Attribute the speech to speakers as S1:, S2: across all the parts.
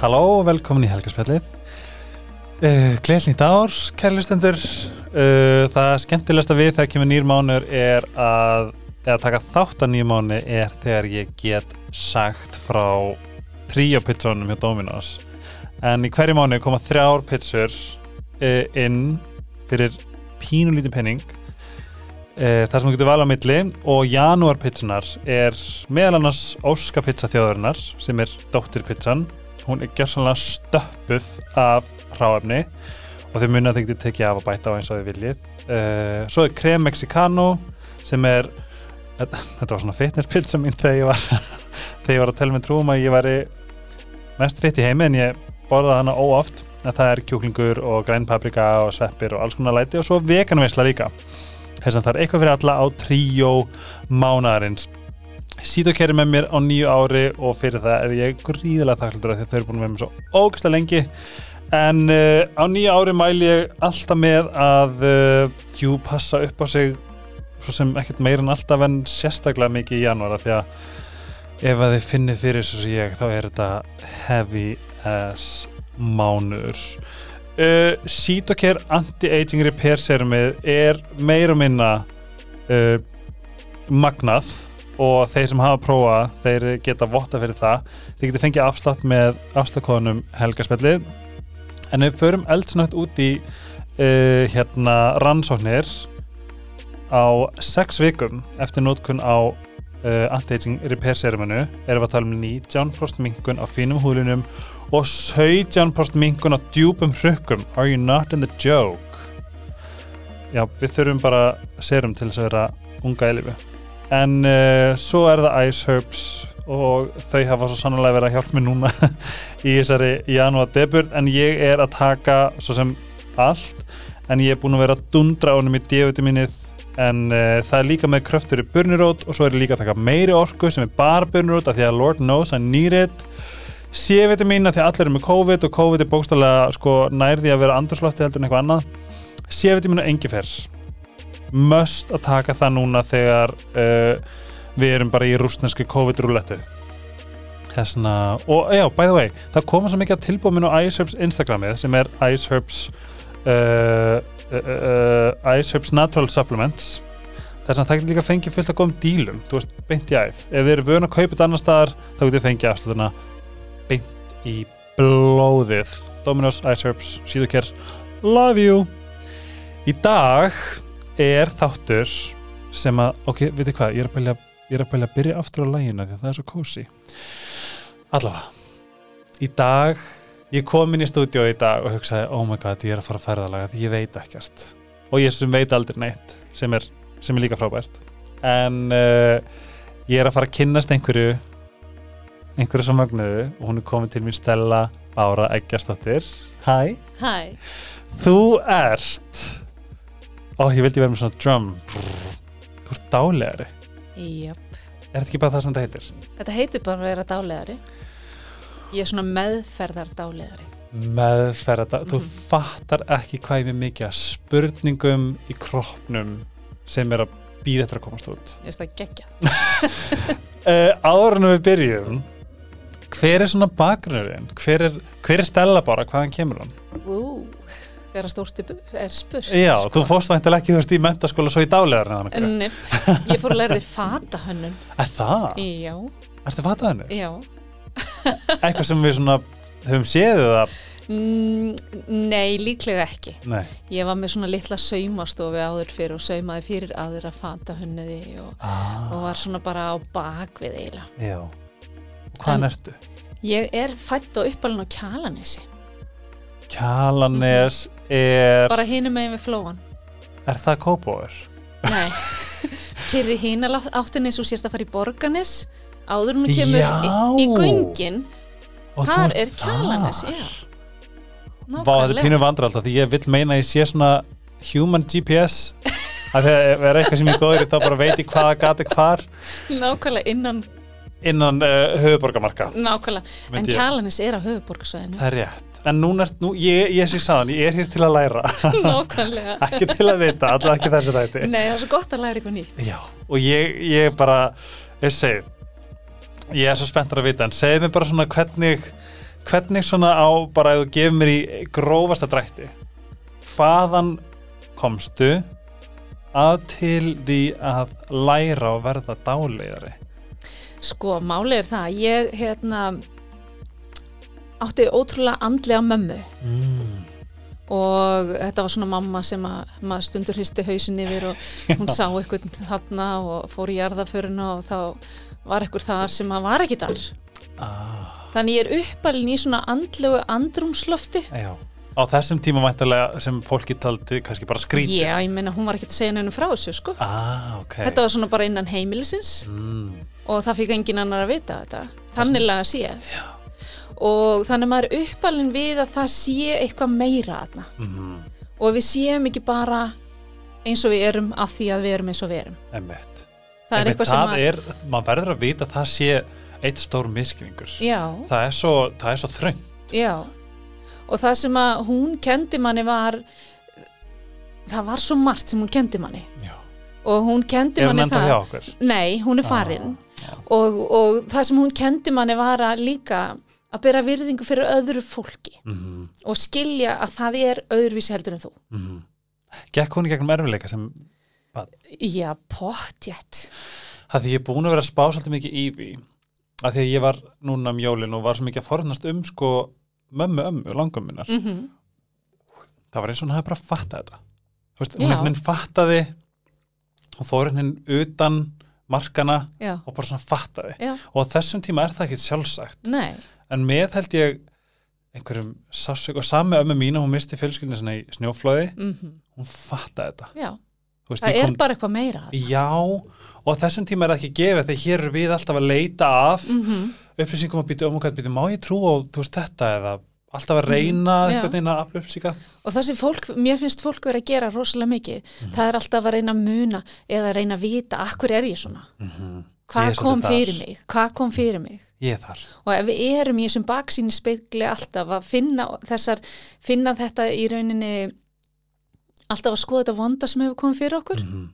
S1: Halló og velkomin í Helgarspjallið uh, Gleilnýtt ár, kærlustendur uh, Það skemmtilegsta við þegar kemur nýr mánur er að eða taka þátt að nýr mánu er þegar ég get sagt frá tríopitsónum hjá Dominos en í hverju mánu koma þrjár pitsur uh, inn fyrir pínulítið penning uh, þar sem þú getur vala á milli og janúarpitsunar er meðal annars Óskapitsa þjóðurinnar sem er dóttirpitsan hún er gjörsanlega stöppuð af hráefni og þau munið að þau getur tekið af að bæta á eins og þau viljið uh, svo er krem mexicano sem er þetta þetta var svona fitnesspizza mín þegar ég var þegar ég var að tella með trúum að ég væri mest fitt í heimi en ég borðaði hana óoft en það er kjúklingur og grænpaprika og sveppir og alls konar læti og svo veganveisla líka þess að það er eitthvað fyrir alla á tríó mánaðarins Sító kæri með mér á nýju ári og fyrir það er ég gríðilega þakkláttur af því að þau eru búin með mér svo ógæslega lengi en uh, á nýju ári mæli ég alltaf með að uh, jú passa upp á sig svo sem ekkert meira en alltaf en sérstaklega mikið í janúar af því að ef að þið finnir fyrir þessu sem ég þá er þetta heavy ass mánur uh, Sítokir anti-aging repair serumið er meira og minna uh, magnað og þeir sem hafa prófa þeir geta votta fyrir það þeir geta fengið afslátt með afsláttkóðunum helgaspelli en við förum eldsnögt út í uh, hérna rannsóknir á sex vikum eftir nótkun á uh, anti-aging repair seruminu erum við að tala um 19% minkun á fínum húlinum og 17% minkun á djúpum hrukkum Are you not in the joke? Já, við þurfum bara serum til þess að vera unga í lifu en uh, svo er það Ice Herbs og þau hafa svo sannlega verið að hjálpa mér núna í þessari janúar deburð en ég er að taka svo sem allt en ég er búin að vera að dundra honum í D-vitaminnið en uh, það er líka með kröftur í burnirót og svo er ég líka að taka meiri orku sem er bara burnirót af því að Lord knows I need it C-vitamin af því að allir eru með COVID og COVID er bókstallega sko, nærði að vera andurslofti heldur en eitthvað annað C-vitamin og engifer must að taka það núna þegar uh, við erum bara í rústnesku COVID-rúletu þessna, og já, by the way það koma svo mikið að tilbúminu á Iceherbs Instagramið sem er Iceherbs uh, uh, uh, Iceherbs Natural Supplements þess að það getur líka fengið fullt að góðum dílum þú veist, beint í æð, ef þið eru vöna að kaupa þetta annar staðar, þá getur þið fengið afslutina beint í blóðið Dominos, Iceherbs, síðuker love you í dag er þáttur sem að, ok, veitir hvað, ég er að bælja ég er að bælja að byrja aftur á lægina því að það er svo kósi allavega í dag, ég kom inn í stúdíó í dag og hugsaði, oh my god, ég er að fara að ferðalaga því ég veit ekkert og ég sem veit aldrei neitt sem er, sem er líka frábært en uh, ég er að fara að kynnast einhverju einhverju sem magnuðu og hún er komin til mín Stella Bára Eggjastóttir Hæ
S2: Hæ,
S1: Þú ert Ó, ég vildi vera með svona drum Brrr. Þú ert dálegari
S2: jöp.
S1: Er þetta ekki bara það sem þetta heitir?
S2: Þetta heitir bara að vera dálegari. Ég er svona meðferðar dálegari.
S1: Meðferða Þú
S2: Mhm.
S1: fattar ekki hvað ég er mikið að spurningum í kroppnum sem er að býða eftir að komast út
S2: Ég veist það geggja.
S1: uh, Áður en við byrjum Mm. Hver er svona bakgrunurinn? Hver er, hver er Stella bara? Hvaðan kemur hún?
S2: Ú, þegar stórt er bu- er spurt.
S1: Já,
S2: sko.
S1: þú fórst væntalega ekki þú veist í mentaskóla svo í dálegar en...
S2: Nei, ég fór að læra því fatahönnun.
S1: Er það?
S2: Já,
S1: Ertu fatað hennu?
S2: já.
S1: Eitthvað sem við svona höfum séð eða?
S2: Mm, Nei, líklega ekki.
S1: Nei
S2: Ég var með svona litla saumastofi áður fyrir og saumaði fyrir aðra fatahönnuði og,
S1: ah.
S2: og var svona bara á bakvið eiginlega.
S1: Já. Hvaðan
S2: En-
S1: ertu?
S2: Ég er fætt og uppalinn á Kjalanesi,
S1: Kjalanes er,
S2: Mhm. bara hinum megin við flóan.
S1: er það kópóður?
S2: Nei, kyrri hína áttin eins og sérst að fara í borganes áður hún kemur í, í
S1: Já.
S2: göngin
S1: Og
S2: Þar
S1: þú ert
S2: er Kjalarnes,
S1: þar.
S2: já.
S1: Vá, þetta er pínu vandra alltaf, því ég vill meina að ég sé svona human GPS að þegar er eitthvað sem ég er góður í þá bara veit ég hvaða gati hvar
S2: nákvæmlega innan
S1: innan uh, höfuborgamarka.
S2: nákvæmlega, en
S1: Myndi ég.
S2: Kjalarnes er á höfuborgarsvæðinu
S1: Það er rétt. En núna ert, nú, ég, ég sé sáðan, ég er hér til að læra,
S2: nákvæmlega,
S1: ekki til að vita, allavega ekki þessi þætti.
S2: nei það er svo gott að læra eitthvað nýtt
S1: Já, og ég, ég bara, ég segi, ég er svo spenntur að vita, en segið mér bara svona hvernig, hvernig svona á bara ef þú gefur mér í grófasta drætti hvaðan komstu að til því að læra og verða dáleiðari
S2: Sko, málið er það, ég hérna átti ótrúlega andlega mömmu
S1: mm.
S2: og þetta var svona mamma sem að, maður stundur hristi hausin yfir og hún sá einhvern þarna og fór í jarðaföruna og þá var einhver þar sem að var ekki þar.
S1: ah.
S2: Þannig ég er uppalinn í svona andlegu andrumslofti.
S1: Já, á þessum tíma væntalega sem fólki taldi kannski bara skrítið
S2: Já, ég meina hún var ekki að segja nefnum frá þessu, sko.
S1: ah, ok
S2: Þetta var svona bara innan heimilisins.
S1: mm.
S2: og það fikk engin annar að vita þetta þannig laga sé og þannig maður er uppalinn við að það sé eitthvað meira þarna
S1: Mm.
S2: og við séum ekki bara eins og við erum af því að við erum eins og við erum
S1: Einmitt.
S2: það er
S1: Einmitt,
S2: eitthvað sem
S1: það er, maður verður að vita að það sé eitt stór miskringur
S2: já,
S1: það er svo, það er svo þröng
S2: já og það sem að hún kendi manni var það var svo margt sem hún kendi manni
S1: Já.
S2: og hún kendi
S1: er hún
S2: manni
S1: enda
S2: það
S1: hjá Ah. okkur
S2: Nei, hún er farin og, og það sem hún kendi manni var að líka að bera virðingu fyrir öðru fólki
S1: mm -hmm.
S2: og skilja að það er öðruvísi heldur en þú.
S1: Mm. Gekk hún í gegnum erfileika sem
S2: Já, pottjætt.
S1: að því ég er búin að vera að spá svolítið mikið í því að því að ég var núna um jólin og var svo mikið að forðnast um sko mömmu ömmu langömmunar
S2: Mm -hmm.
S1: það var eins og hún hafi bara fattað þetta Þú veist, hún
S2: Já.
S1: einhvern veginn fattaði og fór einhvern veginn utan markana
S2: Já,
S1: og bara svona fattaði
S2: já,
S1: og á þessum tíma er það ekki sjálfsagt
S2: nei,
S1: en með held ég einhverjum sásök og sami ömmu mína hún misti fjölskyldinu svona í snjóflóði
S2: mm
S1: hún fattaði þetta
S2: já.
S1: Þú veist,
S2: Það
S1: ég
S2: er
S1: kom-
S2: bara eitthvað meira.
S1: Já, og á þessum tíma er það ekki gefið þegar hér eru við alltaf að leita af
S2: Mm -hmm.
S1: upplýsingum að býta um og hvað býta, má ég trú á þú veist þetta eða alltaf að reyna
S2: Mhm, já.
S1: einhvern veginn að afla upplýsinga
S2: Og það sem fólk, mér finnst fólk vera að gera rosalega mikið,
S1: Mhm.
S2: það er alltaf að reyna að muna eða að reyna að vita, akkur er ég svona?
S1: Ég er
S2: Hvað
S1: svolítið
S2: kom
S1: þar.
S2: fyrir mig? Hvað kom fyrir mig?
S1: Mhm, Ég er þar
S2: Og ef við erum í þessum baksýni speikli alltaf að finna, þessar, finna þetta í rauninni alltaf að skoða þetta vonda sem hefur komið fyrir okkur,
S1: mm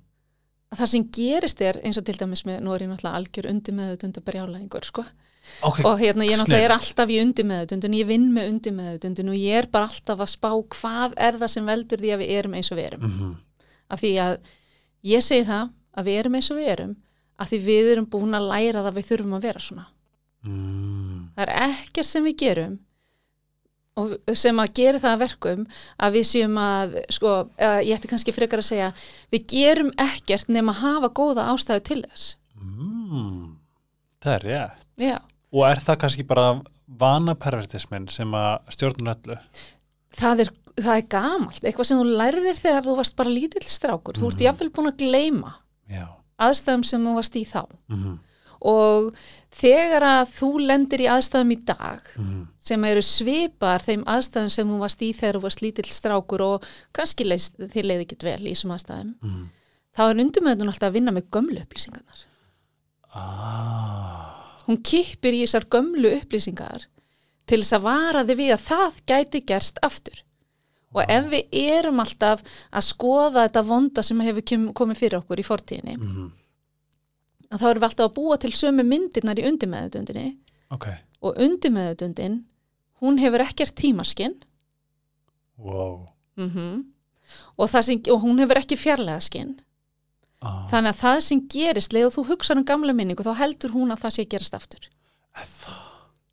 S2: að það sem gerist er eins og til dæmis með, nú er ég náttúrulega algjör undir meðutund að brjála einhver, sko
S1: Ok,
S2: og hérna ég náttúrulega
S1: Sniðugt.
S2: er alltaf í undir meðutundun ég vinn með undir meðutundun og ég er bara alltaf að spá hvað er það sem veldur því að við erum eins og við erum
S1: mm -hmm.
S2: af því að ég segi það að við erum eins og við erum af því við erum búin að læra það að við þurfum að vera svona
S1: Mm
S2: það er ekkert sem við gerum og sem að gera það að verkum að við séum að sko, eða ég ætti kannski frekar að segja við gerum ekkert nema að hafa góða ástæðu til þess
S1: -hmm. Það er rétt
S2: Já.
S1: Og er það kannski bara vanapervertismin sem að stjórnum öllu
S2: það er, það er gamalt, eitthvað sem þú lærðir þegar þú varst bara lítill strákur, þú ert jafnvel búin að gleyma
S1: Já
S2: aðstæðum sem þú varst í þá
S1: mm -hmm.
S2: og þegar að þú lendir í aðstæðum í dag
S1: Mm -hmm.
S2: sem eru svipar þeim aðstæðum sem þú varst í þegar þú varst lítill strákur og kannski leist, þið leiði ekki vel í þessum aðstæðum
S1: mhm.
S2: þá er undirmöðun alltaf að vinna með gömlu upplýsingarnar
S1: ah.
S2: hún kippir í þessar gömlu upplýsingar til þess að vara þið við að það gæti gerst aftur og ef við erum alltaf að skoða þetta vonda sem hefur kem- komið fyrir okkur í fortíðinni
S1: mm
S2: að þá erum við alltaf að búa til sömu myndirnar í undirmeðutundinni
S1: Ok,
S2: og undirmeðutundin hún hefur ekkert tímaskinn
S1: wow
S2: og, það sem, og hún hefur ekki fjarlæga skinn
S1: ah.
S2: þannig að það sem gerist leið og þú hugsar um gamla minningu þá heldur hún að það sé að gerast aftur
S1: Það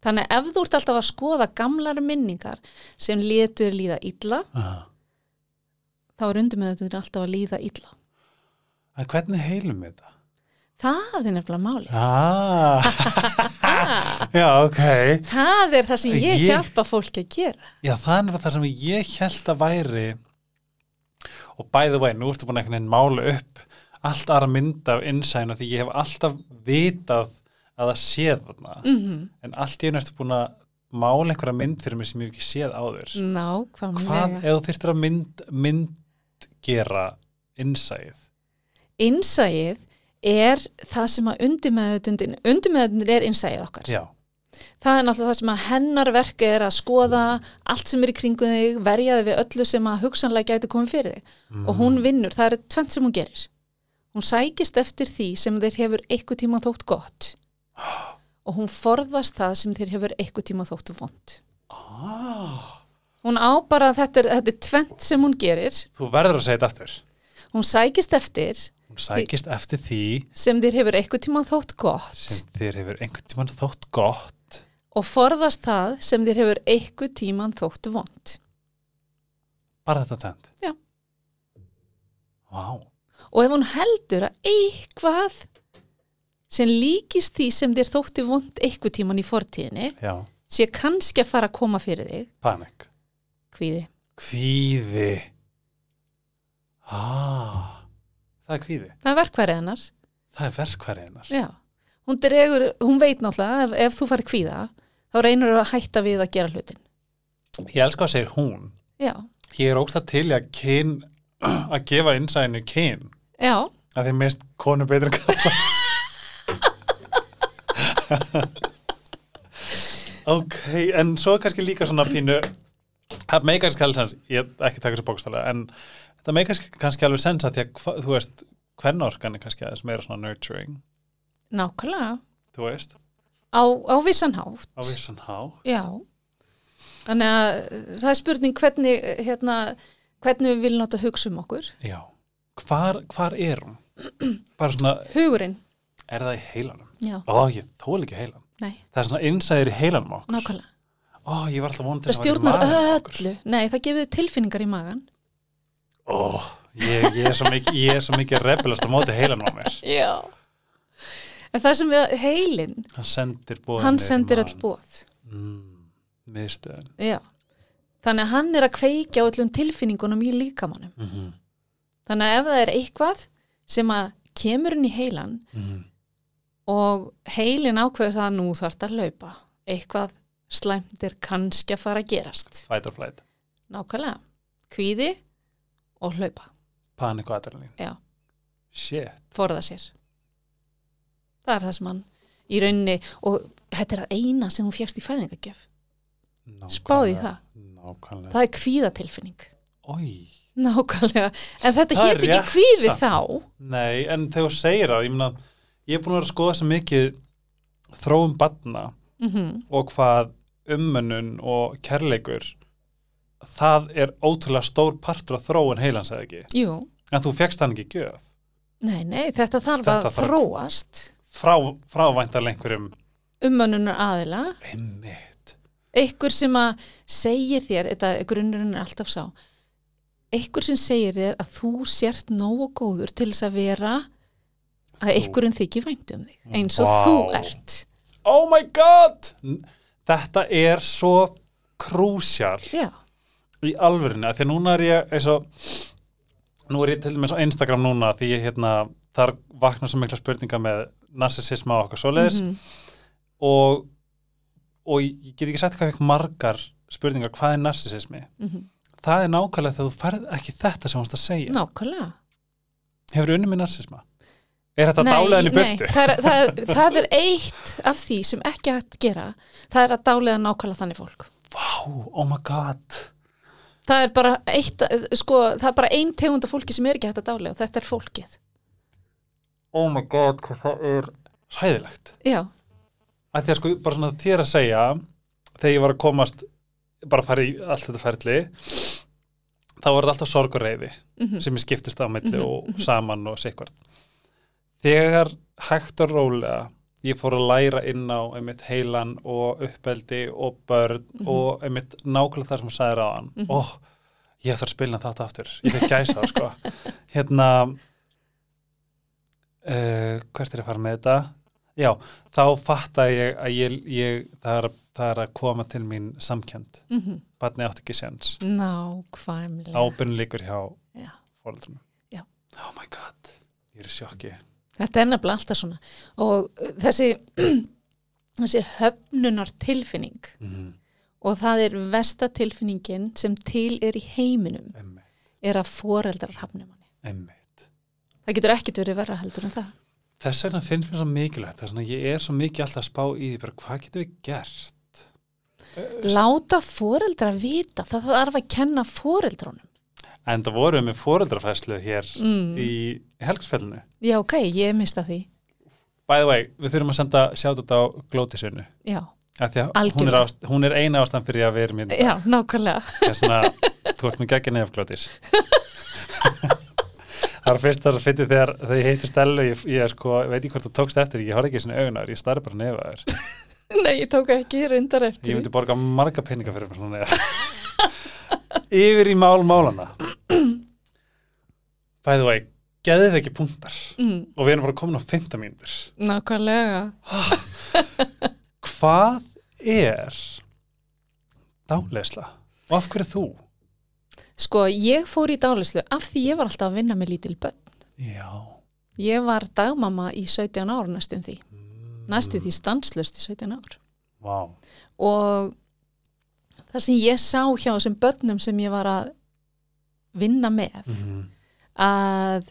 S2: Þannig að ef þú ert alltaf að skoða gamlar minningar sem letur líða illa,
S1: ah.
S2: þá er undir með þetta alltaf að líða illa.
S1: En hvernig heilum við þetta?
S2: Það er nefnilega máli.
S1: Ah. Já, ok.
S2: Það er það sem ég,
S1: Ég-
S2: hjálpa fólki að gera.
S1: Já, það er nefnilega það sem ég held að væri og by the way, nú ertu búin að einhvern veginn mála upp allt aðra mynd af innsæna því ég hef alltaf vitað að það sé þarna
S2: Mm -hmm.
S1: en allt í einu ertu búin að mála einhverja mynd fyrir mig sem ég hef ekki séð áður
S2: Mm,
S1: Hvað
S2: Nákvæmlega.
S1: ef þú þyrftir að mynd, mynd gera innsæð?
S2: Innsæið er það sem að undirmeðutundin, undirmeðutundin er innsæið okkar.
S1: Já,
S2: Það er náttúrulega það sem að hennar verk er að skoða allt sem er í kringu þig, verjaði við öllu sem að hugsanlega gæti komið fyrir þig. Og hún vinnur, það eru tvent sem hún gerir. Hún sækist eftir því sem þeir hefur eitthvað tíma þótt gott. Og hún forðast það sem þeir hefur eitthvað tíma þótt vond.
S1: ah,
S2: Hún á bara að þetta er, þetta er tvent sem hún gerir.
S1: þú verður að segja þetta aftur
S2: Hún sækist eftir
S1: hún sækist eftir því
S2: sem þér hefur eitthvað tímann þótt gott
S1: sem þér hefur einhvern tímann þótt gott
S2: og forðast það sem þér hefur eitthvað tímann þótt vond.
S1: bara þetta tvend
S2: Já.
S1: Vá,
S2: Og ef hún heldur að eitthvað sem líkist því sem þér þótti vond eitthvað tímann í fortíðinni
S1: já,
S2: sé kannski að fara að koma fyrir þig,
S1: panik
S2: kvíði.
S1: kvíði ah, það er kvíði
S2: Það er verkværið hennar.
S1: það er verkværiðinar
S2: Já. Hún dregur, hún veit náttúrulega ef, ef þú farið kvíða, þá reynur þú að hætta við að gera hlutin.
S1: ég elska að segja hún
S2: Já.
S1: ég er ógst að til í að kyn að gefa innsæðinu kyn
S2: Já.
S1: að því mist konu betur en kalla ok, en svo er kannski líka svona pínu það meikar kannski alveg sens ég er ekki að taka þessu bókstælega en það meikar kannski- kannski alveg sens að því að hva, þú veist, hvern orkan er kannski aðeins meira svona nurturing
S2: Nákvæmlega.
S1: þú veist,
S2: Á, á vissan hátt.
S1: á vissan hátt
S2: Já. Þannig að uh, það er spurning hvernig, uh, hérna, hvernig við viljum nota hugsa um okkur.
S1: já, hvar, hvar er hún? bara svona,
S2: Hugurinn.
S1: er það í heilanum?
S2: Já.
S1: ó, ég þól ekki heilan
S2: Nei,
S1: það er svona innsæðir í heilanum á okkur
S2: nákvæmlega.
S1: ó, ég var alltaf vonandi
S2: Það stjórnar öllu. Nei, það gefið þér tilfinningar í magan.
S1: Ó, ég, ég er svo mikið ég er svo mikið rebelast á móti heilan á mér
S2: Já. En það sem við, heilinn,
S1: hann sendir bóðinni
S2: hann sendir öll bóð.
S1: mm, miðstöðin
S2: Já. Þannig að hann er að kveikja á öllum tilfinningunum í líkamannum.
S1: mm -hmm.
S2: Þannig að ef það er eitthvað sem að kemur inn í heilan og heilin ákveður það að nú þarf að laupa. Eitthvað slæmt er kannski að fara að gerast.
S1: fight or flight,
S2: Nákvæmlega. Kvíði og hlaupa.
S1: panik og adrenalín
S2: Já.
S1: shit,
S2: forða sér það er það sem hann í rauninni og þetta er að eina sem hún fjast í fæðingagjöf
S1: nákvæmlega
S2: Spáðu í það.
S1: nákvæmlega,
S2: það er kvíðatilfinning
S1: oi
S2: nákvæmlega, en þetta
S1: Það er
S2: hétt ekki
S1: rétt
S2: kvíði
S1: samt.
S2: þá
S1: nei, en þegar þú segir það, ég meina ég er búin að vera að skoða svo mikið þróum batna
S2: mm
S1: og hvað ummönnun og kærleikur það er ótrúlega stór partur að þróun heilans eða ekki,
S2: jú,
S1: en þú fegst hann ekki í gjöf
S2: nei, nei, þetta þarf
S1: Þetta
S2: að
S1: þarf-
S2: þróast
S1: frá, frávæntar einhverjum
S2: umönnunar aðila
S1: einmitt
S2: einhver sem að segir þér þetta er grunnurinn er alltaf sá einhver sem segir þér að þú sért nógu góður til þess að vera að einhverjum þykir vænt um þig eins og
S1: Mm. Vá.
S2: þú ert
S1: oh my god N- þetta er svo krúsjál
S2: já,
S1: í alvörinu af því að núna er ég eins og nú er ég til dæmis á Instagram núna því ég hérna þar vakna svo mikla spurninga með narsisisma og okkar svoleiðis
S2: Mhm.
S1: og, og ég get ekki sagt hvað ekki margar spurningar hvað er narsisismi
S2: Mhm.
S1: það er nákvæmlega þegar þú ferð ekki þetta sem þú varst að segja
S2: Nákvæmlega.
S1: hefur unnið með narsisma er þetta
S2: Nei,
S1: dálæðinu
S2: nei,
S1: burtu
S2: það, er, það, er, það er eitt af því sem ekki er hægt að gera, það er að dálega nákvæmlega þannig fólk.
S1: vá, oh my god
S2: Það er bara eitt, sko, það er bara ein tegund af fólki sem er ekki hægt að dálega og þetta er fólkið.
S1: oh my god, hvað það er hræðilegt.
S2: Já,
S1: Að því að sko, bara svona þér að segja þegar ég var að komast bara að fara í allt þetta ferli þá var þetta alltaf sorg og reyði
S2: Mhm.
S1: sem ég skiptist á milli og saman og sikkvart. Þegar hægt og rólega ég fór að læra inn á einmitt heilan og uppeldi og börn og einmitt nákvæmlega það sem hún sagði ráðan. Mm Ó, ég þarf að spilna þetta aftur. Ég veit gæsa það sko. Hérna uh, hvert er ég að fara með þetta? Já, þá fatta ég að ég, ég það, er, það er að koma til mín samkjönd.
S2: mm
S1: Barni átt ekki séns.
S2: nákvæmlega.
S1: Ábyrn líkur hjá
S2: Já.
S1: fóreldrunum.
S2: Já.
S1: Oh my god, ég er í sjokki.
S2: Þetta er nefnilega alltaf svona og uh, þessi, þessi höfnunar tilfinning
S1: Mm
S2: og það er vesta tilfinningin sem til er í heiminum
S1: Einmitt,
S2: er að foreldrar hafnum hann.
S1: einmitt.
S2: Það getur ekkit verið verra heldur en það.
S1: Þess vegna finnst mér svo mikilvægt, þess vegna ég er svo mikið alltaf að spá í því, bara hvað getum við gert?
S2: Láta foreldra vita, það þarf að kenna foreldrónum.
S1: En það vorum við með fóreldrafæslu hér
S2: Mm.
S1: í helgspillinu.
S2: Já, ok, ég mista því.
S1: By the way, við þurfum að senda sjátt á glótisunu.
S2: Já,
S1: Af því að Hún er,
S2: Algjörlega.
S1: ást, hún er eina ástæðan fyrir að við erum hérna. í
S2: Já, nákvæmlega.
S1: þess að þú ert með gegginni af glótis það er fyrst það að fyndi þegar þegar ég heitir Stellu ég, ég sko, veit ekki hvort þú tókst eftir ég horfði ekki sinni augunar, ég starf bara nefa þér
S2: Nei, ég tók ekki reyndar eftir.
S1: ég
S2: því.
S1: myndi borga marga peninga fyrir mér svona nefa yfir í mál málana by the way, geðið ekki punktar
S2: Mm,
S1: og við erum bara komin á 15 mínútur
S2: nákvæmlega.
S1: hvað er dáleisla og af hverju þú?
S2: Sko, ég fór í dálislu af því ég var alltaf að vinna með lítil börn.
S1: já
S2: Ég var dagmamma í 17 ár næstum því. Næstum því stanslust í 17 ár.
S1: wow.
S2: Og það sem ég sá hjá þessum börnum sem ég var að vinna með,
S1: Mhm.
S2: að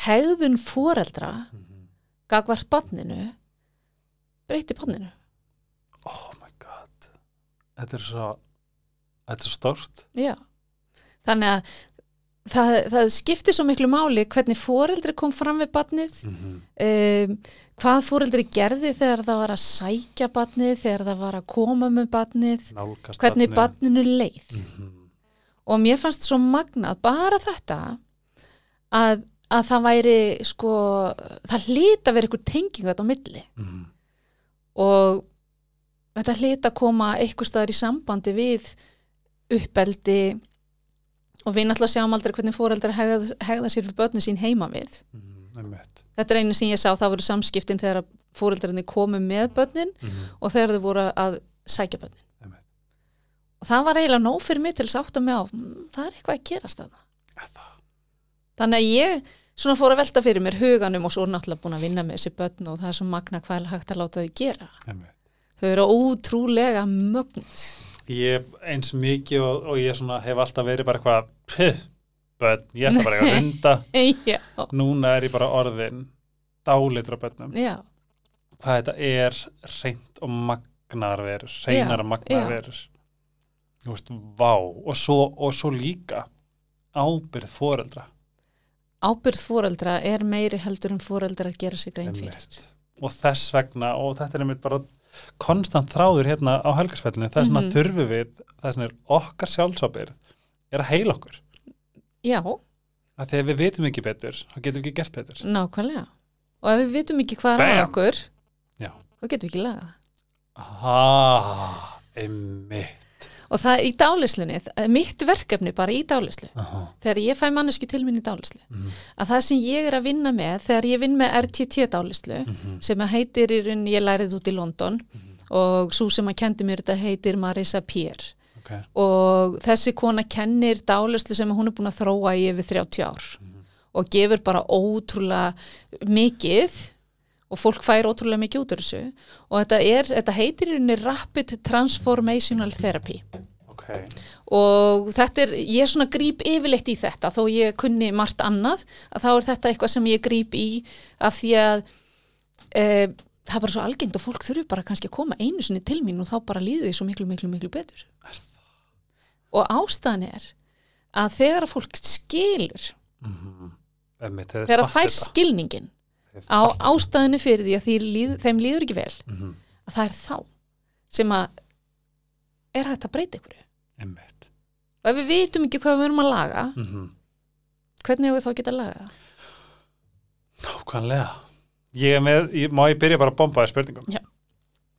S2: hegðun foreldra
S1: Mhm.
S2: gagvart barninu breyti barninu.
S1: oh my god þetta er svo þetta er svo stórt
S2: Já, þannig að það, það skiptir svo miklu máli hvernig fóreldri kom fram við barnið,
S1: Mhm.
S2: um, hvað fóreldri gerði þegar það var að sækja barnið, þegar það var að koma með barnið,
S1: nálgast
S2: hvernig
S1: barnið.
S2: barninu leið.
S1: Mhm.
S2: Og mér fannst svo magnað bara þetta að, að það væri sko, það hlýta að vera einhver tenging þetta á milli
S1: Mhm.
S2: og þetta hlýta að koma einhver staðar í sambandi við uppeldi og við náttúrulega sjáum aldrei hvernig fóreldrar hegða, hegða sér fyrir börnin sín heima við.
S1: Mhm. Einmitt.
S2: Þetta er einu sem ég sá, það voru samskiptin þegar að fóreldrarnir komu með börnin
S1: Mhm.
S2: og þegar þau voru að sækja börnin.
S1: Einmitt.
S2: Og það var eiginlega nóg fyrir mig til þess að átta mig á, "Mm, það er eitthvað að gerast þarna.
S1: Er það?
S2: Þannig að ég svona fór að velta fyrir mér huganum og svo er náttúrulega búin að vinna með þessi börn og það er svo magna hvað er hægt að láta þau gera.
S1: Einmitt.
S2: Þau eru ótrúlega mögnuð.
S1: ég eins mikið og, og ég svona hef alltaf verið bara eitthvað "Puh, börn, ég ætla bara eitthvað að runda
S2: Já.
S1: núna er ég bara orðin dálitur á börnum
S2: Já,
S1: hvað þetta er reynt og magnar verur reynar og magnar
S2: já.
S1: verur þú veist, vá og svo, og svo líka ábyrð foreldra
S2: ábyrð fóreldra er meiri heldur en fóreldra að gera sig grein fyrir.
S1: Einmitt. og þess vegna og þetta er einmitt bara konstant þráður hérna á helgarspellinu þess vegna
S2: Mhm.
S1: þurfum við þess vegna er okkar sjálfsábyrð er að heila okkur
S2: Já,
S1: að þegar við vitum ekki betur þá getum við ekki gert betur
S2: nákvæmlega. Og ef við vitum ekki hvað er að
S1: Bam.
S2: okkur,
S1: Já.
S2: þá getum við ekki lagað.
S1: ah, einmitt
S2: Og það er í dálislunni, það er mitt verkefni bara í dálislu,
S1: Aha.
S2: þegar ég fæ manneski til minni í dálislu,
S1: Mhm.
S2: að það sem ég er að vinna með, þegar ég vinn með RTT dálislu,
S1: Mhm.
S2: sem að heitir í raun, ég lærið út í London og svo sem að kendi mér þetta heitir Marisa Pierre
S1: ok,
S2: og þessi kona kennir dálislu sem hún er búin að þróa í yfir 30 ár og gefur bara ótrúlega mikið og fólk fær ótrúlega mikið út úr þessu og þetta, er, þetta heitir í rauninni Rapid Transformational Therapy
S1: ok
S2: og þetta er, ég svona gríp yfirleitt í þetta þó ég kunni margt annað að þá er þetta eitthvað sem ég gríp í af því að e, það er bara svo algengt og fólk þurfi bara kannski að koma einu sinni til mín og þá bara líði því svo miklu, miklu, miklu betur
S1: Er það?
S2: og ástæðan er að þegar að fólk skilur
S1: Mhm. einmitt
S2: þegar að fær skilningin á ástæðinu fyrir því að því líð, þeim líður ekki vel
S1: Mhm.
S2: að það er þá sem að er hægt að breyta ykkur
S1: einmitt
S2: og ef við vitum ekki hvað við erum að laga
S1: Mhm.
S2: hvernig hefur við þá getað lagað það?
S1: Nákvæmlega. Ég er með, ég, má ég byrja bara að bomba þér spurningum?
S2: Já.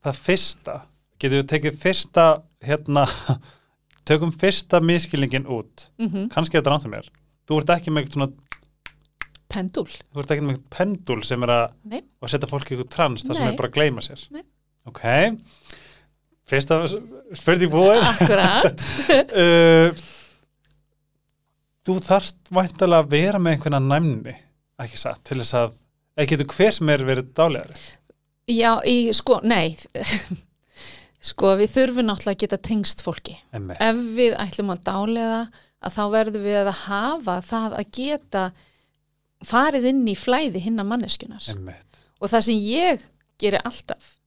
S1: Það fyrsta, getur við tekið fyrsta, hérna, tökum fyrsta miskilningin út.
S2: mm -hmm.
S1: Kannski þetta rántum mér. Þú ert ekki með eitthvað svona,
S2: pendúl
S1: þú ert ekki með eitthvað pendul sem er að,
S2: Nei.
S1: að setja fólk í eitthvað trans, það sem
S2: Nei.
S1: er bara að gleyma sér.
S2: Nei.
S1: Ok. Fyrsta s- spurning búin.
S2: akkurat
S1: uh, þú þarft væntalega að vera með einhverja næmni, ekki satt, til þess að, eða getur hver sem er verið dálegari.
S2: já, í, sko, nei sko, við þurfum náttúrulega að geta tengst fólki
S1: Emmi.
S2: ef við ætlum að dálega að þá verðum við að hafa það að geta farið inn í flæði hinna manneskunar
S1: Einmitt.
S2: og það sem ég geri alltaf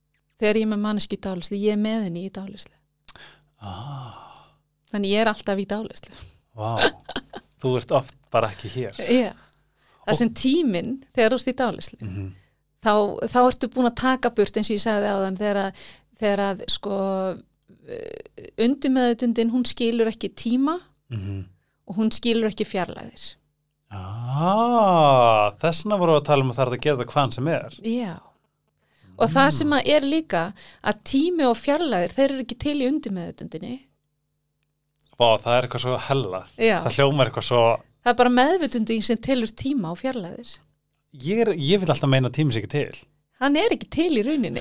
S2: þegar ég er með manneski í dálislu, ég er með henni í dálislu
S1: Ah,
S2: þannig ég er alltaf í dálislu
S1: vá. Þú ert oft bara ekki hér.
S2: yeah. það sem tíminn þegar þú ert í dálislu
S1: Mhm.
S2: þá, þá ertu búin að taka burt eins og ég sagði á þann þegar, að- þegar að sko undirmeðutundin hún skilur ekki tíma
S1: mm -hmm.
S2: og hún skilur ekki fjarlæðir
S1: ah, Þessna voru að tala um að það er hægt að gera það hvaðan sem er
S2: Já. Og það sem að er líka að tími og fjarlæðir, þeir eru ekki til í undirmeðutundinni.
S1: Vá, það er eitthvað svo hella
S2: Já.
S1: Það hljómar eitthvað svo
S2: Það er bara meðvutundin sem telur tíma og fjarlæðir.
S1: Ég, er, ég vil alltaf meina að tími sér ekki til
S2: Hann er ekki til í rauninni.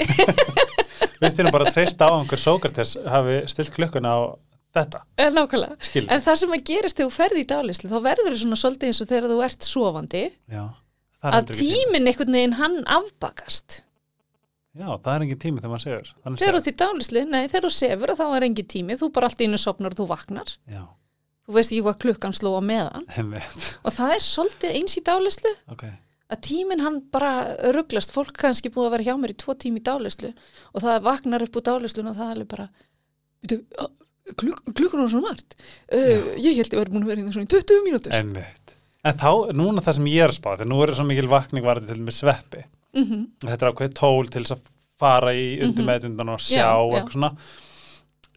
S1: Við þurfum bara að treysta á einhver Sókrates hafi stilt klukkuna á þetta,
S2: Eh, Nákvæmlega.
S1: skilur
S2: En það sem að gerist þegar þú ferði í dálislu, þá verður það svona svolítið eins og þegar þú ert sofandi,
S1: Já, það er
S2: að
S1: heldur ekki tími
S2: tíminn einhvern veginn hann afbakast.
S1: Já, það er engin tími þegar maður segur Þannig
S2: Þegar þú
S1: séð.
S2: ert í dálislu, nei, þegar þú sefur að þá er engin tími, þú bara allt í einu sopnar og þú vaknar.
S1: Já,
S2: Þú veist ekki hvað klukkan sló á meðan.
S1: einmitt
S2: Og það er svolítið eins í dálislu.
S1: Ok,
S2: að tíminn hann bara rugglast fólk kannski búið að vera hjá mér í tvo tími í dálislu og það vaknar upp úr dálislun og það er alveg bara "Bíddu, á, kluk, klukkan var svona margt uh, ég held ég var búin að vera hérna svona í 20 mínútur
S1: einmitt En þá, núna það sem ég er að spá Þegar nú er svo mikil vakning varði til með sveppi
S2: mm
S1: Þetta er ákveðið tól til þess að fara í undir meðundan og sjá
S2: Mhm. Já,
S1: og
S2: já.
S1: eitthvað svona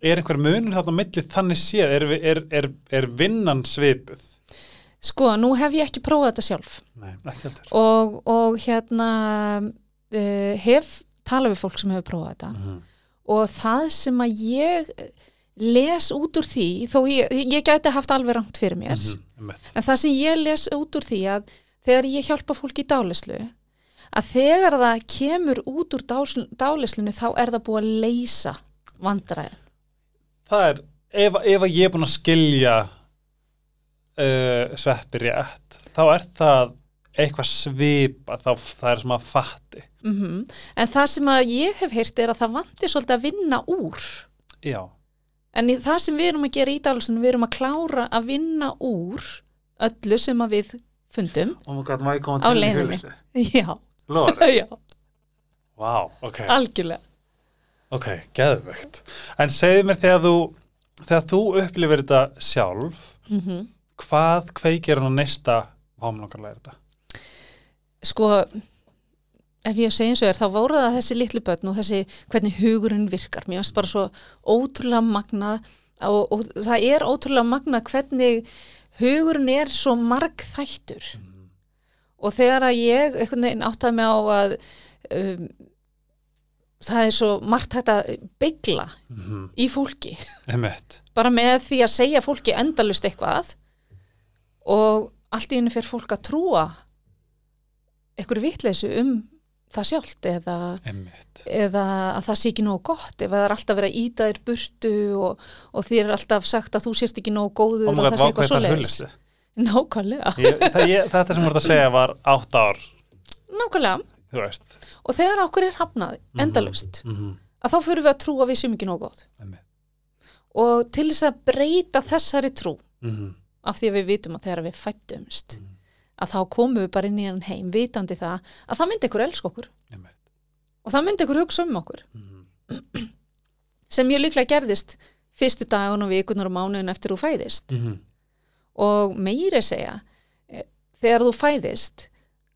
S1: Er einhver munur þarna á milli þannig séð? Er, vi- er, er, er vinnan svipuð?
S2: sko, nú hef ég ekki prófað þetta sjálf
S1: Nei, ekki heldur
S2: og, og hérna uh, hef talað við fólk sem hefur prófað þetta
S1: Mhm.
S2: og það sem að ég les út úr því þó ég, ég gæti haft alveg rangt fyrir mér
S1: Mhm, einmitt.
S2: En það sem ég les út úr því að þegar ég hjálpa fólki í dálislu, að þegar það kemur út úr dás- dálislunni þá er það búið að leysa vandræðin.
S1: Það er, ef, ef að ég er búin að skilja uh, sveppi rétt þá er það eitthvað svipa þá það er sem að fatti
S2: Mm En það sem að ég hef heyrt er að það vandi svolítið að vinna úr.
S1: Já,
S2: En í- það sem við erum að gera í dálislunni, við erum að klára að vinna úr öllu sem að við fundum.
S1: og maður gæti maður
S2: Á
S1: koma til
S2: leiðinni. Já,
S1: Lóri,
S2: já,
S1: vá, ok
S2: algjörlega.
S1: Ok, geðvegt En segðu mér þegar þú þegar þú upplifir þetta sjálf
S2: Mm
S1: hvað kveikir hann á næsta vámlangarlega þetta?
S2: sko ef ég segi eins og er þá voru það þessi litlu börn og þessi hvernig hugurinn virkar mér finnst bara svo ótrúlega magnað og, og það er ótrúlega magnað hvernig hugurinn er svo margþættur og þegar að ég einhvern veginn áttaði mig á að um, það er svo margt hægt að byggla
S1: Mm -hmm.
S2: í fólki
S1: Emmett
S2: bara með því að segja fólki endalust eitthvað og allt í henni fyrir fólk að trúa einhverju vitleysu um það sjálft eða,
S1: Emmett
S2: eða að það sé ekki nógu gott ef það er alltaf verið að íta þér burtu og, og þér er alltaf sagt að þú sért ekki nógu góður
S1: Oh my
S2: og
S1: god,
S2: það sé
S1: vá hvað ég
S2: eitthvað
S1: þarf
S2: svoleiðis
S1: hulistu
S2: Nákvæmlega,
S1: ég, það, ég, Þetta sem voru að segja var átt ár
S2: nákvæmlega
S1: Þú veist
S2: og þegar okkur er hafnað endalust
S1: mm -hmm.
S2: að þá fyrir við að trúa að við séum ekki nógu góð
S1: Emmett
S2: og til þess að breyta þessari trú
S1: mm -hmm.
S2: af því að við vitum að þegar við fættumst
S1: Mm.
S2: að þá komum við bara inn í hann heim vitandi það að það myndi ykkur elska okkur
S1: Emmett
S2: og það myndi ykkur hugsa um okkur
S1: Mhm.
S2: sem mjög líklega gerðist fyrstu dagun og vikunar og mánuðin eftir þú fæðist
S1: Mhm.
S2: og meiri segja eh, þegar þú fæðist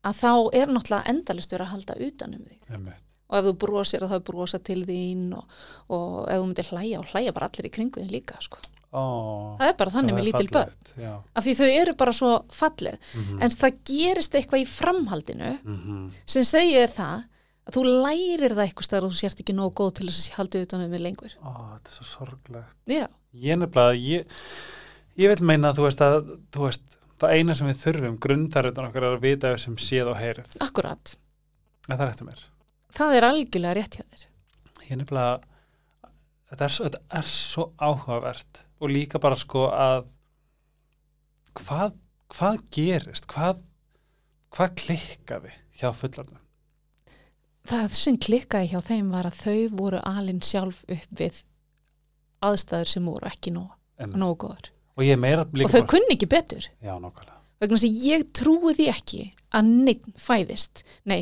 S2: að þá er náttúrulega endalist verið að halda utan um þig
S1: Einmitt.
S2: og ef þú brosir að það er brosa til þín og, og ef þú myndir hlæja og hlæja bara allir í kringu þín líka sko.
S1: Ó,
S2: það er bara þannig
S1: það
S2: með
S1: er
S2: lítil börn
S1: fallegt, Já
S2: af því þau eru bara svo falleg
S1: Mhm.
S2: en það gerist eitthvað í framhaldinu
S1: Mhm.
S2: sem segir það að þú lærir það eitthvað staðar og þú sért ekki nógu góð til þess að halda utan um við lengur
S1: Ó, þetta er svo sorglegt
S2: Já,
S1: Ég nefnilega, ég, ég vil meina að þú veist að, þú veist, það eina sem við þurfum grundarutan okkar er að vita við sem séð og heyrið.
S2: akkurat
S1: En það er eftir mér.
S2: það er algjörlega rétt hjá þér
S1: Ég nefnilega, þetta er, svo, þetta er svo áhugavert og líka bara sko að hvað, hvað gerist, hvað, hvað klikkaði hjá fullarnum?
S2: það sem klikkaði hjá þeim var að þau voru alin sjálf upp við aðstæður sem voru ekki nóg,
S1: En,
S2: nóg góður
S1: og ég meira líka
S2: og þau kunni ekki betur
S1: Já, nákvæmlega.
S2: vegna þess að ég trúi því ekki að neitt fæðist nei,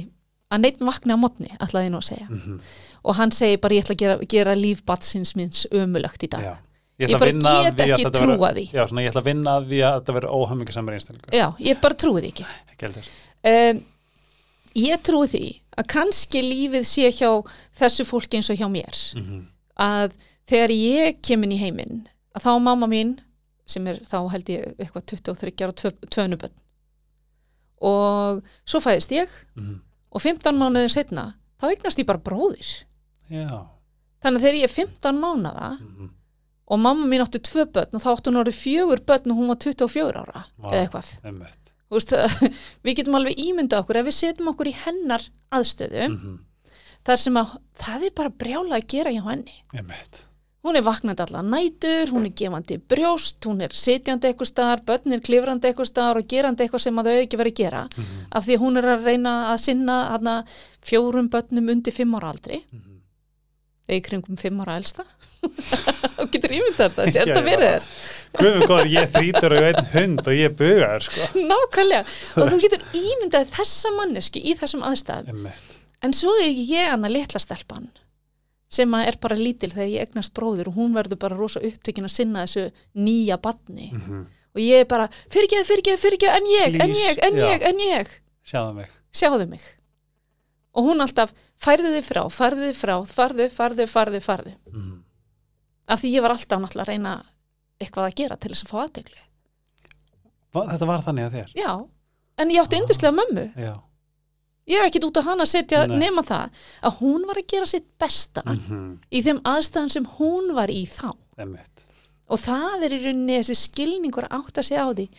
S2: að neitt vakna á mótni ætlaði ég nú að segja
S1: Mm -hmm.
S2: og hann segi bara ég ætla að gera, gera líf batsins minns ömulagt í dag
S1: Já.
S2: Ég
S1: ætla að
S2: bara
S1: vinna að
S2: get
S1: því að
S2: ekki
S1: þetta verður-
S2: trúa því.
S1: Já, svona ég ætla að vinna að því að þetta verður óhamingisamur einstaklingur.
S2: Já, ég bara trúi því ekki
S1: Ekki heldur.
S2: um, ég trúi því að kannski lífið sé hjá þessu fólki eins og hjá mér
S1: mm -hmm.
S2: að þegar ég kemin í heiminn að þá er mamma mín sem er þá held ég eitthvað 23 ára og tvönubönn og svo fæðist ég
S1: mhm.
S2: og 15 mánuðin setna þá eignast ég bara bróðir
S1: Já
S2: þannig að þegar ég er 15 mánuða
S1: mm
S2: og mamma mín átti tvö börn og þá átti hún orðið fjögur börn og hún var 24 ára
S1: Vá.
S2: eða eitthvað
S1: -hmm.
S2: Þú veist, við getum alveg ímynda okkur ef við setjum okkur í hennar aðstöðu
S1: Mhm.
S2: þar sem að það er bara brjála að gera hjá henni
S1: Einmitt.
S2: hún er vaknandi allar nætur, hún er gefandi brjóst, hún er sitjandi eitthvað staðar börnir klifrandi eitthvað staðar og gerandi eitthvað sem að þau eiga ekki verið að gera
S1: Mhm.
S2: af því að hún er að reyna að sinna hana, fjórum börnum undir fimm ára aldri
S1: Mhm.
S2: eða í kringum fimm ára elsta þú getur ímyndað þetta, sér
S1: Já,
S2: þetta
S1: já.
S2: verið þér
S1: Guð minn góður, ég er þrítur og ég er einn hund og ég er bugaður sko
S2: nákvæmlega, og þú getur ímyndað þessa manneski í þessum aðstæðum
S1: Einmitt.
S2: En svo er ég hann að litla stelpan sem að er bara lítil þegar ég egnast bróður og hún verður bara rosa upptekin að sinna þessu nýja batni
S1: Mhm.
S2: og ég er bara fyrirgeð, fyrirgeð, fyrirgeð, en ég, en
S1: Please,
S2: ég, en
S1: já.
S2: ég, en ég,
S1: Sjáðu mig
S2: sjáðu mig. Og hún alltaf færðu þið frá, færðu þið frá, farðu, farðu, farðu, farðu.
S1: mm.
S2: Af því ég var alltaf náttúrulega að reyna eitthvað að gera til þess að fá aðdeglu.
S1: Þetta var þannig að þér
S2: Já, en ég átti
S1: Ah.
S2: yndislega mömmu.
S1: Já
S2: Ég hef ekkit út á hana að setja
S1: Nei.
S2: nema það að hún var að gera sitt besta
S1: Mhm.
S2: í þeim aðstæðan sem hún var í þá
S1: Einmitt.
S2: og það er í rauninni þessi skilningur að átta sig á því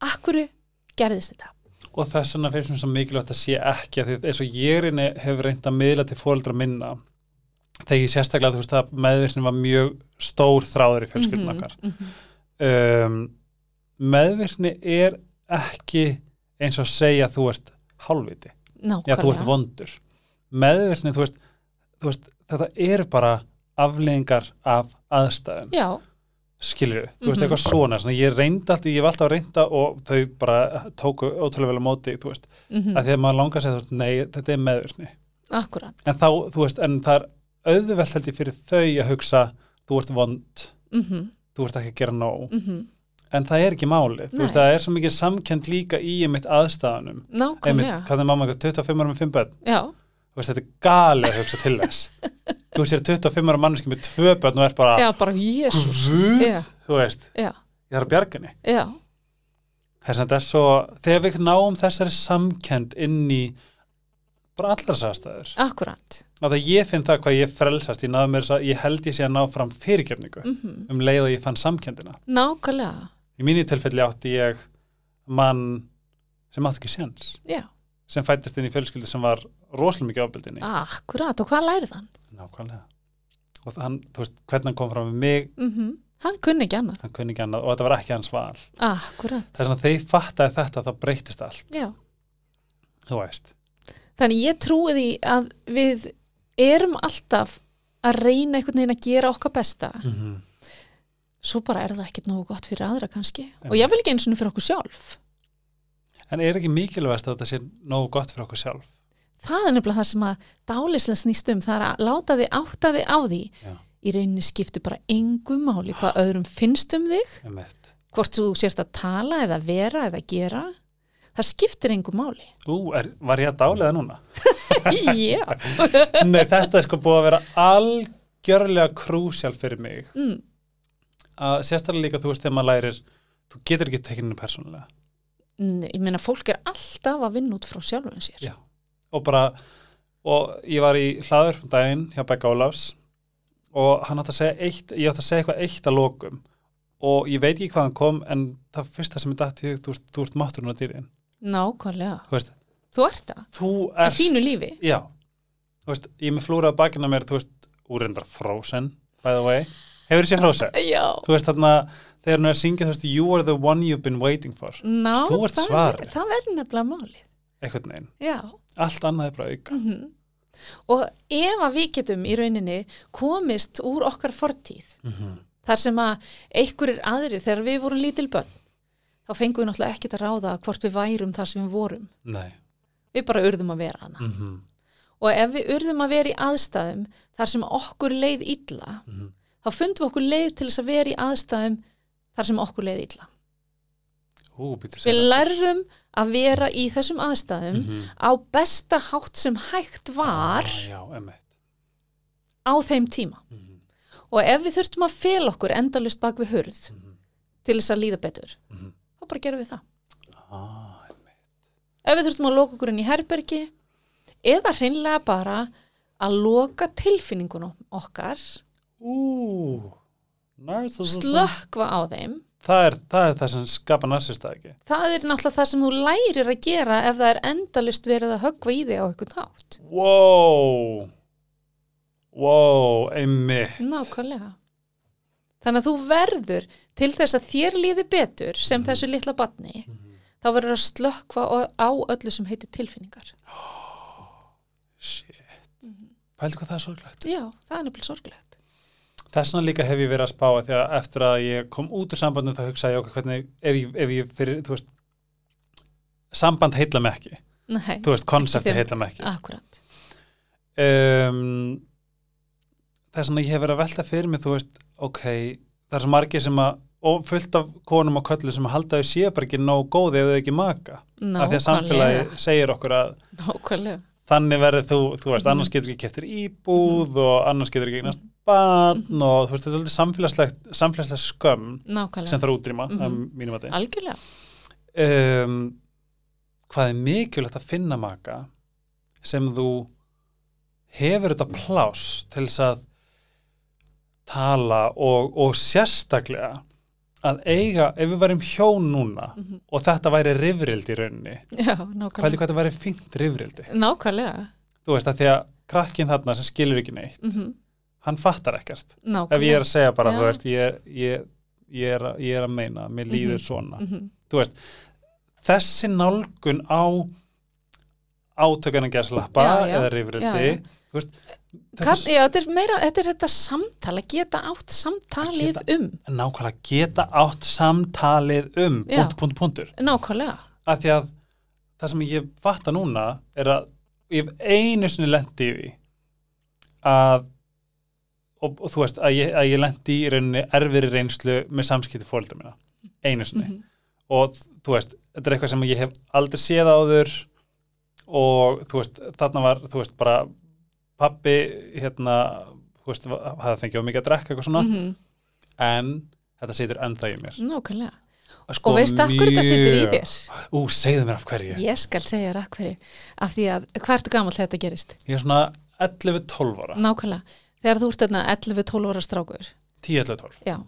S2: akkur gerðist þetta
S1: Og þess vegna finnst mér svo mikilvægt að sé ekki að því eins og ég reyni hefur reynd að miðla til fóreldra minna þegar ég sérstaklega þú veist að meðvirknin var mjög stór þráður í fjölskyldun okkar
S2: mm -hmm.
S1: um, meðvirkni er ekki eins og að segja að þú ert hálfviti, já þú ert
S2: nákvæmlega
S1: vondur meðvirkni þú veist, þú veist þetta eru bara afleðingar af aðstæðum
S2: já,
S1: skilur við, þú veist,
S2: Mhm.
S1: eitthvað svona, svona ég reyndi alltaf, ég hef alltaf reynda og þau bara tóku ótrúlega vel á móti þú veist,
S2: mm
S1: mm. að því að maður langar að segja, þú veist, nei, þetta er meðvirkni
S2: akkurat
S1: en þá, þú veist, en það er auðvelt held ég fyrir þau að hugsa þú ert vond,
S2: mm -hmm.
S1: þú ert ekki að gera nóg
S2: Mm
S1: en það er ekki málið, þú
S2: Nei.
S1: veist, það er svo mikið samkend líka í einmitt aðstæðanum
S2: nákvæmlega,
S1: einmitt, hvað er mamma, eitthvað, 25 ára með 5 börn
S2: já,
S1: þú veist, þetta er gali að hugsa til þess þú veist, ég er 25 ára manneski með 2 börn og er bara,
S2: já, bara jésus
S1: guð
S2: Já.
S1: þú veist,
S2: já,
S1: ég þarf að bjarga henni
S2: já,
S1: þess að þetta er svo þegar við náum þessari samkend inn í bara allar sæðastæður
S2: akkurat
S1: að það ég finn það hvað ég frelsast ég, náði mér þess að ég held ég sé að ná fram fyrirgefningu
S2: mm
S1: um leið og ég fann samkendina
S2: nákvæmlega,
S1: í mínu tilfelli átti ég mann sem átti ekki séns
S2: já,
S1: sem fættist inn í fjölskyldu sem var rosalega mikið ábyrðinni
S2: akkurat og hvað lærið hann?
S1: nákvæmlega og hann, þú veist, hvernig hann kom fram með mig
S2: Mm hann kunni ekki annað,
S1: hann kunni ekki annað og þetta var ekki hans val
S2: akkurat
S1: þess að þeir fattaði þetta þá breytist allt,
S2: já
S1: þú veist
S2: Þannig ég trúi því að við erum alltaf að reyna einhvern veginn að gera okkar besta
S1: mm -hmm.
S2: svo bara er það ekkert nógu gott fyrir aðra kannski
S1: Einmitt.
S2: og ég vil ekki eins og fyrir okkur sjálf
S1: en er ekki mikilvægast að þetta sé nógu gott fyrir okkur sjálf
S2: það er nefnilega það sem að dálislega snýst um það er að láta þig átta þig á því
S1: Já.
S2: í rauninni skiptir bara engu máli hvað öðrum finnst um þig
S1: Emmett.
S2: hvort þú sért að tala eða vera eða gera það skiptir engu máli
S1: Ú, er, var ég að dáliða núna?
S2: já,
S1: Nei, þetta er sko búið að vera algjörlega krúsjál fyrir mig.
S2: mm,
S1: Að sérstaklega líka, þú veist, þegar maður lærir, þú getur ekki tekinu persónulega.
S2: Nei, ég meina fólk er alltaf að vinna út frá sjálfum sér
S1: Já. Og bara, og ég var í hlaður um daginn hjá Begga Ólafs og hann átti að segja eitt, ég átti að segja eitthvað eitt að lokum og ég veit ekki hvað hann kom en það fyrsta sem ég dætti, þú veist, þú ert mátturinn á dýrin.
S2: nákvæmlega,
S1: Þú veist,
S2: þú ert það
S1: þú
S2: í
S1: ert
S2: þínu lífi
S1: Já, þú veist, ég er með flúrað bakinn á mér, þú veist, úrendar Frozen, by the way. Hefur þessi Frozen?
S2: Já,
S1: Þú veist, þarna, þegar hann er að syngja, þú veist, you are the one you've been waiting for,
S2: Ná,
S1: Þú ert
S2: það er-
S1: svarið.
S2: Það er nefnilega málið,
S1: eitthvað neginn.
S2: já.
S1: Allt annað er bara auka.
S2: Mm Og ef að við getum í rauninni komist úr okkar fortíð,
S1: Mm -hmm.
S2: þar sem að einhverjir aðrir, þegar við vorum lítil börn, þá fengum við náttúrulega ekkert að ráða hvort við værum þar sem við vorum.
S1: Nei.
S2: Við bara urðum að vera hana.
S1: Mm -hmm.
S2: Og ef við urðum að vera í aðstæðum þar sem okkur leið illa,
S1: Mhm.
S2: þá fundum við okkur leið til þess að vera í aðstæðum þar sem okkur leið illa.
S1: Ú, býttu
S2: við
S1: segðu aftur.
S2: lærðum að vera í þessum aðstæðum
S1: Mhm.
S2: á besta hátt sem hægt
S1: Ah,
S2: var
S1: Já, emmitt
S2: á þeim tíma
S1: Mhm.
S2: og ef við þurftum að fel okkur endalust bak við hurð
S1: Mhm.
S2: til þess að líða betur
S1: Mhm.
S2: þá bara gerum við það
S1: ah, einmitt.
S2: ef við þurftum að loka okkur inn í herbergi eða hreinlega bara að loka tilfinningunum okkar
S1: Ú, narcissism
S2: slökkva á þeim
S1: það er, það er það sem skapa narsista ekki
S2: það er náttúrulega það sem þú lærir að gera ef það er endalust verið að höggva í þig á einhvern hátt
S1: Wow Wow, einmitt
S2: Nákvæmlega. Þannig að þú verður til þess að þér líði betur sem þessu litla batni,
S1: Mhm.
S2: þá verður að slökkva á á öllu sem heitir tilfinningar.
S1: Shit Pældi Mhm. hvað það er sorglegt
S2: Já, það er nefnilega sorglegt.
S1: Þessna líka hef ég verið að spáa því að eftir að ég kom út úr sambandinu þá hugsaði ég okkur hvernig ef ég, ef ég fyrir, þú veist samband heilla mig ekki,
S2: Nei,
S1: þú veist, konsepti
S2: þig.
S1: heilla mig ekki
S2: akkurat.
S1: um, þess að ég hef verið að velta fyrir mig þú veist, ok, það er svo margir sem að, og fullt af konum og köllu sem að halda þau sé bara ekki nóg góði ef þau ekki maka, af því að
S2: Nákvæmlega.
S1: samfélagi segir okkur að
S2: Nákvæmlega.
S1: þannig verður þú, þú veist,
S2: Mhm.
S1: annars getur ekki keftir íbúð og annars getur ekki eignast barn
S2: Mhm.
S1: og þú veist, þetta er alveg samfélagslegt samfélagslega skömm sem
S2: Nákvæmlega.
S1: þarf að útrýma mm
S2: Mhm.
S1: -hmm. mínum að
S2: Algjörlega.
S1: þeim um, hvað er mikilvægt að finna maka sem þú hefur þetta pláss til þess að tala og, og sérstaklega að eiga, ef við værim hjón núna
S2: Mhm.
S1: og þetta væri rifrildi í rauninni,
S2: Já,
S1: pældi hvað
S2: nákvæmlega.
S1: þetta væri fínt rifrildi,
S2: Nákvæmlega.
S1: þú veist að því að krakkin þarna sem skilur ekki neitt
S2: Mm
S1: hann fattar ekkert
S2: Nákvæmlega.
S1: ef ég er að segja bara,
S2: Já.
S1: þú veist ég, ég, ég, er, að- ég er að meina, mér líður svona
S2: Mhm.
S1: þú veist, þessi nálgun á átökana gæslappa
S2: Já, já.
S1: eða rifrildi
S2: Já, já.
S1: þú veist þetta
S2: Kann,
S1: er
S2: já, þetta er meira, þetta er þetta samtala, geta átt samtalið
S1: Að
S2: um.
S1: s- nákvæmlega geta átt samtalið um
S2: Já.
S1: punkt, punkt, punktur
S2: Nákvæmlega.
S1: af því að það sem ég fatta núna er að ég hef einu sinni lendi í því að og, og þú veist að ég, að ég lendi í rauninni erfiri reynslu með samskipti fólita mína einu sinni
S2: Mhm.
S1: og þú veist, þetta er eitthvað sem ég hef aldrei séð áður og þú veist, þarna var þú veist, bara pappi hérna, þú veist, var- hafði fengið of mikið að drekka eitthvað svona,
S2: Mhm.
S1: en þetta situr enda í mér
S2: Nákvæmlega.
S1: sko,
S2: Og veistu akkur þetta situr í
S1: mjög-
S2: þér?
S1: Ú, segðu mér af hverju
S2: Ég skal segja þér akkur af því að hvað ertu gamall þegar þetta gerist?
S1: Ég er svona 11-12 ára,
S2: Mm. Nákvæmlega. Þegar þú ert þarna 11-12 ára strákur,
S1: 10-11-12
S2: já,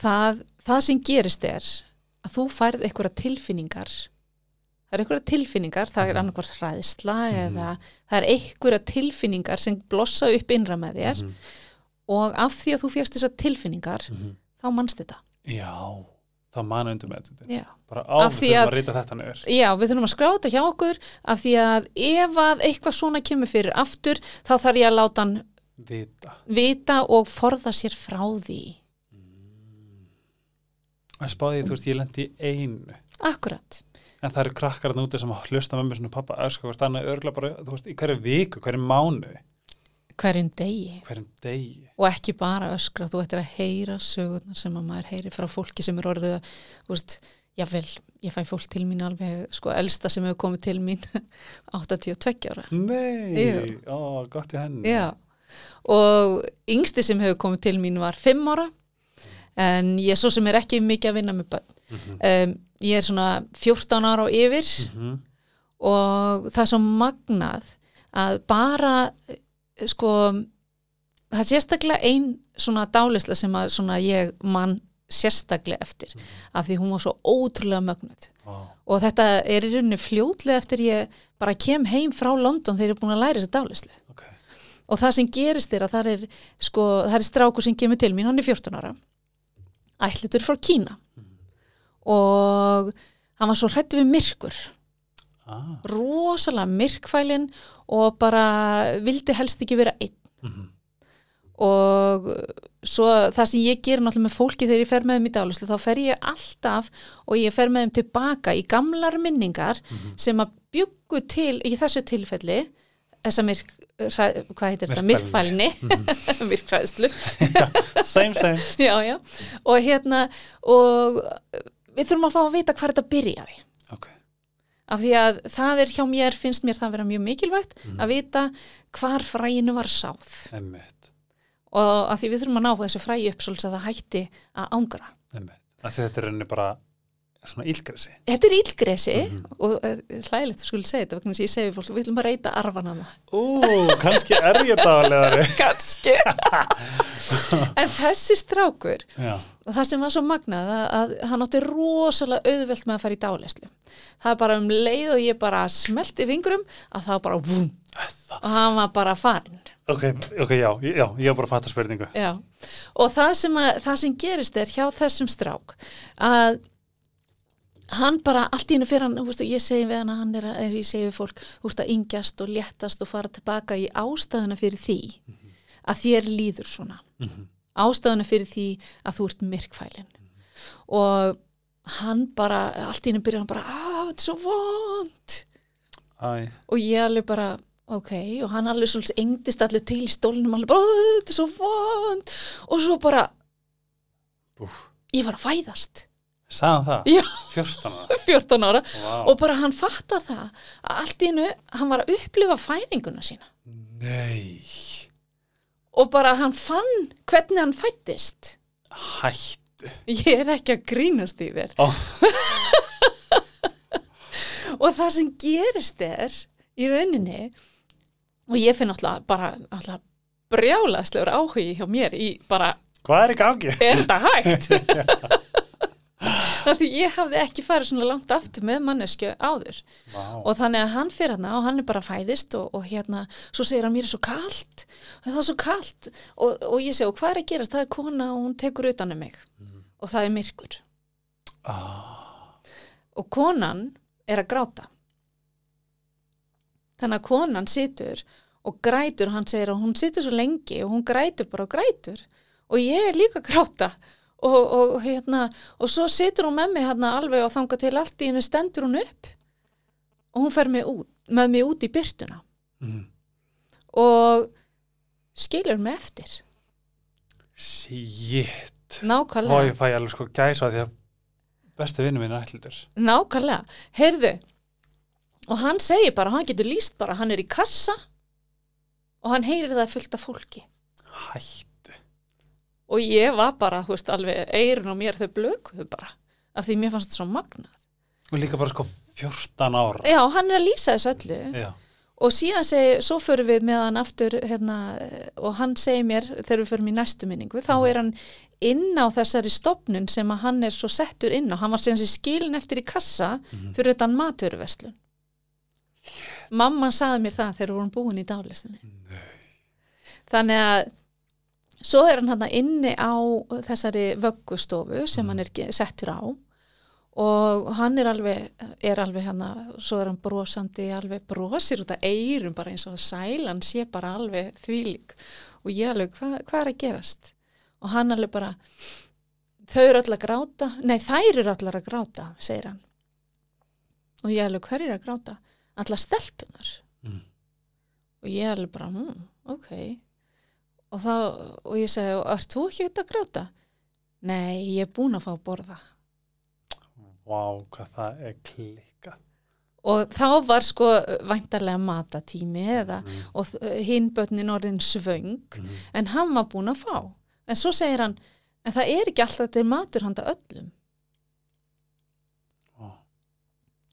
S2: það, það sem gerist er að þú færð einhverja tilfinningar, það er einhverja tilfinningar, það
S1: Mhm.
S2: er annarkvart hræðsla eða það er einhverja tilfinningar sem blossa upp innra með þér
S1: Mhm.
S2: og af því að þú fjast þessar tilfinningar,
S1: Mhm.
S2: þá manst þetta.
S1: Já, það manu undir með þetta
S2: Já.
S1: Bara á
S2: Af
S1: við
S2: því
S1: þurfum
S2: að-
S1: að rita þetta niður
S2: Já, við þurfum að skráta hjá okkur af því að ef að eitthvað svona kemur fyrir aftur, þá þarf ég að láta hann
S1: Vita
S2: vita og forða sér frá því.
S1: Mm. Að spáði, þú veist, ég lendi í einu
S2: Akkurat.
S1: En það eru krakkar þarna úti sem að hlusta með mér svona pappa öskar hvort annað örgla bara, þú veist, í hverju viku, hverju mánu,
S2: Hverjum degi.
S1: hverjum degi.
S2: Og ekki bara öskra, þú ættir að heyra sögurnar sem að maður heyri frá fólki sem er orðið að, þú veist, jável, ég fæ fólk til mín alveg, sko, elsta sem hefur komið til mín 82 ára.
S1: Nei,
S2: Jú.
S1: ó, gott í henni.
S2: Já, og yngsti sem hefur komið til mín var 5 ára en ég er svo sem er ekki mikið að vinna með bönn. Um, ég er svona 14 ára og yfir
S1: Mhm.
S2: og það er svo magnað að bara eh, sko það er sérstaklega ein svona dálisla sem að svona ég mann sérstaklega eftir af því hún var svo ótrúlega mögnuð
S1: Vá.
S2: og þetta er í rauninni fljótlega eftir ég bara kem heim frá London þegar ég er búin að læra þessa dálislu
S1: ok.
S2: og það sem gerist er að það er, sko, það er strákur sem kemur til mín, hann er 14 ára ætlutur frá Kína og hann var svo hrættu við myrkur
S1: Ah.
S2: rosalega myrkfælin og bara vildi helst ekki vera einn
S1: Mhm.
S2: og svo það sem ég gerir náttúrulega með fólki þegar ég fer með þeim í dálislu þá fer ég alltaf og ég fer með þeim tilbaka í gamlar minningar sem að bjuggu til í þessu tilfelli þessa myrk, hræ, hvað heitir þetta,
S1: Myrkfælni.
S2: myrkfælni myrkfæðslu
S1: Same, same.
S2: já, já, og hérna og við þurfum að fá að vita hvað þetta byrjaði
S1: ok,
S2: af því að það er hjá mér, finnst mér það vera mjög mikilvægt
S1: Mhm.
S2: að vita hvar fræinu var sáð
S1: emmitt,
S2: og af því við þurfum að ná þessu fræi upp svolítið að það hætti að ángra.
S1: emmitt að þetta er henni bara svona ílgresi
S2: Þetta er ílgresi
S1: Mhm.
S2: og uh, hlægilegt þú skulle segja þetta vegna þess að ég segi við fólk, við ætlum að reyta arfanana.
S1: ú, kannski er ég daglegari
S2: Ganski! en þessi strákur,
S1: já,
S2: og það sem var svo magnað að, að hann átti rosalega auðvelt með að fara í dálæslu. Það er bara um leið og ég bara smelti fingrum að það var bara vum og hann var bara farinn.
S1: ok, ok, já, já ég var bara að fatta spurningu
S2: Já, og það sem, að, það sem gerist er hjá þessum strák að hann bara allt í hennu fyrir hann, þú veist, og ég segi við hann að hann er að, eins og ég segi við fólk, þú veist, að yngjast og léttast og fara tilbaka í ástæðuna fyrir því að þér líður svona,
S1: Mhm.
S2: ástæðuna fyrir því að þú ert myrkfælin og hann bara, allt í hennu byrjar hann bara, að, þetta er svo vond
S1: Æ,
S2: og ég alveg bara ok, og hann alveg svolítið engdist allir til í stólnum, alveg bara, "Ugh, þetta er svo vond og svo bara
S1: Úff.
S2: ég var að fæðast,
S1: sagði hann það?
S2: Já.
S1: 14 ára,
S2: 14 ára
S1: vá
S2: og bara hann fattar það að allt í hennu, hann var að upplifa fæðinguna sína
S1: Nei,
S2: og bara hann fann hvernig hann fættist
S1: hættu
S2: ég er ekki að grínast í þér
S1: Ó.
S2: og það sem gerist er í rauninni og ég finn alltaf bara alltaf brjálaðslegur áhugi hjá mér í bara
S1: Hvað er í gangi?
S2: er þetta hægt? Af því ég hafði ekki farið svona langt aftur með mannesku áður
S1: Vá,
S2: og þannig að hann fyrir hana og hann er bara fæðist og, og hérna, svo segir hann mér er svo kalt og það er svo kalt og, og ég segi, og hvað er að gerast? Það er kona og hún tekur utan um mig og það er myrkur
S1: ah,
S2: og konan er að gráta þannig að konan situr og grætur hann segir að hún situr svo lengi og hún grætur bara og grætur og ég er líka að gráta og, og, hérna, og svo situr hún með mig hérna alveg og þanga til allt í hennu stendur hún upp og hún fer mig út, með mig út í byrtuna
S1: mm.
S2: og skilur mig eftir
S1: Shit Ó,
S2: nákvæmlega,
S1: ég fæ alveg sko gæsa því að besti vinnu minn er ætlindur
S2: nákvæmlega heyrðu og hann segir bara, hann getur líst bara hann er í kassa og hann heyrir það fullt af fólki
S1: Hættu
S2: og ég var bara, þú veist, alveg eirun og mér þau blökuðu bara af því mér fannst þetta svo magnað.
S1: Og líka bara sko 14 ára
S2: Já, hann er að lýsa þessu öllu
S1: Já,
S2: og síðan segi, svo förum við með hann aftur hérna, og hann segir mér þegar við förum í næstu minningu, þá er hann inn á þessari stopnun sem að hann er svo settur inn á, hann var sem sé skilin eftir í kassa
S1: Mhm.
S2: fyrir utan maturverslun. Mamma saði mér það þegar við vorum búin í dálistunni.
S1: Nei.
S2: Þannig að svo er hann hann inni á þessari vöggustofu sem hann er ge- settur á og hann er alveg, er alveg hann svo er hann brosandi, alveg brosir út af eyrum bara eins og sælan sé bara alveg þvílík og ég alveg, hva, hvað er að gerast? Og hann alveg bara, þau eru allar að gráta, nei þær eru allar að gráta, segir hann. Og ég alveg, hver eru að gráta? Allar stelpunar
S1: Mm.
S2: og ég alveg bara, mm, ok og þá, og ég segi ert þú ekki að gráta? nei, ég er búin að fá að borða
S1: Vá, hvað það er klika
S2: og þá var sko væntarlega matatími eða,
S1: mm.
S2: og hinn börnin orðin svöng
S1: Mm.
S2: en hann var búin að fá en svo segir hann, en það er ekki alltaf þetta er matur handa öllum
S1: Vá.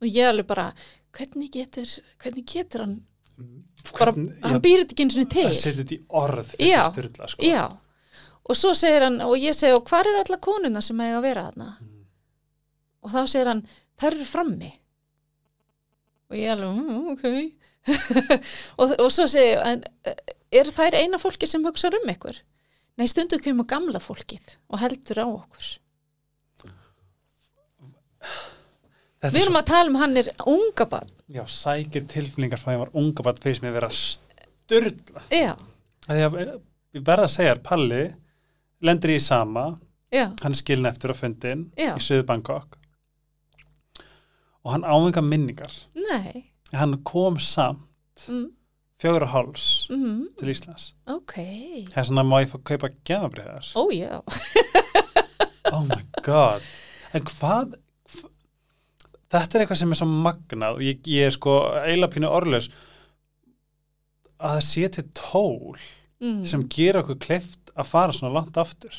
S2: og ég alveg bara, hvernig getur hvernig getur hann, bara,
S1: Hvernig-
S2: hann
S1: ég-
S2: býr þetta ekki einu sinni
S1: að
S2: til
S1: setja þetta í orð
S2: Já.
S1: fyrir styrla sko
S2: já, og svo segir hann og ég segi, og hvar eru alla konuna sem eiga að vera þarna?
S1: Mm.
S2: og þá segir hann, þær eru frammi og ég alveg, mm, ok og, og svo segir hann, er þær eina fólki sem hugsa um ykkur? Nei, stundu kemur gamla fólkið og heldur á okkur.
S1: Þetta er
S2: Við erum
S1: svo-
S2: að tala um hann er unga barn.
S1: Já, sækir tilfinningar frá því að ég var unga bara fyrst mér vera styrla
S2: Já,
S1: Þegar ég verða eh, að segja þér, Palli lendir í sama
S2: já,
S1: hann er skilin eftir á fundin
S2: Já.
S1: í söðu Bangkok og hann ávenga minningar
S2: nei,
S1: En hann kom samt
S2: mm,
S1: fjögur og háls
S2: mm,
S1: til Íslands
S2: ok,
S1: það er svona má ég fá að kaupa gefabriðar
S2: ó já,
S1: oh my god en hvað, þetta er eitthvað sem er svo magnað og ég, ég er sko eila pínu orðlaus að það sé til tól
S2: Mm.
S1: sem gera okkur kleift að fara svona langt aftur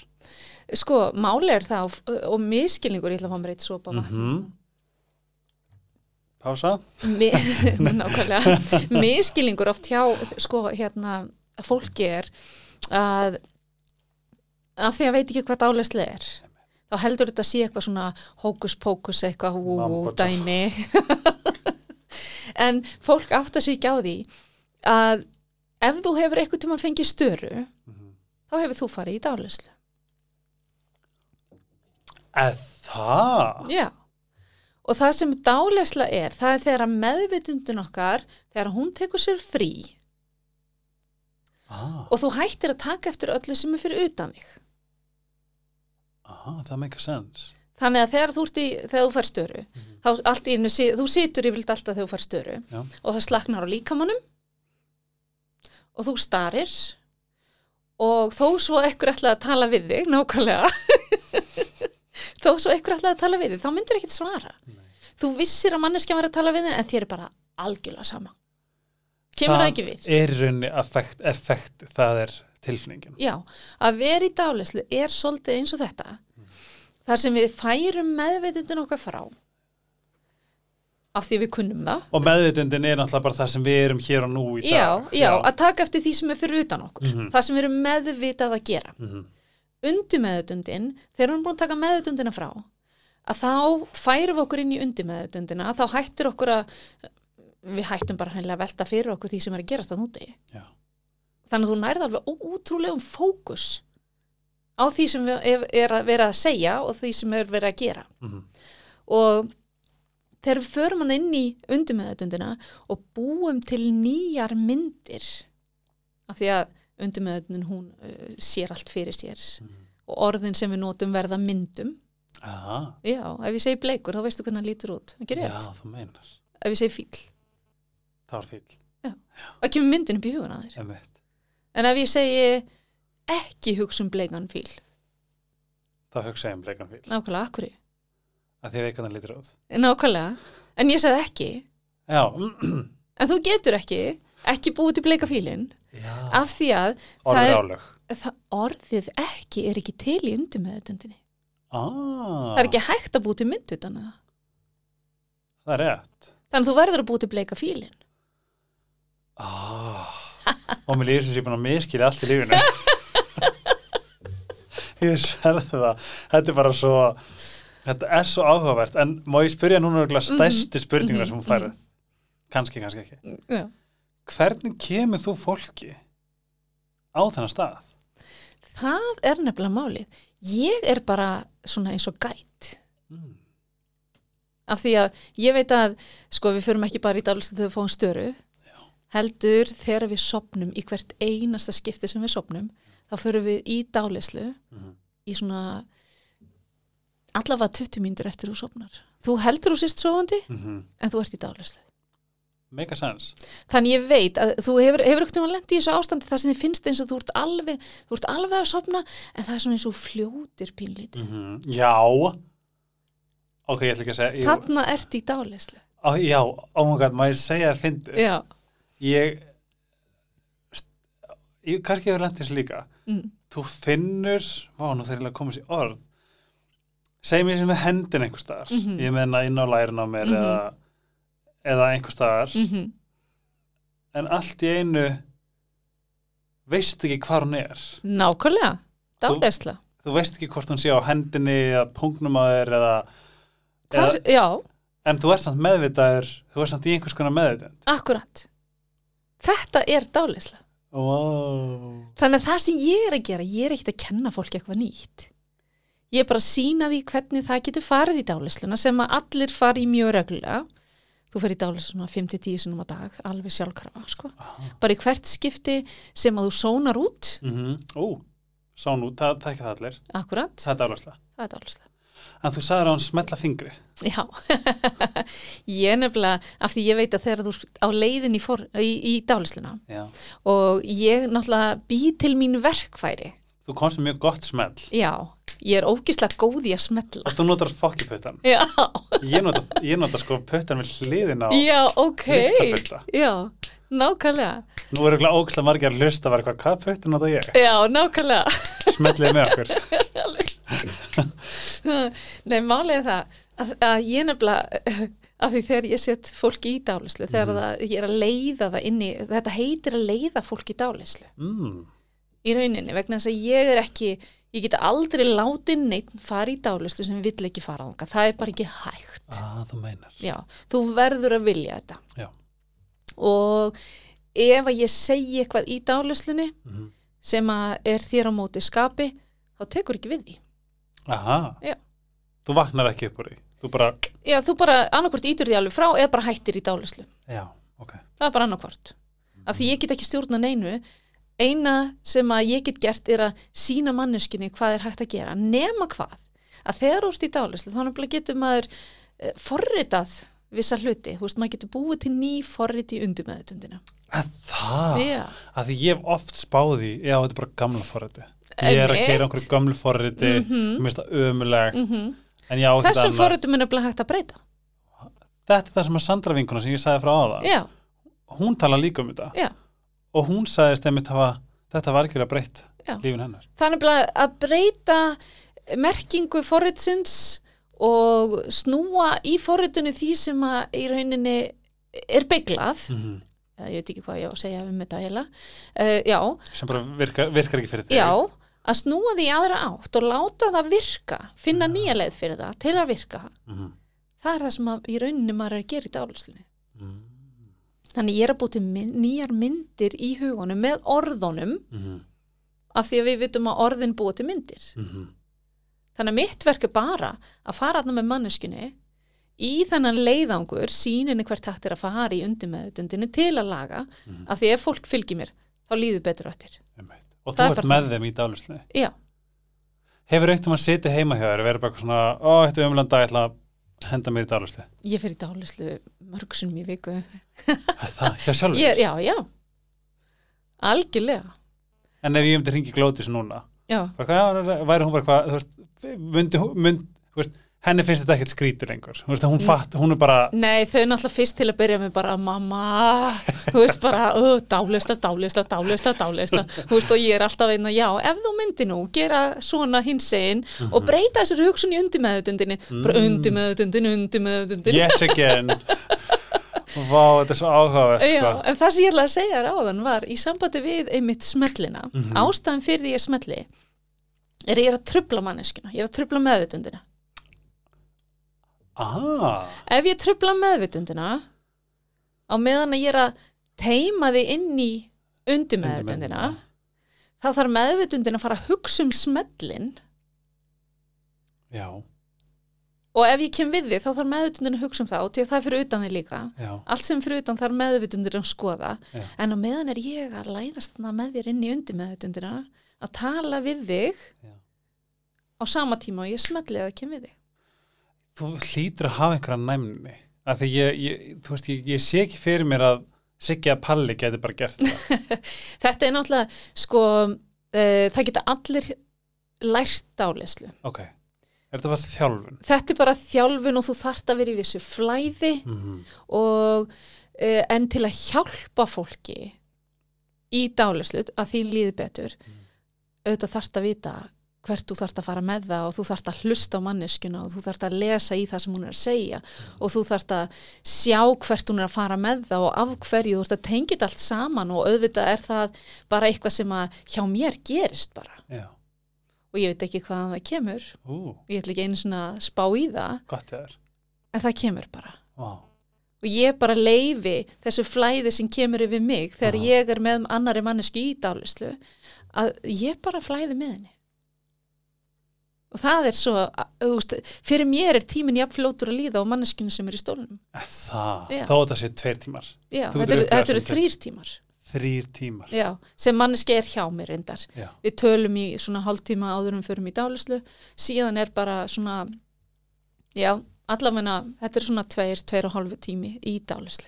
S2: Sko, máli er það og, og miskilningur, ég ætla að fá mér eitt sopa vatn.
S1: Mhm. Pása
S2: Mi- nákvæmlega miskilningur oft hjá sko hérna fólki er að af því að veit ekki hvað dálæsli er þá heldur þetta að sé eitthvað svona hókus pókus eitthvað hú
S1: Mambo
S2: hú, dæmi en fólk átt að sé ekki á því að ef þú hefur eitthvað tíma að fengið störu
S1: Mhm.
S2: þá hefur þú farið í dálæslu
S1: Eða það?
S2: Já. Og það sem dálæsla er, það er þegar að meðvitundin okkar, þegar hún tekur sér frí
S1: Ah,
S2: og þú hættir að taka eftir öllu sem er fyrir utan þig.
S1: ah, það make a sense
S2: Þannig að þegar þú, ert í, þegar þú fær störu, þá allt í einu, si- þú situr yfirleitt alltaf þegar þú fær störu
S1: Mhm. Já.
S2: og það slaknar á líkamanum og þú starir og þó svo ekkur ætlaði að tala við þig, nákvæmlega, þó svo ekkur ætlaði að tala við þig, þá myndir ekkert svara.
S1: Nei.
S2: Þú vissir að manneskja var að tala við þig en þér er bara algjörlega sama. Kemur það ekki við?
S1: er í rauninni effekt, effekt það er tilfinningin
S2: Já, að vera í dálæslu er svolítið eins og þetta þar sem við færum meðveitundin okkar frá af því við kunnum það
S1: og meðvitundin er náttúrulega bara það sem við erum hér og nú í
S2: já,
S1: dag
S2: já, að taka eftir því sem er fyrir utan okkur
S1: Mhm.
S2: það sem við erum meðvitað að gera
S1: Mhm.
S2: undir meðveitundin, þegar við erum búin að taka meðveitundina frá að þá færum við okkur inn í undir meðveitundina þá hættir okkur að við hættum bara hreinlega að velta fyrir okkur því sem er að gerast þann úti
S1: Já.
S2: þannig að þú nærði alveg ó- ótrúlegum fókus á því sem við- ef- er að vera að segja og því sem er verið að gera
S1: Mhm.
S2: og þegar við förum hann inn í undirmeðutundina og búum til nýjar myndir af því að undirmeðutundin hún uh, sér allt fyrir sér
S1: Mhm.
S2: og orðin sem við notum verða myndum
S1: Aha.
S2: já, ef ég segi bleikur þá veistu hvernig hann lítur út ekki
S1: já,
S2: rétt,
S1: þú meinar
S2: ef ég segi fíl
S1: það var fíl,
S2: þá kemur myndin upp í hugun að þér
S1: emitt
S2: en ef ég segi ekki hugsa um bleikan fíl
S1: þá hugsa ég um bleikan fíl
S2: nákvæmlega, akkurri
S1: að því að veikann er litur út
S2: Nákvæmlega, en ég sagði ekki
S1: já,
S2: en þú getur ekki, ekki búið til bleika fílinn
S1: já.
S2: af því að Ah, það
S1: orður
S2: er-
S1: álög
S2: það orðið ekki er ekki til í undir með þetta
S1: ah,
S2: það er ekki hægt að búið til mynd utan að það
S1: það er rétt
S2: þannig að þú verður að búið til bleika fílinn
S1: Ah, og mér líður sem sé búin að miskilja allt í lífinu ég sérði það þetta er bara svo þetta er svo áhugavert en má ég spyrja núna örugglega stærstu spurninguna
S2: mhm,
S1: sem hún færið kannski, kannski ekki
S2: Já.
S1: hvernig kemur þú fólki á þennan stað?
S2: það er nefnilega málið ég er bara svona eins og gætt Mhm.
S1: Mm.
S2: af því að ég veit að sko við förum ekki bara í dálistu þegar við fáum störu heldur þegar við sopnum í hvert einasta skipti sem við sopnum þá förum við í dálislu
S1: Mhm.
S2: í svona allavega 20 mínútur eftir þú sopnar þú heldur þú sérst sofandi
S1: Mm -hmm.
S2: en þú ert í dálislu
S1: mega sens
S2: þannig ég veit að þú hefur, hefur ekkert um að lendi í þessu ástandi það sem þið finnst eins og þú ert alveg þú ert alveg að sopna en það er svona eins og þú fljótir pínlítið
S1: mm já ok, ég ætla ekki að segja ég,
S2: þarna ert í dálislu
S1: á, já, oh my god, má ég segja að fyndi
S2: já,
S1: ég, st- ég kannski hefur lent þessu líka
S2: mm.
S1: þú finnur, vá nú þegar ég að koma sér orð segjum ég sem með hendin einhver staðar,
S2: Mhm.
S1: ég menna inn á lærin á mér
S2: Mhm.
S1: eða, eða einhver staðar
S2: Mm -hmm.
S1: en allt í einu veist ekki hvar hún er
S2: nákvæmlega dálisla
S1: þú veist ekki hvort hún sé á hendinni eða pungnum á þér eða,
S2: Hvar,
S1: eða,
S2: já,
S1: en þú ert samt meðvitaður þú ert samt í einhvers konar meðvitund
S2: akkurat þetta er dálisla
S1: wow.
S2: þannig að það sem ég er að gera ég er ekkert að kenna fólki eitthvað nýtt ég er bara að sína því hvernig það getur farið í dálisluna sem að allir fari í mjög reglulega þú fer í dálisluna 5-10 sinum á dag alveg sjálfkrafa sko. bara í hvert skipti sem að þú sónar út
S1: mm -hmm. ú, sá nú, það, það er ekki það allir
S2: akkurat,
S1: það er dálæslega
S2: það er dálisla
S1: En þú sagði að hann smetla fingri.
S2: Já, ég er nefnilega, af því ég veit að þegar þú ert á leiðin í, for, í, í dálisluna
S1: Já.
S2: og ég náttúrulega bý til mín verkfæri
S1: þú komst með mjög gott smell
S2: já, ég er ógislega góð í að smetla
S1: og þú notar fokkiputtan
S2: já,
S1: ég nota, ég nota sko puttan með hliðina á
S2: já, ok
S1: Litla budda.
S2: já, nákvæmlega
S1: nú eru ekki ógæslega margir að hlusta bara eitthvað, hvað puttan nota ég
S2: já, nákvæmlega
S1: smellið með okkur
S2: Nei, málið er það að, að ég nefnilega af því þegar ég set fólki í dálislu þegar
S1: Mhm.
S2: það, ég er að leiða það inn í þetta heitir að leiða fólki í dálislu
S1: mm,
S2: í rauninni vegna þess að ég er ekki ég get aldrei látið neitt fara í dálislu sem vill ekki fara þangað það er bara ekki hægt
S1: að þú meinar
S2: Já, þú verður að vilja þetta
S1: Ah. já,
S2: og ef að ég segi eitthvað í dálislunni
S1: Mhm.
S2: sem að er þér á móti skapi þá tekur ekki við því
S1: aha
S2: Já.
S1: þú vaknar ekki upp úr því þú bara,
S2: Já, þú bara annarkvort ítur því alveg frá eða bara hættir í dálislu
S1: já, ok
S2: það er bara annarkvort af því ég get ekki stjórna neinu eina sem að ég get gert er að sína manneskinni hvað er hægt að gera nema hvað, að þegar þú ert í dálislu þá nefnilega getur maður eh, forritað vissa hluti, þú veist, maður getur búið til ný forrit í undir með
S1: að það,
S2: Já.
S1: að því ég hef oft spáði já, þetta er bara gamla forriti ég er að
S2: Einmitt. Mhm. Mm.
S1: keira einhverju gamlu forriti mm -hmm. mér finnst það ömulegt en ég á ekkert
S2: Þessum
S1: annað.
S2: forritum er nefnilega hægt að breyta
S1: þetta er það sem að Sandra vinkuna sem ég sagði frá aða
S2: Já,
S1: hún tala líka um þetta
S2: já,
S1: og hún sagðist einmitt hafa þetta var ekki að breytt
S2: Já.
S1: lífin hennar
S2: það er nefnilega að breyta merkingu forritsins og snúa í forritinu því sem að í rauninni er beiglað
S1: mm
S2: Eh, ég veit ekki hvað ég á að segja um þetta heila uh, já,
S1: sem bara virkar, virkar ekki fyrir þig
S2: já að snúa því í aðra átt og láta það virka finna nýja leið fyrir það til að virka
S1: Mhm.
S2: það er það sem að, í rauninni maður er að gera í dálislunni
S1: Mm.
S2: þannig ég er að búti myn, nýjar myndir í hugunum með orðunum
S1: Mhm.
S2: af því að við vitum að orðin búa til myndir
S1: Mhm.
S2: þannig að mitt verk er bara að fara aðna með manneskunni í þennan leiðangur síninni hvert hægt er að fara í undirmeðutundinni til að laga af því ef fólk fylgir mér þá líður betur á eftir
S1: Mhm. Einmitt. og
S2: Það
S1: þú
S2: er
S1: ert
S2: bara
S1: með þeim í dálusli
S2: já
S1: hefur eitt um að sitja heima hjá þér og vera bara eitthvað svona, ó, þetta er ömulegan dag ég ætla að henda mér í dálusli
S2: Ég fer í dálislu mörg sinnum í viku.
S1: það, hjá sjálfur
S2: Ég, já, já. Algjörlega.
S1: en ef ég myndi hringi glótis núna
S2: Já,
S1: bara, hvað, já, væri hún bara hvað þú veist, myndi, hún- mynd, þú veist, henni finnst þetta ekkert skrítið lengur þú veist, hún, fatt, hún er bara
S2: nei þau náttúrulega fyrst til að byrja með bara mamma, þú veist bara "Ö, dálisla, dálisla, dálisla, dálisla þú veist og ég er alltaf einn að já ef þú myndir nú gera svona hinsegin og breyta þessari hugsun í undirmeðutundinni bara undirmeðutundin, undirmeðutundin
S1: yet again Vá, þetta er svo áhugavert
S2: Já,
S1: sko.
S2: en það sem ég ætlaði að segja ráðan var í sambandi við einmitt smellina ástæðan fyrir því ég smelli er ég er að trubla manneskina, ég er að trubla meðvitundina
S1: ah,
S2: ef ég trubla meðvitundina á meðan að ég er að teima því inn í undir meðvitundina
S1: Undirmeðvitundina.
S2: þá þarf meðvitundin að fara að hugsa um smellin
S1: Já,
S2: og ef ég kem við því þá þarf meðvitundin að hugsa um það og til það er fyrir utan því líka
S1: já,
S2: allt sem fyrir utan þarf meðvitundin að skoða
S1: Já.
S2: en á meðan er ég að læðast þarna með þér inn í undir meðvitundina að tala við þig
S1: já
S2: á sama tíma og ég smelli eða kem við þig
S1: Þú hlýtur að hafa einhverja næmni af því ég, ég, þú veist, ég, ég sé ekki fyrir mér að Siggi að Palli geti bara gert það
S2: þetta er náttúrulega sko uh, það geta allir lært dálislu
S1: Ok, er þetta bara þjálfun?
S2: þetta er bara þjálfun og þú þart að vera í vissu flæði
S1: Mm -hmm.
S2: og uh, en til að hjálpa fólki í dálislu að því líði betur auðvitað þart að vita hvert þú þart að fara með það og þú þart að hlusta á manneskuna og þú þart að lesa í það sem hún er að segja og þú þart að sjá hvert hún er að fara með það og af hverju þú þart að tengja þetta allt saman og auðvitað er það bara eitthvað sem að hjá mér gerist bara
S1: Já,
S2: og ég veit ekki hvaðan það kemur
S1: ú,
S2: og ég ætla ekki einu svona að spá í það
S1: gott ég þér
S2: en það kemur bara
S1: Vá,
S2: og ég bara leifi þessu flæði sem kemur yfir mig þegar
S1: Aha.
S2: ég er með annari manneski í dálislu að ég bara flæði með henni og það er svo að, þú veist, fyrir mér er tíminn jafn flótur að líða á manneskinu sem er í stólunum
S1: Eh, það,
S2: Já.
S1: þó þetta sé tveir tímar
S2: Já,
S1: Þú getur
S2: þetta eru-
S1: upplifað
S2: þetta eru
S1: sem
S2: þrýr tímar
S1: Þrýr tímar
S2: Já, sem manneski er hjá mér reyndar
S1: Já.
S2: við tölum í svona hálftíma áður en við förum í dálislu síðan er bara svona já, allavegna þetta er svona tveir, tveir og hálfu tími í dálislu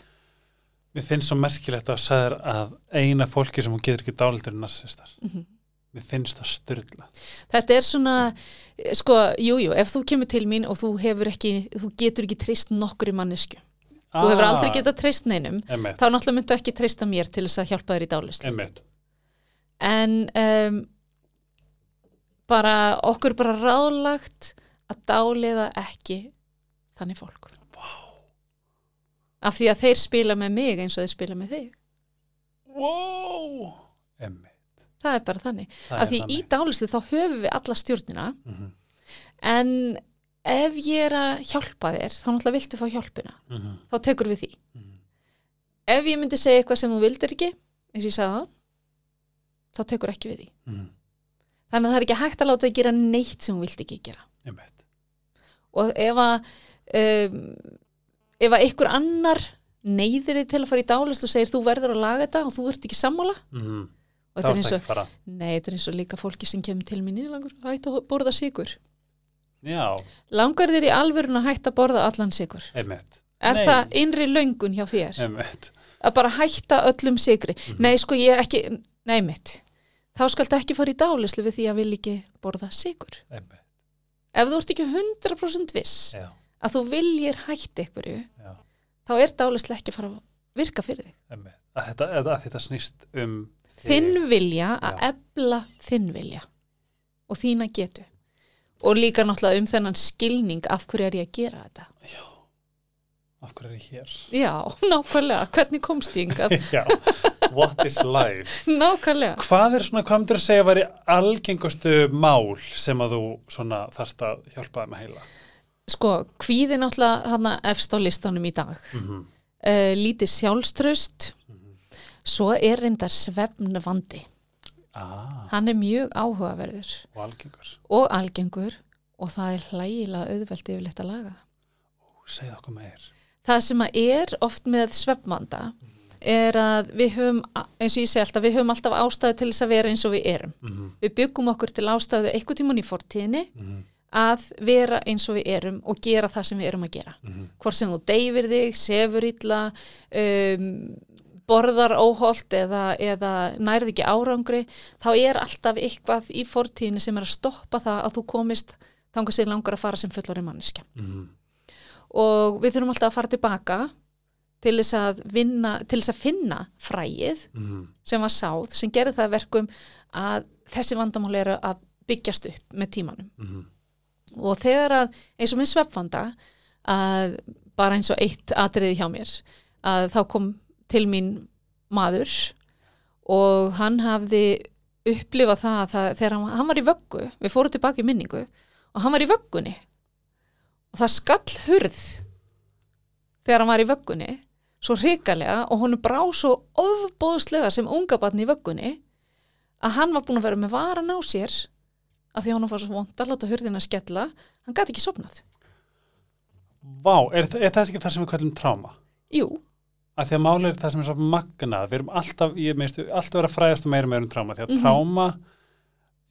S1: Mér finnst svo merkilegt að þú sagðir að eina fólki sem hún getur ekki dálítur er narsistar.
S2: Mhm.
S1: mér finnst það styrla
S2: Þetta er svona, eh, sko, jú, jú, ef þú kemur til mín og þú hefur ekki, þú getur ekki treyst nokkri mannesku, þú
S1: Ah.
S2: hefur aldrei getað treyst neinum,
S1: einmitt,
S2: þá náttúrulega myndu ekki treysta mér til þess að hjálpa þér í dálislu.
S1: einmitt.
S2: En um, bara, okkur er bara ráðlagt að dáliða ekki þannig fólk. Vá. Af því að þeir spila með mig eins og þeir spila með þig.
S1: Wow. einmitt
S2: Það er bara þannig.
S1: Það
S2: Af
S1: er
S2: því í
S1: þannig.
S2: dálislu þá höfum við alla stjórnina
S1: Mhm,
S2: en ef ég er að hjálpa þér þá náttúrulega viltu fá hjálpina.
S1: mhm,
S2: þá tekur við því.
S1: mhm.
S2: Ef ég myndi segja eitthvað sem þú vildir ekki, eins og ég sagði það, þá tekur ekki við því.
S1: Mhm,
S2: Þannig að það er ekki hægt að láta þig gera neitt sem þú vilt ekki gera.
S1: einmitt.
S2: Og ef að, um, ef að einhver annar neyðir þig til að fara í dálist og segir þú verður að laga þetta og þú ert ekki sammála
S1: Mhm.
S2: og
S1: Þá
S2: þetta er eins
S1: ertu
S2: og,
S1: ekki að fara.
S2: nei, þetta er eins og líka fólki sem kemur til minni langur að hætta að borða sigur.
S1: Já,
S2: Langar þér í alvörun að hætta að borða allan sigur?
S1: einmitt
S2: Er
S1: Nei.
S2: það innri löngun hjá þér?
S1: einmitt, Mhm,
S2: að bara hætta öllum sigri nei sko ég ekki, nei mitt þá skalt ekki fara í dálislu við því að vil ekki borða sigur
S1: einmitt.
S2: ef þú ert ekki 100% viss
S1: Já,
S2: að þú viljir hætta einhverju
S1: já,
S2: þá er dálislu ekki að fara að virka fyrir þig
S1: einmitt að þetta, að að þetta snýst um
S2: þinn vilja að
S1: Já.
S2: ebla þinn vilja og þína getu og líka náttúrulega um þennan skilning af hverju er ég að gera þetta
S1: Já, af hverju er ég hér?
S2: já, nákvæmlega, hvernig komst ég hingað
S1: Já, what is life?
S2: nákvæmlega
S1: Hvað er svona, hvað myndir að segja að væri algengustu mál sem að þú svona þarft að hjálpa þeim að heila?
S2: sko, kvíði náttúrulega hana efst á listanum í dag
S1: Mm -hmm.
S2: uh, lítið sjálfströst svo er reyndar svefnvandi
S1: Ah,
S2: hann er mjög áhugaverður
S1: og algengur
S2: og algengur og það er hlægilega auðvelt yfirleitt að laga
S1: Segð okkur meir
S2: það sem að er oft með svefnvanda er að við höfum a- eins og ég segi alltaf, við höfum alltaf ástæðu til þess að vera eins og við erum
S1: mm -hmm.
S2: við byggum okkur til ástæðu eitthvað tíman í fortíðinni
S1: Mm
S2: að vera eins og við erum og gera það sem við erum að gera
S1: -hmm.
S2: hvort sem þú deyfir þig, sefur illa, um, borðar óholt eða, eða nærð ekki árangri, þá er alltaf eitthvað í fortíðinu sem er að stoppa það að þú komist þangar sér langar að fara sem fullori manneskja. Og við þurfum alltaf að fara tilbaka til þess að, vinna, til þess að finna fræið sem var sáð, sem gerði það að verkum að þessi vandamál eru að byggjast upp með tímanum og þegar að eins og minn svefnvanda að bara eins og eitt atriði hjá mér að þá kom til mín maður og hann hafði upplifað það, að það þegar hann, hann var í vöggu við fórum tilbaka í minningu og hann var í vöggunni og það skall hurð þegar hann var í vöggunni svo hrikalega og honum brá svo ofbóðslega sem unga batni í vöggunni að hann var búin að vera með varan á sér af því að honum var svo vond að láta hurðina skella hann gæti ekki sopnað
S1: Vá, er, þa- er það ekki það sem við kallum tráma?
S2: Jú,
S1: að því að máli er það sem er svo magnað við erum alltaf, ég meist, alltaf vera að fræðast og meira og meira um tráma, því að
S2: Mhm.
S1: tráma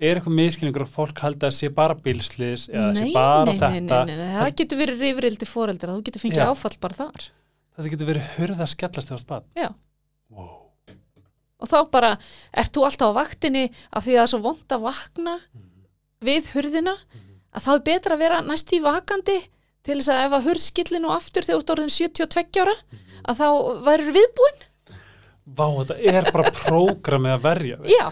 S1: er eitthvað miskilningur og fólk halda að sé bara bílslis eða að sé bara
S2: nei, nei,
S1: þetta
S2: nei, nei, það getur verið rifrildi foreldra þú getur fengið
S1: Já.
S2: áfall bara þar
S1: þetta getur verið hurða skellast þegar spad
S2: Já.
S1: wow.
S2: og þá bara, ert þú alltaf á vaktinni af því að það er svo vond að vakna
S1: Mhm.
S2: við hurðina að þá er betra að vera næst í vakandi til þess að ef að hurð skilli nú aftur þegar þú ert orðin 72 ára
S1: Mhm.
S2: að þá værið viðbúin,
S1: Vá, þetta er bara prógramið að verja þig
S2: já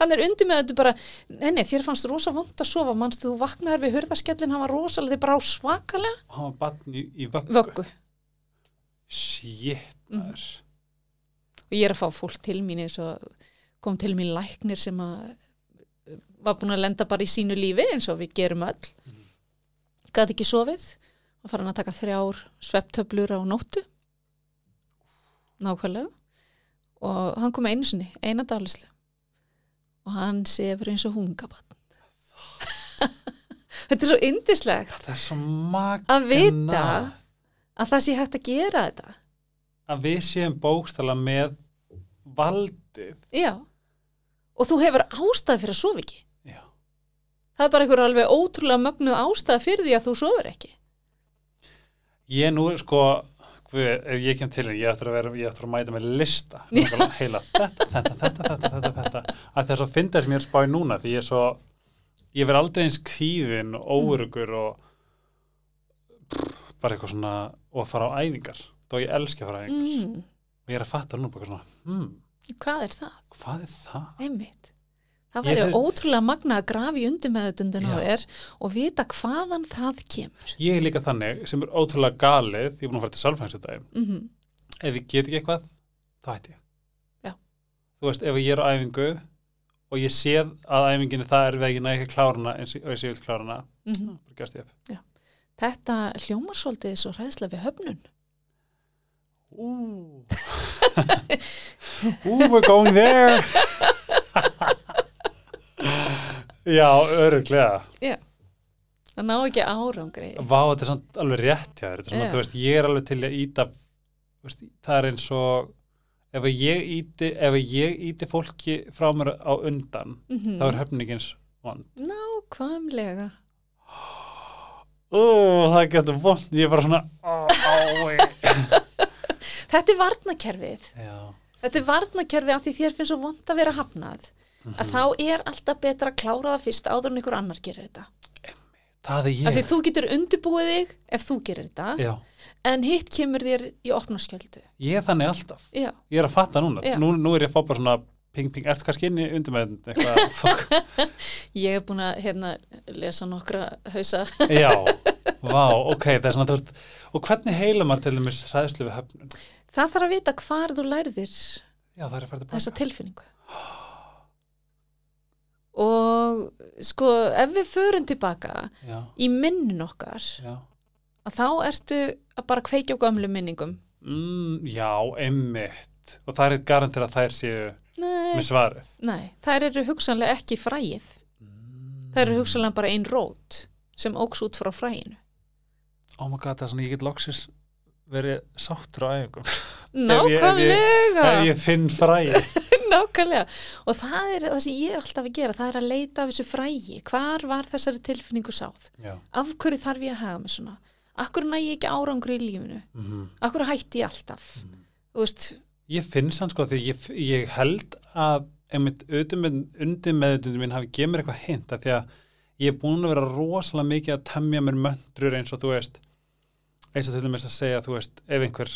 S2: hann er undir með þetta bara, nei, nei, þér fannst rosa vond að sofa, manstu þú vaknaðar við hurðaskellin hann var rosalega, þið brá svakalega
S1: og hafa batn í, í vöggu,
S2: vöggu Mhm.
S1: shit maður
S2: og ég er að fá fólk til mín eins og kom til mín læknir sem að var búin að lenda bara í sínu lífi eins og við gerum öll gæti ekki sofið og fara hann að taka þrjár svepptöflur á nóttu nákvæmlega og hann kom einu sinni, eina dalislu og hann sefur eins og hungabann þetta er svo yndislegt
S1: það er svo magnað
S2: að vita að það sé hægt að gera þetta
S1: að við séum bókstala með valdið
S2: já og þú hefur ástæð fyrir að sofa ekki
S1: Já.
S2: það er bara einhver alveg ótrúlega mögnuð ástæða fyrir því að þú sofur ekki
S1: Ég nú er sko, guð, Guð, ef ég kem til henni, ég ættir að, vera, ég ættir að mæta með lista Mig langar að heila þetta, þetta, þetta, þetta, þetta, þetta að þess að finna sem ég er að spá í núna því ég er svo, ég verð aldrei eins kvíðin og óurugur og pff, bara eitthvað svona og að fara á æfingar, þó ég elski að fara á æfingar
S2: mm,
S1: og ég er að fatta nú bara eitthvað svona hmm,
S2: hvað er það?
S1: hvað er það?
S2: Einmitt. Það
S1: Ég
S2: væri
S1: þur-
S2: ótrúlega magna að grafi undir meðutundin á
S1: Já.
S2: þér og vita hvaðan það kemur.
S1: Ég er líka þannig sem er ótrúlega galið, ég er búin að fara til um sálfræðings þetta
S2: Mm
S1: ef ég get ekki eitthvað, þá hætti ég.
S2: Já.
S1: Þú veist, ef ég er á æfingu og ég séð að æfinginni það er við ekki næg ekki að klára hana eins og og ég sé vil klára hana, þá bara gæst ég upp.
S2: Mhm. Þetta hljómar svolítið svo hræðsla við höfnun.
S1: Ú, ú, we're going there. Já, öruglega.
S2: Það ná ekki árangri.
S1: Vá, þetta er samt alveg rétt hjá þér. Þetta er svona,
S2: Já.
S1: þú veist, ég er alveg til að íta, þú veist, það er eins og, ef að ég íti, ef að ég íti fólki frá mér á undan,
S2: Mm
S1: þá er höfningins vond.
S2: Nákvæmlega.
S1: Ú, það getur vond, ég er bara svona, ó, ái.
S2: Þetta er varnakerfið.
S1: Já.
S2: Þetta er varnakerfið af því þér finnst svo vond að vera hafnað.
S1: Mhm.
S2: Að þá er alltaf betra að klára það fyrst áður en ykkur annar gerir þetta.
S1: Það er
S2: Af því
S1: ég.
S2: þú getur undirbúið þig ef þú gerir þetta,
S1: Já.
S2: en hitt kemur þér í opnaskjöldu.
S1: Ég er þannig alltaf.
S2: Já.
S1: Ég er að fatta núna.
S2: Já.
S1: Nú, nú er ég að fá bara svona ping, ping, ertu kannski inn í undirmeðin eitthvað, fokk.
S2: Ég hef búin að hérna, lesa nokkra hausa.
S1: Já. Vá, ok, það er svona, þú veist, og hvernig heila maður til dæmis hræðslu við höfnun?
S2: Það þarf að vita hvar þú lærðir
S1: Já, það er að fara tilbaka.
S2: þessa tilfinningu og sko ef við förum tilbaka
S1: Já,
S2: í minnin okkar
S1: já.
S2: að þá ertu að bara kveikja á gömlu minningum
S1: Mm, já, einmitt. Og það er eitt garantir að þær séu
S2: nei,
S1: með svarið.
S2: nei, þær eru hugsanlega ekki fræið
S1: Mm.
S2: þær eru hugsanlega bara ein rót sem óks út frá fræinu
S1: Oh my god, það er svona, ég get loksis verið sáttur á æfingum. ég- ef ég-
S2: nákvæmlega
S1: Ef ég finn fræði.
S2: nákvæmlega og það er það sem ég er alltaf að gera það er að leita af þessu fræi hvar var þessari tilfinningu sáð
S1: Já.
S2: af hverju þarf ég að haga mig svona akkur næ ég ekki árangri í lífinu
S1: Mhm.
S2: akkur hætti ég alltaf þú veist,
S1: Ég finnst hann sko því ég, ég held að einmitt undir meðutundum minn hafi gefið mér eitthvað hint af því að ég er búin að vera rosalega mikið að temja mér möndrur eins og þú veist eins og til dæmis að segja þú veist ef einhver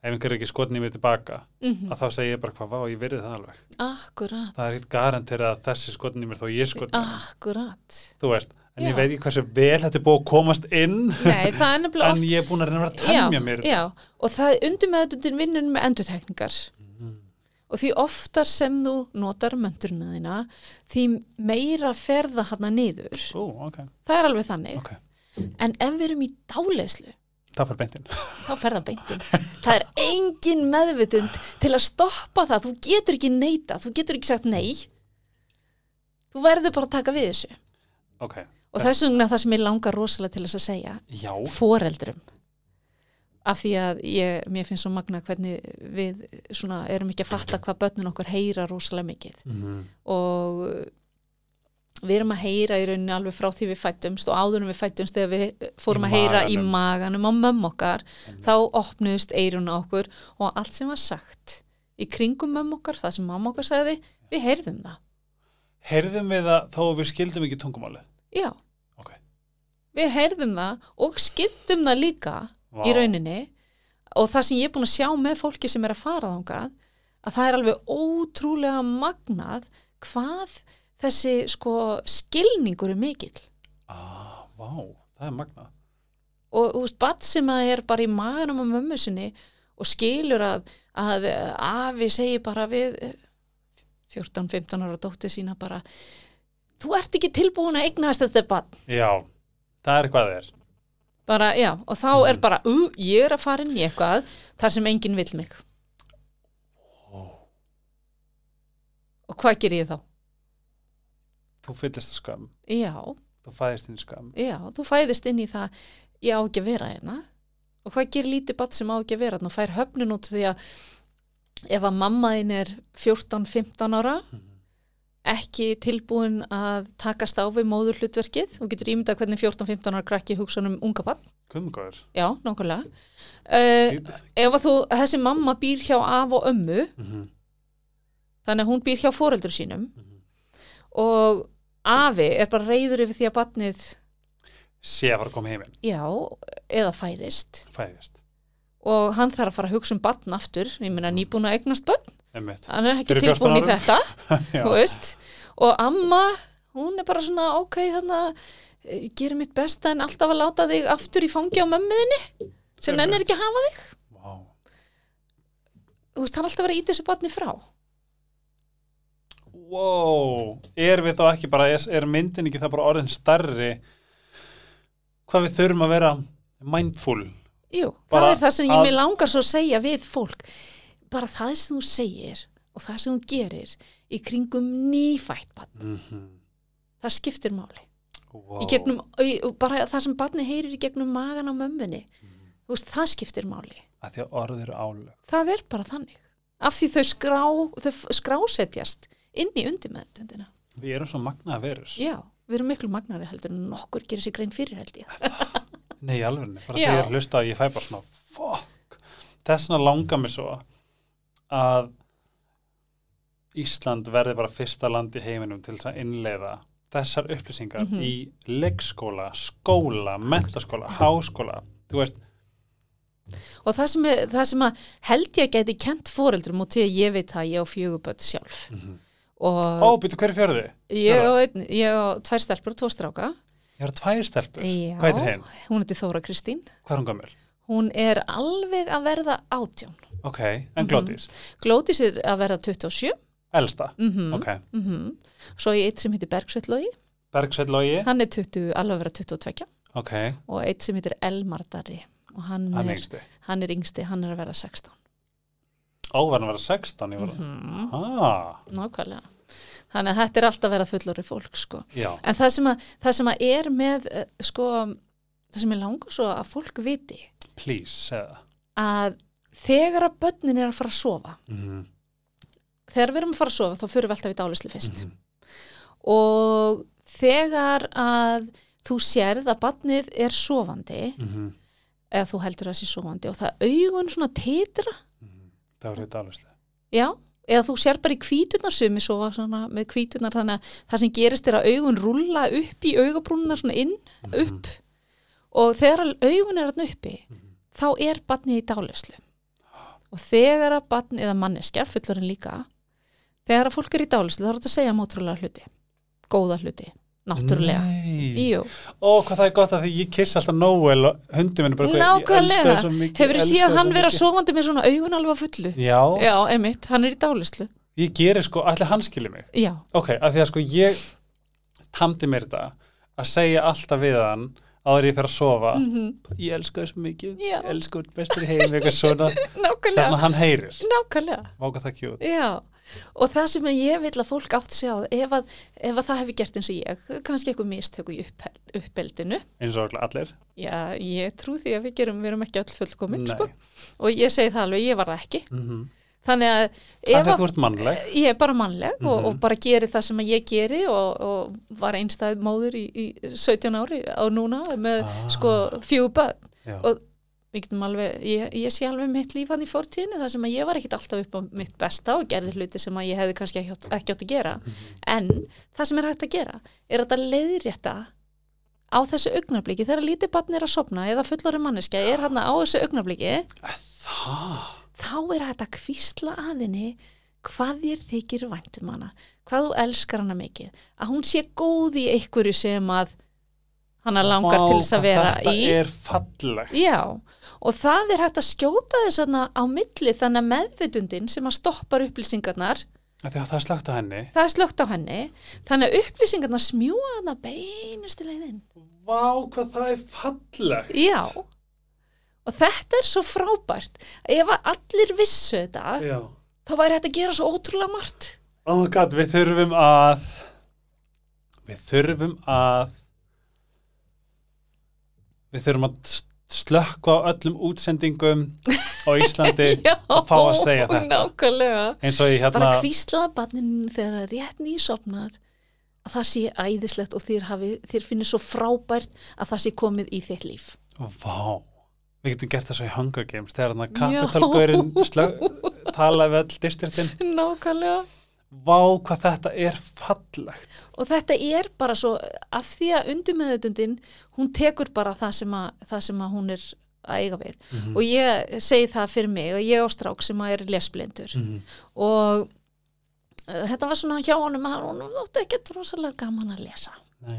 S1: ef einhver er ekki skotnið mér tilbaka
S2: mm
S1: að þá segi ég bara hvað vá ég verið það alveg
S2: akkurat
S1: það er ekkert garantir að þessi skotnið mér þó ég skotnið ah.
S2: akkurat
S1: þú veist en
S2: Já.
S1: ég veit ekki hversu vel þetta er búið að komast inn
S2: Nei, það er nefnilega
S1: en
S2: oft
S1: ég er búin að reyna að vera að temja mér
S2: já, og það undir meðutundin vinnun með endurtekningar og því oftar sem þú notar möndurna þína því meira ferða hana niður
S1: Ú, ok,
S2: það er alveg þannig,
S1: ok,
S2: en ef við erum í dáleyslu
S1: það fær beintin
S2: þá ferða beintin það er engin meðvitund til að stoppa það, þú getur ekki neita þú getur ekki sagt nei þú verður bara að taka við þessu
S1: ok,
S2: Og þess vegna það sem ég langar rosalega til þess að segja,
S1: já,
S2: foreldrum. Af því að ég, mér finnst svo magna hvernig við svona erum ekki að fatta hvað börnin okkar heyra rosalega mikið.
S1: mm.
S2: Og við erum að heyra í rauninni alveg frá því við fættumst og áðurum við fættumst þegar við fórum
S1: Í
S2: að heyra í
S1: maganum.
S2: maganum á mömmu okkar, þá opnuðust eirun á okkur og allt sem var sagt í kringum mömmu okkar, það sem mamma okkar sagði, við heyrðum það.
S1: Heyrðum við það þó að við skildum ekki tungumáli?
S2: Já.
S1: Ok.
S2: Við heyrðum það og skildum það líka
S1: Vá.
S2: í rauninni og það sem ég er búin að sjá með fólki sem er að fara þangað að það er alveg ótrúlega magnað hvað þessi sko skilningur er mikill
S1: Ah, vá, það er magnað.
S2: og þú veist, bat sem að er bara í maganum á mömmu sinni og skilur að, að afi segir bara við 14-15 ára dóttir sína bara þú ert ekki tilbúin að eignast þetta bat
S1: Já, það er hvað það er.
S2: bara, já, og þá er bara uh, ég er að fara inn í eitthvað þar sem enginn vill mig og hvað ger ég þá?
S1: Þú fyllist að skam,
S2: Já,
S1: þú fæðist inn í skam.
S2: já, þú fæðist inn í það ég á ekki að vera hérna og hvað ger lítið bat sem á ekki að vera hérna og fær höfnun út því að ef að mamma þín er 14-15 ára ekki tilbúin að takast á við móðurhlutverkið og getur ímyndað hvernig 14-15 ára krakki hugsa um unga bann
S1: Kumgóður.
S2: já, nákvæmlega uh, ef að þú, þessi mamma býr hjá af og ömmu
S1: Mhm,
S2: þannig að hún býr hjá foreldur sínum og afi er bara reyður yfir því að batnið
S1: Sé að fara að koma heiminn,
S2: já, eða fæðist
S1: fæðist.
S2: og hann þarf að fara að hugsa um batn aftur ég meina nýbúin að eignast batn
S1: Einmitt.
S2: hann er ekki
S1: Fyrir 14
S2: tilbúin í
S1: árum.
S2: þetta
S1: Já.
S2: þú veist og amma, hún er bara svona ok, þannig að gera mitt besta en alltaf að láta þig aftur í fangi á mömmuðinni sem
S1: Einmitt.
S2: nennir ekki að hafa þig
S1: Vá.
S2: þú veist, hann er alltaf að vera að íta þessu batni frá
S1: Wow. Er við þá ekki bara, er, er myndin ekki það bara orðin starri hvað við þurfum að vera mindful?
S2: Jú,
S1: Bara
S2: það er það sem ég
S1: að-
S2: mig langar svo að segja við fólk bara það sem þú segir og það sem þú gerir í kringum nýfætt barn,
S1: Mm
S2: það skiptir máli
S1: wow.
S2: Mhm. í gegnum, í, bara það sem barni heyrir í gegnum magan á mömmunni
S1: Mhm.
S2: þú veist, það skiptir máli
S1: Að því að orð eru álög.
S2: það er bara þannig af því þau, skrá, þau f- skrásetjast inn í undirmeðundina
S1: Við erum svo magnaða verus.
S2: já, við erum miklu magnari heldur en nokkur gerir sér grein fyrir held ég
S1: Nei, alveg, bara
S2: Já.
S1: þegar ég hlusta að ég fæ bara svona, fuck, þessna langar mér svo að Ísland verði bara fyrsta land í heiminum til þess að innleiða þessar upplýsingar
S2: Mhm.
S1: í leikskóla, skóla, mentaskóla, háskóla, þú veist,
S2: og það sem, er, það sem að held ég að geti kent foreldrum og til að ég veit að ég á fjöguböld sjálf
S1: Mhm.
S2: og
S1: ó, byrju, hver er fjörði?
S2: ég, á einn, ég á tvær stelpur og tvo stráka
S1: Ég er tvær stelpur,
S2: Já.
S1: hvað heitir hinn?
S2: hún heitir Þóra Kristín
S1: Hvað er hún gömul?
S2: hún er alveg að verða átján
S1: Ok,
S2: Mhm.
S1: en Glódís,
S2: Glótis er að verða 27
S1: elsta,
S2: mm -hmm.
S1: ok,
S2: svo ég eitt sem heitir Bergsveit Lógi
S1: Bergsveit Lógi,
S2: hann er 20, alveg að verða 22
S1: ok,
S2: og eitt sem heitir Elmar Darri og hann,
S1: hann
S2: er,
S1: yngsti,
S2: hann er yngsti, hann er að verða 16
S1: óvarn var 16, ég var, mm
S2: mm.
S1: ah,
S2: nákvæmlega þannig að þetta er alltaf að vera fullori fólk sko.
S1: já,
S2: en það sem, að, það sem að er með eh, sko, það sem ég langar svo að fólk viti
S1: please, segða.
S2: að þegar að börnin er að fara að sofa
S1: Mm
S2: þegar við erum að fara að sofa þá fyrir við alltaf í dálislu
S1: Mhm.
S2: fyrst og þegar að þú sérð að barnið er sofandi
S1: -hmm.
S2: eða þú heldur að það sé sofandi og það augun svona titra
S1: mhm. Það var þetta alveg
S2: já, eða þú sér bara í kvítunar sumi sofa svona með kvítunar þannig að það sem gerist er að augun rúlla upp í augabrúnunar svona inn upp og þegar að augun er þarna uppi
S1: Mhm.
S2: þá er barnið í dálislu og þegar að barnið eða manneskja fullorinn líka þegar að fólk er í dálislu þá er þetta að segja mótrúlega hluti góða hluti, náttúrulega
S1: Nei.
S2: Jú,
S1: Ó, hvað það er gott að því ég kiss alltaf Noel og hundi minn er bara
S2: Nákvæmlega. hefur þið
S1: séð
S2: síðan hann vera sofandi með svona augun alveg að fullu?
S1: Já,
S2: Já, emitt, hann er í dálislu
S1: ég gerir sko, allir hann skilur mig
S2: Já,
S1: Ok, af því að sko ég tamdi mér þetta að segja alltaf við hann áður en ég fer að sofa
S2: mm
S1: Ég elska þessu mikið,
S2: Já.
S1: ég elska þessu bestur í heim eitthvað svona,
S2: nákvæmlega,
S1: þannig að hann heyrir
S2: nákvæmlega
S1: Váka það kjút
S2: Já, og það sem ég vil að fólk átt sig á, ef að, ef að það hefur gert eins og ég, kannski eitthvað mistöku í uppel- uppeldinu,
S1: eins og allir
S2: já, ég trú því að við gerum, við erum ekki öll fullkomin,
S1: Nei.
S2: sko, og ég segi það alveg, ég var það ekki,
S1: mm -hmm.
S2: þannig að
S1: Það
S2: ef
S1: þegar
S2: að,
S1: þú ert mannleg
S2: ég er bara mannleg og,
S1: Mhm.
S2: og bara geri það sem að ég geri og, og var einstæð móður í, í 17 ári á núna með,
S1: Ah.
S2: sko, fjúba,
S1: Já.
S2: og- við getum alveg, ég, ég sé alveg mitt líf hann í fortíðinu þar sem að ég var ekkit alltaf upp á mitt besta og gerði hluti sem að ég hefði kannski ekki, átt- ekki átt að gera
S1: Mhm.
S2: en það sem er hægt að gera er að þetta leiðrétta á þessu augnabliki þegar lítið barn er að sopna eða fullorinn manneskja er hann á þessu augnabliki
S1: Það
S2: þá er hægt að kvísla aðinni hvað þér þykir vænt um hana hvað þú elskar hana mikið að hún sé góð í einhverju sem að hana langar
S1: Vá,
S2: til þess að
S1: hvað
S2: vera í
S1: Þetta er fallegt
S2: Já, og það er hægt að skjóta þess þarna á milli þannig að meðvitundin sem að stoppar upplýsingarnar,
S1: Af Því að það er slögt á henni
S2: það er slögt á henni, þannig að upplýsingarnar smjúa hana beinustu leiðin.
S1: Vá, hvað það er fallegt
S2: Já, og þetta er svo frábært. Ef að allir vissu þetta,
S1: Já
S2: þá væri hægt að gera svo ótrúlega margt.
S1: Oh my god, við þurfum að Við þurfum að Við þurfum að s- slökka á öllum útsendingum á Íslandi
S2: Já,
S1: og fá að segja þetta
S2: Nákvæmlega.
S1: eins og ég hérna
S2: Bara hvíslaða barninu þegar það er rétt nýsopnað að það sé æðislegt og þér, hafi, þér finnir svo frábært að það sé komið í þitt líf.
S1: Vá, við getum gert það svo í Hunger Games þegar þannig að kapitalgörin tala við all distriktin
S2: nákvæmlega
S1: Vá, hvað þetta er fallegt
S2: og þetta er bara svo af því að undirmeðutundin hún tekur bara það sem að, það sem að hún er að eiga við
S1: Mhm.
S2: og ég segi það fyrir mig að ég á strák sem að er lesblindur
S1: Mhm.
S2: og uh, þetta var svona hjá honum að hann átti ekki rosalega gaman að lesa
S1: Nei,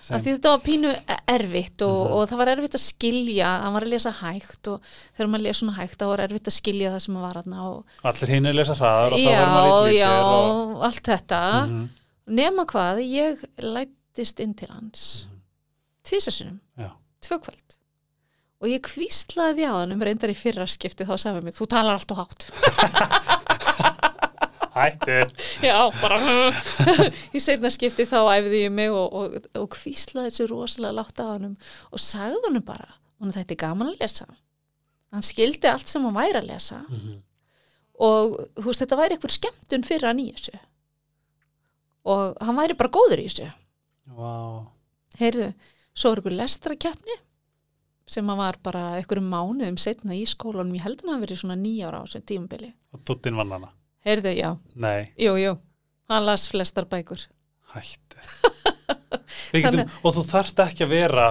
S1: sem-
S2: af því þetta var pínu erfitt og,
S1: Mhm.
S2: og það var erfitt að skilja hann var að lesa hægt og þegar maður lesa svona hægt þá var erfitt að skilja það sem var hann og,
S1: allir hinn er lesa hraðar og þá verður maður
S2: já,
S1: lítið í
S2: já,
S1: sér og...
S2: allt þetta
S1: Mhm.
S2: nema hvað, ég lættist inn til hans tvísasunum,
S1: Mhm. Já.
S2: tvökvöld og ég kvíslaði á hann um reyndar í fyrra skipti þá sagði hann við, þú talar allt og hátt
S1: Hættu
S2: já, bara í seinna skipti þá æfði ég mig og, og, og kvíslaði þessu rosalega látt á hann og sagði hann bara hann þetta er gaman að lesa hann skildi allt sem hann væri að lesa og þú veist, þetta væri eitthvað skemmtun fyrir hann í þessu og hann væri bara góður í þessu
S1: Vá,
S2: heyrðu, svo er ykkur lestrakeppni sem að var bara einhverjum mánuðum setna í skólanum, ég heldur að hann verið svona nýja ára á þessum tímabili.
S1: og dúttinn vann hana
S2: Heyrðu, já,
S1: Nei,
S2: jú, jú, hann las flestar bækur.
S1: hættu Við getum, Og þú þarft ekki að vera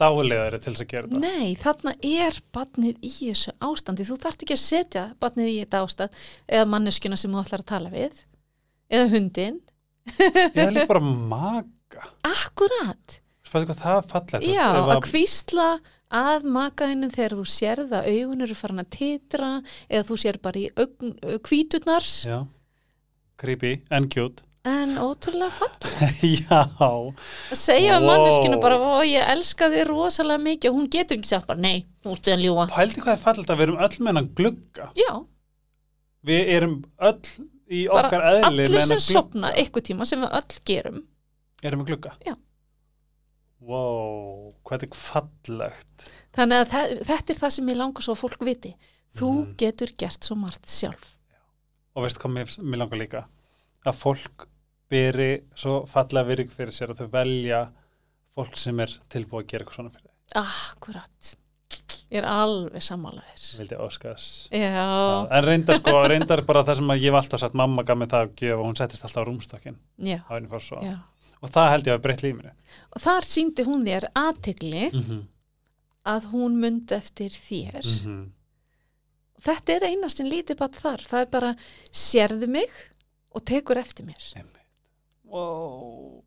S1: dálegari til þess að gera þetta
S2: Nei, þarna er barnið í þessu ástandi, þú þarft ekki að setja barnið í þetta ástand eða manneskuna sem þú ætlar að tala við eða hundin,
S1: Ég er líka bara maga
S2: akkurat,
S1: Spæðu hvað það er fallegt
S2: já,
S1: Ef
S2: að kvísla að makaðinu þegar þú sérð að augun eru farin að titra eða þú sér bara í augn, kvíturnar
S1: Já, creepy en cute
S2: en ótrúlega fallegt
S1: Já,
S2: að segja
S1: Wow.
S2: wow. manneskinu bara og ég elska þig rosalega mikið og hún getur ekki sagt bara nei, þú ert að ljúa
S1: pældi hvað er fallegt að við erum öll með hennan glugga
S2: já,
S1: Við erum öll í
S2: Bara
S1: okkar eðli með
S2: allir sem
S1: hennan glugga
S2: sopna einhver tíma sem við öll gerum
S1: Erum við glugga?
S2: Já.
S1: Wow, hvað er fallegt
S2: þannig að þe- þetta er það sem ég langar svo að fólk viti þú
S1: Mhm.
S2: getur gert svo margt sjálf
S1: og veistu hvað mér, mér langar líka að fólk beri svo fallega virðing fyrir sér að þau velja fólk sem er tilbúið að gera eitthvað svona fyrir þeim
S2: akkurat ég er alveg sammálaðir
S1: vildi óskas
S2: já,
S1: en reyndar sko, reyndar bara það sem að ég hef alltaf sagt mamma gaf mér það að gjöf og hún settist alltaf á rúmstokkin
S2: já,
S1: á henni fór svo
S2: já
S1: og það held ég að breytt lífinu
S2: og þar síndi hún þér aðtegli
S1: mm -hmm.
S2: að hún myndi eftir þér
S1: Mm -hmm.
S2: þetta er einastin lítið bara þar það er bara sérðu mig og tekur eftir mér
S1: wow.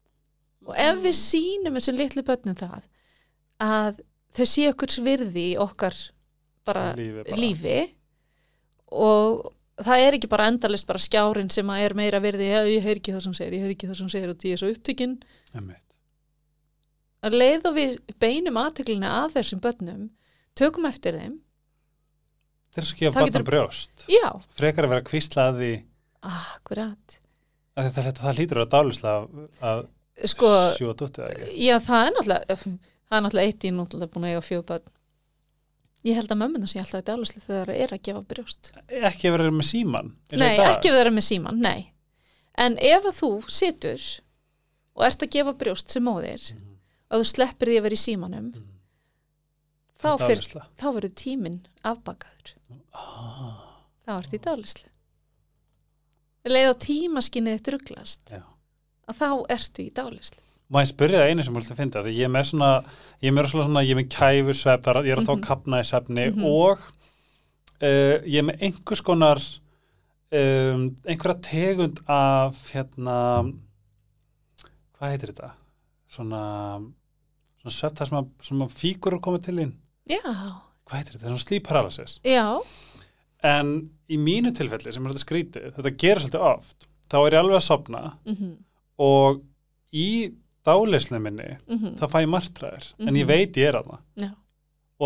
S2: og ef við sýnum þessum litlu börnum það að þau séu okkur svirði í okkar bara
S1: lífi, bara.
S2: lífi og það er ekki bara endalist bara skjárin sem að er meira virði "Já, ég heyr ekki það sem hún segir, ég heyr ekki það sem hún segir og því ég er svo upptikinn
S1: Einmitt.
S2: að leið og við beinum aðteklina að þessum börnum tökum eftir þeim,
S1: það er svo ekki að
S2: Það
S1: batna
S2: getur-
S1: brjóst
S2: já,
S1: frekar að vera kvíslaði
S2: akkurat
S1: að það, það, það lítur að dálisla að, að
S2: sko,
S1: sjú að dúttið ekki
S2: Já, það er náttúrulega það er náttúrulega eitt í náttúrulega búin að eiga fjögur börn. Ég held að mömmuna sé alltaf að dálislega þegar það er að gefa brjóst.
S1: ekki verið með síman
S2: Nei, ekki ef það er með síman, nei. En ef að þú situr og ert að gefa brjóst sem móðir og þú sleppir því að vera í símanum þá, fyr, þá verður tíminn afbakaður. Þá ert í dálislega. Leið á tímaskinnið þitt ruglast
S1: Já.
S2: að þá ertu í dálislega.
S1: Má ég spyrja það einu sem haldið að finna því ég er með svona, ég er með rosalega svona ég er með kæfu svefn, ég er að þá að kapna í svefni
S2: Mhm.
S1: og uh, ég er með einhvers konar um, einhverja tegund af hérna hvað heitir þetta? Svona, svona svefn þar sem að, sem að fígur koma til inn
S2: Já,
S1: hvað heitir þetta? Svona sleep paralysis
S2: já,
S1: en í mínu tilfelli sem er þetta skrítið, þetta gerir svolítið oft þá er ég alveg að sopna
S2: mhm, mhm.
S1: og í dálislega minni þá fæ ég martræðir en ég
S2: Mhm.
S1: veit ég er að það
S2: Já.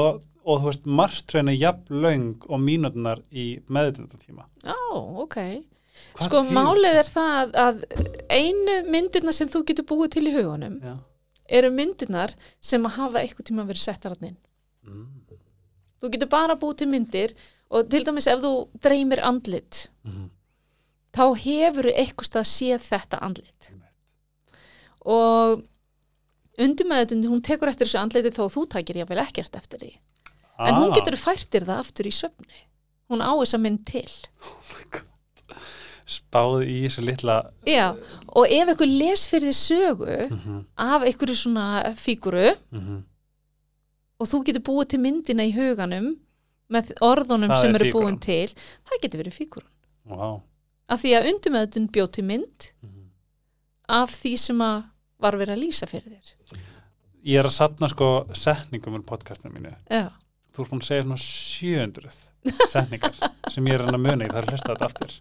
S1: og, og þú veist, martræðin er jafn löng og mínutnar í meðutundartíma
S2: Já, ok. Sko málið er það að einu myndirna sem þú getur búið til í hugunum
S1: Já.
S2: eru myndirnar sem að hafa eitthvað tíma verið settar hann inn.
S1: Mm.
S2: Þú getur bara búið til myndir og til dæmis ef þú dreymir andlit
S1: Mhm.
S2: þá hefur eitthvað stað séð þetta andlit.
S1: Einmitt.
S2: Og undir meðutund, hún tekur eftir þessu andleiti þó að þú takir jáfnvel ekkert eftir því en hún
S1: Ah,
S2: getur færtir það aftur í söfni hún á þessa mynd til
S1: spáð í þessu litla
S2: Já, og ef einhver les fyrir því sögu
S1: mhm,
S2: af einhverju svona fíguru
S1: mhm.
S2: og þú getur búið til myndina í huganum með orðunum
S1: Það
S2: sem
S1: er
S2: eru
S1: fígúran.
S2: búin til það getur verið fígurun
S1: Vá.
S2: af því að undumöðun bjóti mynd
S1: Mhm.
S2: af því sem að var verið að lýsa fyrir þér
S1: ég er að sapna sko setningum úr podcastinu mínu
S2: Já,
S1: þú ert búin að segja svona 700 setningar sem ég er að reyna að muna ég þarf að hlusta þetta aftur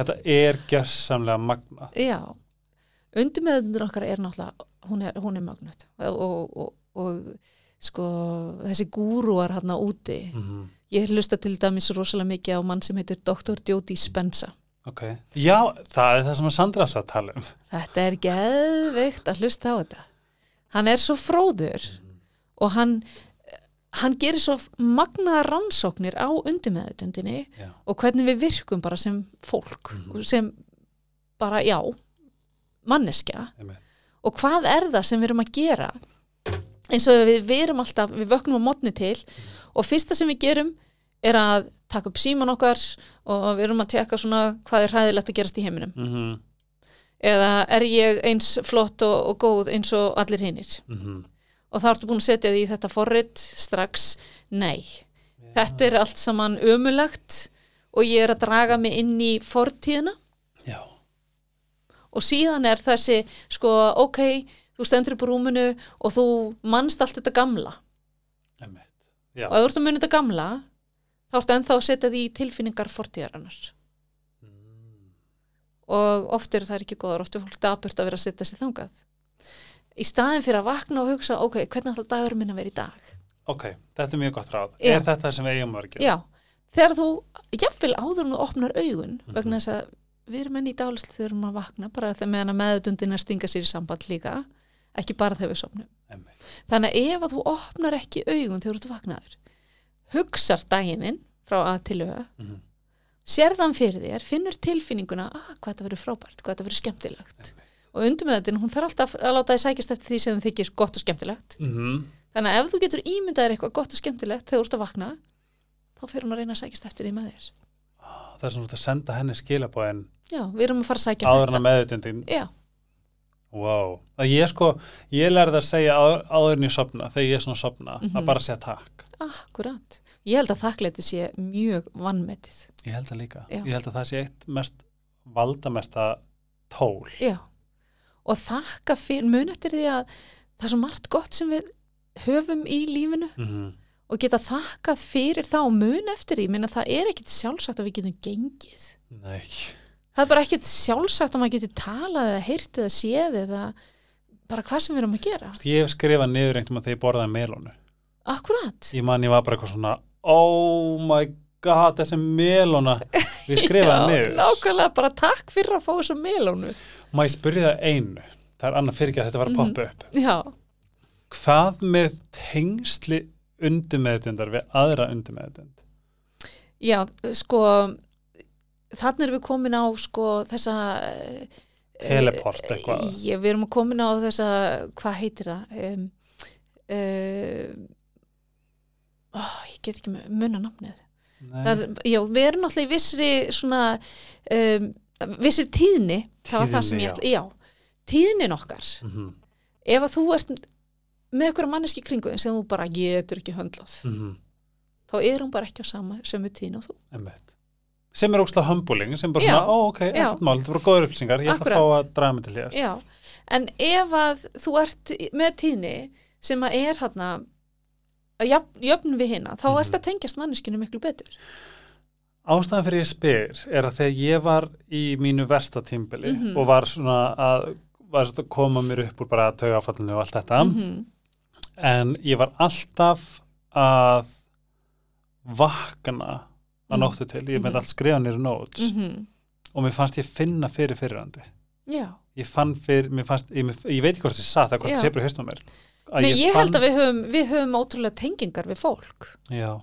S1: þetta er gjörsamlega magna
S2: já undumöðunur okkar er náttúrulega hún er, hún er magnut og, og, og, og sko þessi gúrúar hann úti
S1: mm
S2: ég hlusta til dæmis rosalega mikið á mann sem heitir Dr. Jody Spencer
S1: ok, já, það er það sem að Sandra satt að tala um
S2: Þetta er geðveikt að hlusta á þetta. Hann er svo fróður og hann, hann gerir svo magnaða rannsóknir á undirmeðutundinni
S1: Já.
S2: og hvernig við virkum bara sem fólk, sem bara, já, manneskja
S1: Einmitt.
S2: og hvað er það sem við erum að gera eins og við, við erum alltaf, við vöknum á mótni til og fyrsta sem við gerum er að taka upp síman okkar og við erum að tekka svona hvað er hræðilegt að gerast í heiminum
S1: Mhm,
S2: eða er ég eins flott og, og góð eins og allir hinnir
S1: mhm.
S2: og þá ertu búin að setja því þetta forrit strax, nei þetta er allt saman ömulagt og ég er að draga mig inn í fortíðina
S1: já,
S2: og síðan er þessi sko, ok, þú stendur upp úr rúminu og þú manst allt þetta gamla
S1: emmitt já,
S2: og ef þú ert að muni þetta gamla þá ertu ennþá að setja því í tilfinningar fortíðarannar
S1: Mm,
S2: og oft eru það ekki góðar, oft er fólk dapurt að vera að setja sig þangað í staðin fyrir að vakna og hugsa ok, hvernig ætla dagur minn að vera í dag
S1: ok, þetta er mjög gott ráð
S2: Já.
S1: er þetta sem við eigum að vera að gera
S2: já, þegar þú jafnvel áður en þú opnar augun vegna þess að við erum enn í dálislu þegar við erum að vakna bara þegar meðan að meðutundin að stinga sér í samband líka ekki bara þegar við sopnum
S1: Einmitt.
S2: þannig að ef að þú opnar ekki augun þegar þú ert vaknaður hugsar dagininn frá að til auða
S1: Mhm.
S2: sérðan fyrir þér, finnur tilfinninguna ah, hvað þetta verður frábært, hvað þetta verður skemmtilegt og undurmeðutin, hún fer alltaf að láta þið sækist eftir því sem þið þykir gott og skemmtilegt
S1: Mhm.
S2: þannig að ef þú getur ímyndaðir eitthvað gott og skemmtilegt þegar þú ert að vakna þá fer hún að reyna að sækist eftir því með þér
S1: Ah, það er svona út að senda henni skilabóðin
S2: já, við erum að fara að sækja
S1: áður en að meðutundin
S2: já,
S1: wow. að ég sko, ég lærði að segja áður, áður en ég sopna, þegar ég er svona að sopna að
S2: Mhm.
S1: bara segja takk
S2: akkurat ég held að þakkleiti sé mjög vannmetið
S1: Ég held það líka.
S2: Já.
S1: Ég held að það sé eitt mest valdamesta tól.
S2: já, og þakka fyrir mun eftir því að það er svo margt gott sem við höfum í lífinu
S1: Mm -hmm.
S2: og geta þakkað fyrir það og mun eftir því, minna það er ekkit sjálfsagt að við getum gengið.
S1: Nei.
S2: Það er bara ekkit sjálfsagt að maður geti talað eða heyrt eða séð eða bara hvað sem við erum að gera.
S1: Ég hef skrifað niður einhvern veginn þegar ég borðaði melónu.
S2: Akkurat,
S1: Ég man ég var bara eitthvað svona, oh my god, þessi melóna. Við skrifaði niður.
S2: nákvæmlega bara takk fyrir að fá þessu melónu.
S1: Má ég spyrja það einu? Það er annað fyrir ekki að þetta var
S2: Mhm.
S1: að poppa upp.
S2: Já,
S1: Hvað með tengsli undumeðutundar við aðra undumeðutund?
S2: já, sko, þannig erum við komin á sko þessa... eh,
S1: Teleport eitthvað.
S2: Ég, við erum komin á þessa, hvað heitir það? Um, um, ó, ég get ekki munna nafnið. Það,
S1: Nei,
S2: er- já, við erum náttúrulega í vissri svona, um, vissri tíðni, það var það
S1: Tíðni,
S2: sem ég
S1: já.
S2: ætla, já, tíðnin okkar,
S1: Mhm,
S2: ef að þú ert með einhverja manneski kringu sem þú bara getur ekki höndlað,
S1: mhm,
S2: þá er hún bara ekki á sama sömu tíðin og þú.
S1: einmitt. Sem er ógstlega humbling, sem bara
S2: Já.
S1: svona, ó ok,
S2: Já.
S1: ekkert mál, þetta voru góður upplýsingar, ég ætla að fá
S2: Akkúrat.
S1: að draga mig til hér.
S2: Já, en ef að þú ert í- með tíðni sem að er hérna, jöfn, jöfn við hina, þá
S1: Mhm.
S2: ert að tengjast manneskinu miklu betur.
S1: Ástæðan fyrir ég spyr er að þegar ég var í mínu versta tímbili
S2: Mhm.
S1: og var svona að var svona að koma mér upp úr bara taugafallinu og allt þetta
S2: Mhm.
S1: en ég var alltaf að vakna að
S2: Mhm.
S1: nóttu til, ég með
S2: Mhm.
S1: allt skrifa nýr notes
S2: Mhm.
S1: og mér fannst ég finna fyrir fyrirandi
S2: Já.
S1: ég fann fyrir, mér fannst ég, mér, ég veit ekki hvort ég satt að hvort
S2: Já.
S1: ég sé bara í haustum á mér að
S2: Nei, ég held að við höfum, við höfum ótrúlega tengingar við fólk.
S1: já,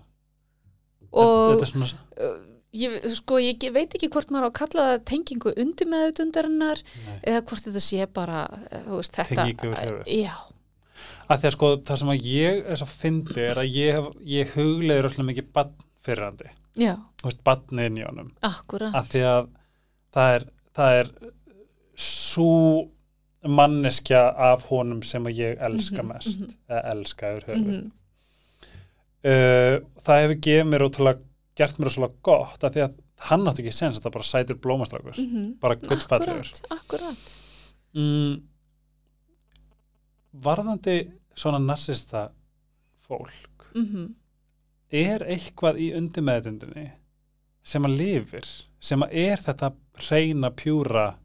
S1: þetta
S2: Og
S1: er svona
S2: uh, ég, sko, ég ge- veit ekki hvort maður á að kalla það tengingu undir meðutundarinnar eða hvort þetta sé bara eh, þú veist, þetta,
S1: Tengingu við höfuð.
S2: já,
S1: að því að sko það sem að ég þess að fyndi er að ég, hef- ég hugleður alltaf mikið bann fyrrandi
S2: já,
S1: þú veist, bannin í honum
S2: akkurat
S1: að því að það er, það er svo manneskja af honum sem að ég elska
S2: Mhm,
S1: mest
S2: mhm.
S1: eða elska yfir höfuð
S2: Mhm,
S1: uh, það hefur gefið mér ótrúlega gert mér ótrúlega gott að því að hann átti ekki sens að það bara sætur blómastrákur
S2: mhm.
S1: bara gullfallegur
S2: akkurat, akkurat
S1: mm, varðandi svona narsista fólk
S2: mhm.
S1: er eitthvað í undirmeðutundinni sem að lifir sem að er þetta reyna pjúra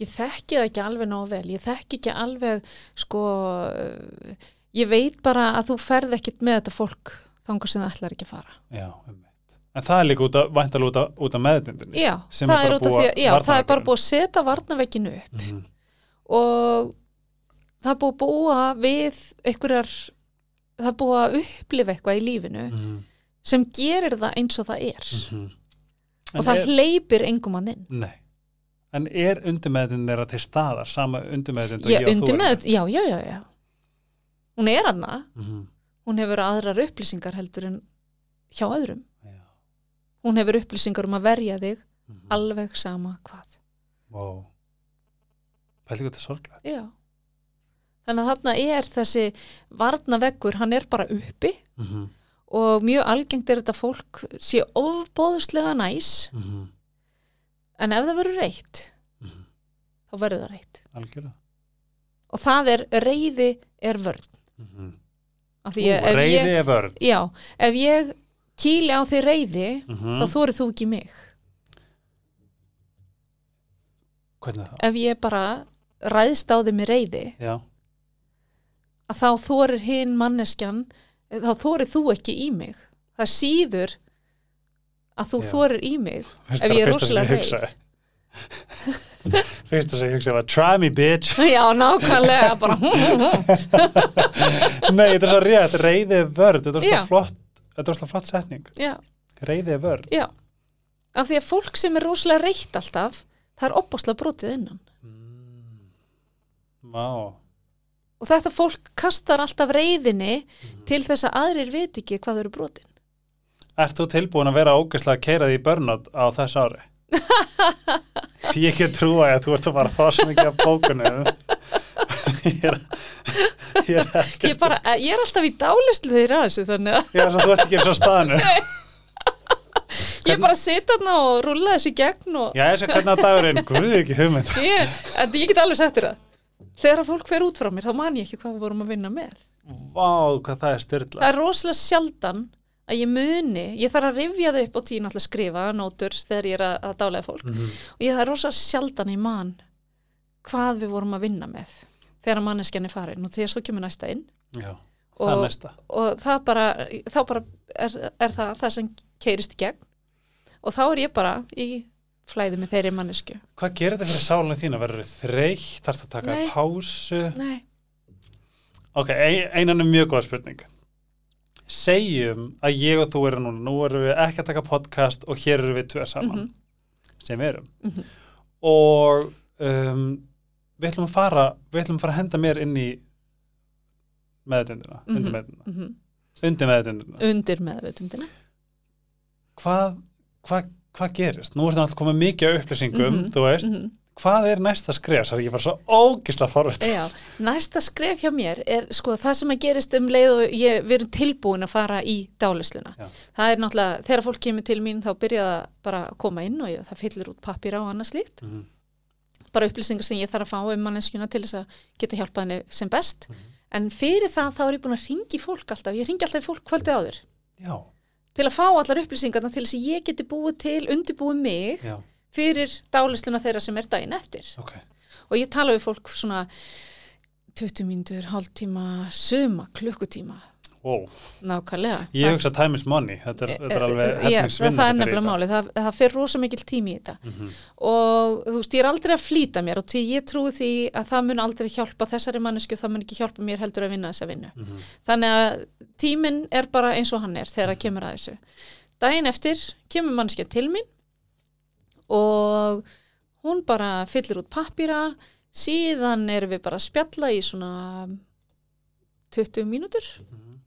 S2: ég þekki það ekki alveg nóg vel ég þekki ekki alveg sko, eh, ég veit bara að þú ferð ekkit með þetta fólk þangar sem það ætlar ekki að fara
S1: já, einmitt. en það er líka út að, væntalega út að, út að meðutundinni
S2: já,
S1: Sem
S2: það
S1: er
S2: er,
S1: bara
S2: út af
S1: búa-
S2: því að- já, það er bara
S1: varnarveggurinn.
S2: búið að setja varnavegginu upp
S1: Mhm.
S2: og það er búið að búa við einhverjar það er búið að upplifa eitthvað í lífinu
S1: Mhm.
S2: sem gerir það eins og það er
S1: Mhm. En
S2: og það
S1: er-
S2: hleypir engum mann inn
S1: Nei. En er undirmeðutundin þeirra til staðar, sama undirmeðutund
S2: ég, undir með, já, já, já, já hún er hana,
S1: Mm -hmm.
S2: hún hefur aðrar upplýsingar heldur en hjá öðrum
S1: Já.
S2: hún hefur upplýsingar um að verja þig
S1: Mm -hmm.
S2: alveg sama hvað
S1: Wow. Pældi hvað þetta er sorglega.
S2: já þannig að þarna er þessi varnaveggur, hann er bara uppi
S1: Mm -hmm.
S2: og mjög algengt er þetta fólk sé ofbóðslega næs
S1: Mm -hmm.
S2: en ef það verður reitt
S1: Mm -hmm.
S2: þá verður það reitt
S1: Algjörða.
S2: og það er reyði er vörn
S1: Mm -hmm.
S2: Af því að ef
S1: Reyði
S2: ég,
S1: er vörn.
S2: já, ef ég kýli á því reyði
S1: Mm
S2: þá þórið þú ekki mig
S1: Hvernig það?
S2: ef ég bara ræðst á því með reyði
S1: Já.
S2: að þá þórir hinn manneskjan eh, þá þórið þú ekki í mig það síður að þú
S1: Já.
S2: þórir í mig
S1: Fyrst
S2: Ef
S1: það
S2: ég er
S1: fyrsta sem
S2: rosalega
S1: hugsaði. Fyrsta sem ég hugsaði var try me bitch.
S2: já, nákvæmlega bara
S1: Nei, þetta er svo rétt. Reyði er vörn. Þetta er
S2: Já.
S1: svo flott. Þetta er svo flott setning.
S2: já,
S1: Reyði er vörn.
S2: já af því að fólk sem er rosalega reitt alltaf það er opbáslega brotið innan
S1: Mm. Vá.
S2: og þetta fólk kastar alltaf reyðinni til þess að aðrir viti ekki hvað þau eru brotin
S1: Ert þú tilbúin að vera ógeðslega að keira því í burnout á þess ári? Því ég get trúa að þú ert að bara að fá svo mikið af bókunum. ég er, ég er
S2: ég,
S1: ekki,
S2: bara, eh, ég er alltaf í dálislu þeirra þessu þannig að
S1: ég er svo þú ert ekki eins og staðinu.
S2: ég bara sita þarna og rúlla þessu í gegn og
S1: Já, ég sé hvernig að dagurinn, guð ekki hugmynd.
S2: ég, en ég get alveg sagt þér það þegar að fólk fer út frá mér þá man ég ekki hvað við vorum að vinna með
S1: Vá, hvað það er
S2: það
S1: styrla.
S2: er rosalega sjaldan að ég muni, ég þarf að rifja þau upp og tína alltaf skrifa nótur þegar ég er að, að dálega fólk
S1: Mhm.
S2: og ég það er rosalega sjaldan ég man hvað við vorum að vinna með þegar manneskjan er farin og þegar svo kemur næsta inn
S1: Já, það er
S2: og,
S1: næsta.
S2: og það bara, þá bara er, er það það sem keirist í gegn og þá er ég bara í flæði með þeirri mannesku
S1: Hvað gerir þetta fyrir sálinu þína? Verður þið þreytt? Þarf það að taka
S2: Nei.
S1: pásu?
S2: Nei.
S1: Ok, ein- einan er mjög góð spurning. Segjum að ég og þú erum núna, nú erum við ekki að taka podcast og hér erum við tvö saman.
S2: Mhm.
S1: sem við erum
S2: Mhm.
S1: og um, við ætlum að fara við ætlum að fara að henda mér inn í meðutundina
S2: Mhm.
S1: undir meðutundina,
S2: Mm
S1: undir meðutundina.
S2: undir meðvutundina
S1: Hvað, hvað, hvað gerist? Nú er þetta alltaf komið mikið af upplýsingum,
S2: Mhm.
S1: þú veist
S2: mm
S1: hvað er næsta skref? Það er ekki bara svo ógisla forvitt
S2: Já, næsta skref hjá mér er sko það sem að gerist um leið og ég, við erum tilbúin að fara í dálisluna.
S1: Já.
S2: Það er náttúrulega, þegar fólk kemur til mín þá byrja það bara að koma inn og ég, það fyllir út pappir á annars lít.
S1: Mhm.
S2: Bara upplýsingar sem ég þarf að fá um manneskjuna til þess að geta hjálpað henni sem best.
S1: Mhm.
S2: En fyrir það þá er ég búin að ringi fólk alltaf. Ég ringi alltaf í fólk kvöldi áður
S1: Já,
S2: til að fá allar upplýsingarna til þess að ég geti búið til, undirbúið mig
S1: já,
S2: fyrir dálisluna þeirra sem er daginn eftir
S1: ok
S2: og ég tala við fólk svona 20 mínútur, hálftíma, suma, klukkutíma,
S1: wow.
S2: nákvæmlega.
S1: Ég hugsa time is money þetta er, þetta er alveg
S2: Eh, Já,
S1: hellingsvinna
S2: það er nefnilega málið, það, það fer rosa mikill tími í þetta
S1: Mhm,
S2: og þú veist, ég er aldrei að flýta mér og því ég trúi því að það mun aldrei hjálpa þessari mannesku, það mun ekki hjálpa mér heldur
S1: mhm,
S2: að vinna þessa vinnu. Þannig að tíminn er bara eins og hann er þegar það kemur að þessu. daginn eftir kemur mannskja til mín og hún bara fyllir út pappýra síðan erum við bara að spjalla í svona 20 mínútur
S1: mhm.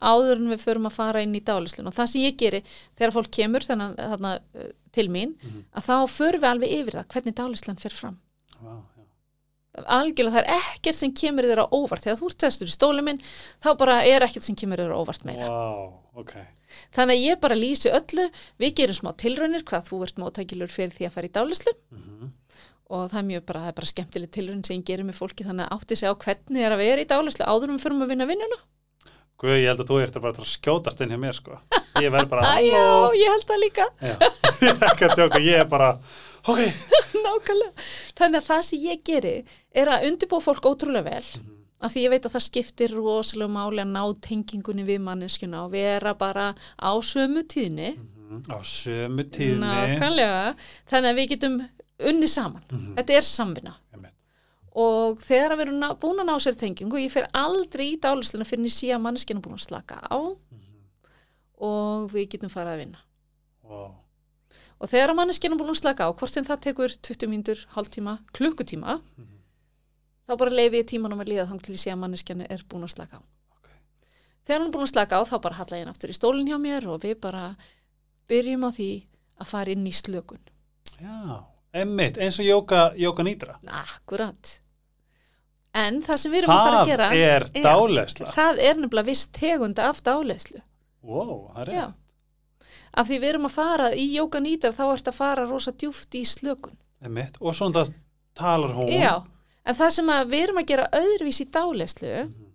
S2: áður en við förum að fara inn í dálislun og það sem ég geri þegar fólk kemur þennan, þarna, eh, til mín
S1: Mhm.
S2: að þá förum við alveg yfir það hvernig dálislan fer fram
S1: Vá, já.
S2: algjörlega það er ekkert sem kemur þér á óvart þegar þú ert testur í stóli minn þá bara er ekkert sem kemur þér á óvart meira
S1: Vá, ok.
S2: þannig að ég bara lýsi öllu við gerum smá tilraunir hvað þú ert móttækilur fyrir því að fara í dálislu
S1: Mhm.
S2: og það er mjög bara, það er bara skemmtileg tilraun sem ég gerir með fólki þannig að átti sig á hvernig það er að vera í dálislu áður en við förum að vinna vinnuna
S1: Guð, ég held að þú ert bara að skjótast inn hjá mér, sko. Ég verð bara,
S2: Æ, já,
S1: halló.
S2: ég held það líka
S1: Já. Ég er ekki að sjóka, ég er bara, ok.
S2: Nákvæmlega. Þannig að það sem ég geri er að undirbúa fólk ótrúlega vel
S1: Mhm,
S2: af því ég veit að það skiptir rosalega máli að ná tengingunni við manneskjuna og vera bara á sömu tíðni
S1: Mhm. Á sömu tíðni.
S2: Nákvæmlega. Þannig að við getum unni saman.
S1: Mhm.
S2: Þetta er samvinna
S1: Einmitt.
S2: og þegar að við erum ná- búin að ná sér tengingu ég fer aldrei í dálisluna fyrir en ég sé að manneskjana búin að slaka á
S1: Mhm.
S2: og við getum farað að vinna.
S1: Vá.
S2: Og þegar að manneskjana búin að slaka á, hvort sem það tekur 20 mínútur, hálftíma, klukkutíma
S1: Mhm.
S2: þá bara leifi ég tímanum að líða þannig til ég sé að manneskjana er búin að slaka á.
S1: Ok.
S2: Þegar hún er búin að slaka á þá bara halla ég henn aftur í stólinn hjá mér og við bara byrjum á því að fara inn í slökun.
S1: Já, einmitt, eins og jóka, jóka nýtra.
S2: Akkurat. En það sem við erum að fara
S1: Það
S2: að gera
S1: er
S2: Já.
S1: dálæsla.
S2: það er nefnilega viss tegunda af dáleyslu.
S1: Wow, það er
S2: Já.
S1: rétt.
S2: Af því við erum að fara í jóka nýtar þá ertu að fara rosa djúft í slökun.
S1: Einmitt, og svona það talar hún.
S2: Já, en það sem að við erum að gera öðruvís í dáleyslu
S1: Mhm.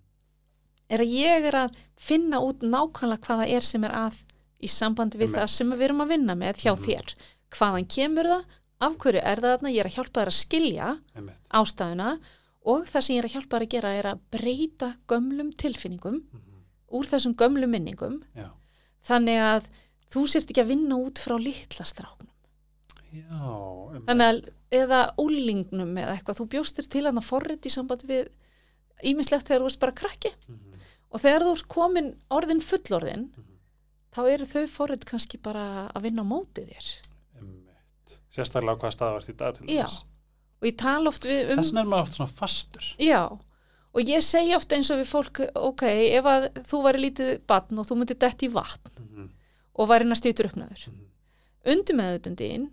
S2: er að ég er að finna út nákvæmlega hvaða er sem er að í sambandi við
S1: Einmitt.
S2: það sem við erum að vinna með hjá
S1: Mhm.
S2: þér. Hvaðan kemur það, af hverju er það þarna, ég er að hjálpa þér að skilja
S1: Einmitt.
S2: ástæðuna og það sem ég er að hjálpa þér að gera er að breyta gömlum tilfinningum
S1: Mhm.
S2: úr þessum gömlu minningum
S1: Já.
S2: þannig að þú sért ekki að vinna út frá litla stráknum
S1: Já, einmitt.
S2: þannig að eða úlingnum eða eitthvað, þú bjóstir til hann að forrit í sambandi við ímislegt þegar þú ert bara krakki
S1: Mhm.
S2: og þegar þú ert komin orðin fullorðin
S1: Mhm.
S2: þá eru þau forrit kannski bara að vinna á móti þér
S1: Einmitt. Sérstaklega á hvaða stað var í dag til
S2: Já. um-
S1: þess.
S2: og ég tala oft við um
S1: Þess nefnum maður oft svona fastur.
S2: Já, og ég segi ofta eins og við fólk, ok, ef að þú væri lítið batn og þú myndir dett í vatn
S1: Mhm.
S2: og væri næstu í druknaður.
S1: Mhm.
S2: Undir meðutundin,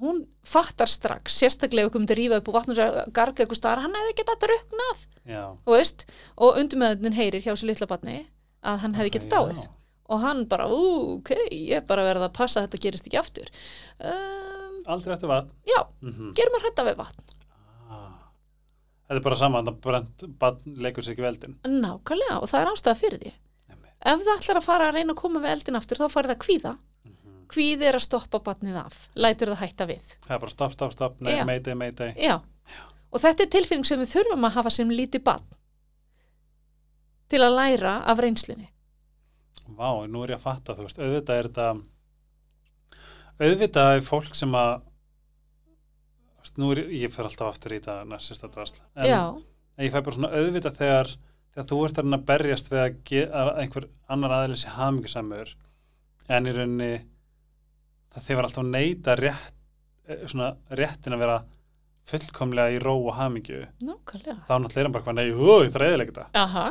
S2: hún fattar strax, sérstaklega ef þú myndir rífa upp og vatn og segja, garga eitthvað starf, hann hefði getað druknað,
S1: Já.
S2: þú veist, og undir meðutundin heyrir hjá sér litla batni að hann hefði getað dáið.
S1: Já.
S2: Og hann bara, ú, ok, ég er bara verið að passa að þetta gerist ekki aftur. Um,
S1: Aldrei eftir vatn.
S2: já,
S1: Mhm.
S2: gerum að hrætta við vatn.
S1: Ah. Þetta er bara saman að brent barn leikur sér ekki veldin.
S2: Nákvæmlega, og það er ástæða fyrir því.
S1: Einmitt.
S2: Ef það ætlar að fara að reyna að koma við eldin aftur, þá farið það að kvíða.
S1: Mhm.
S2: Kvíði er að stoppa batnið af, lætur það hætta við.
S1: Það er bara stopp, stopp, stopp, nei,
S2: Já.
S1: meitei, meitei.
S2: Já. Og þetta er tilfinning sem við þurfum að hafa sem lítið batn til að læra af reynslunni.
S1: Vá, nú er ég að fatta, þú veist, auðvitað er þetta auðvitað er fólk sem að þú veist, nú er ég, ég fer alltaf aftur í þetta narsista dvarsla, en
S2: Já,
S1: en ég fæ bara svona auðvitað þegar, þegar þú ert að reyna að berjast við að, ge, að einhver annar aðeins sé hamingisamur en í rauninni það þeir var alltaf að neita rétt, eh, svona, réttin að vera fullkomlega í ró og hamingju
S2: nákvæmlega.
S1: þá náttúrulega er hann bara hvað, nei, hú, ég þarf eðilega þetta
S2: Aha,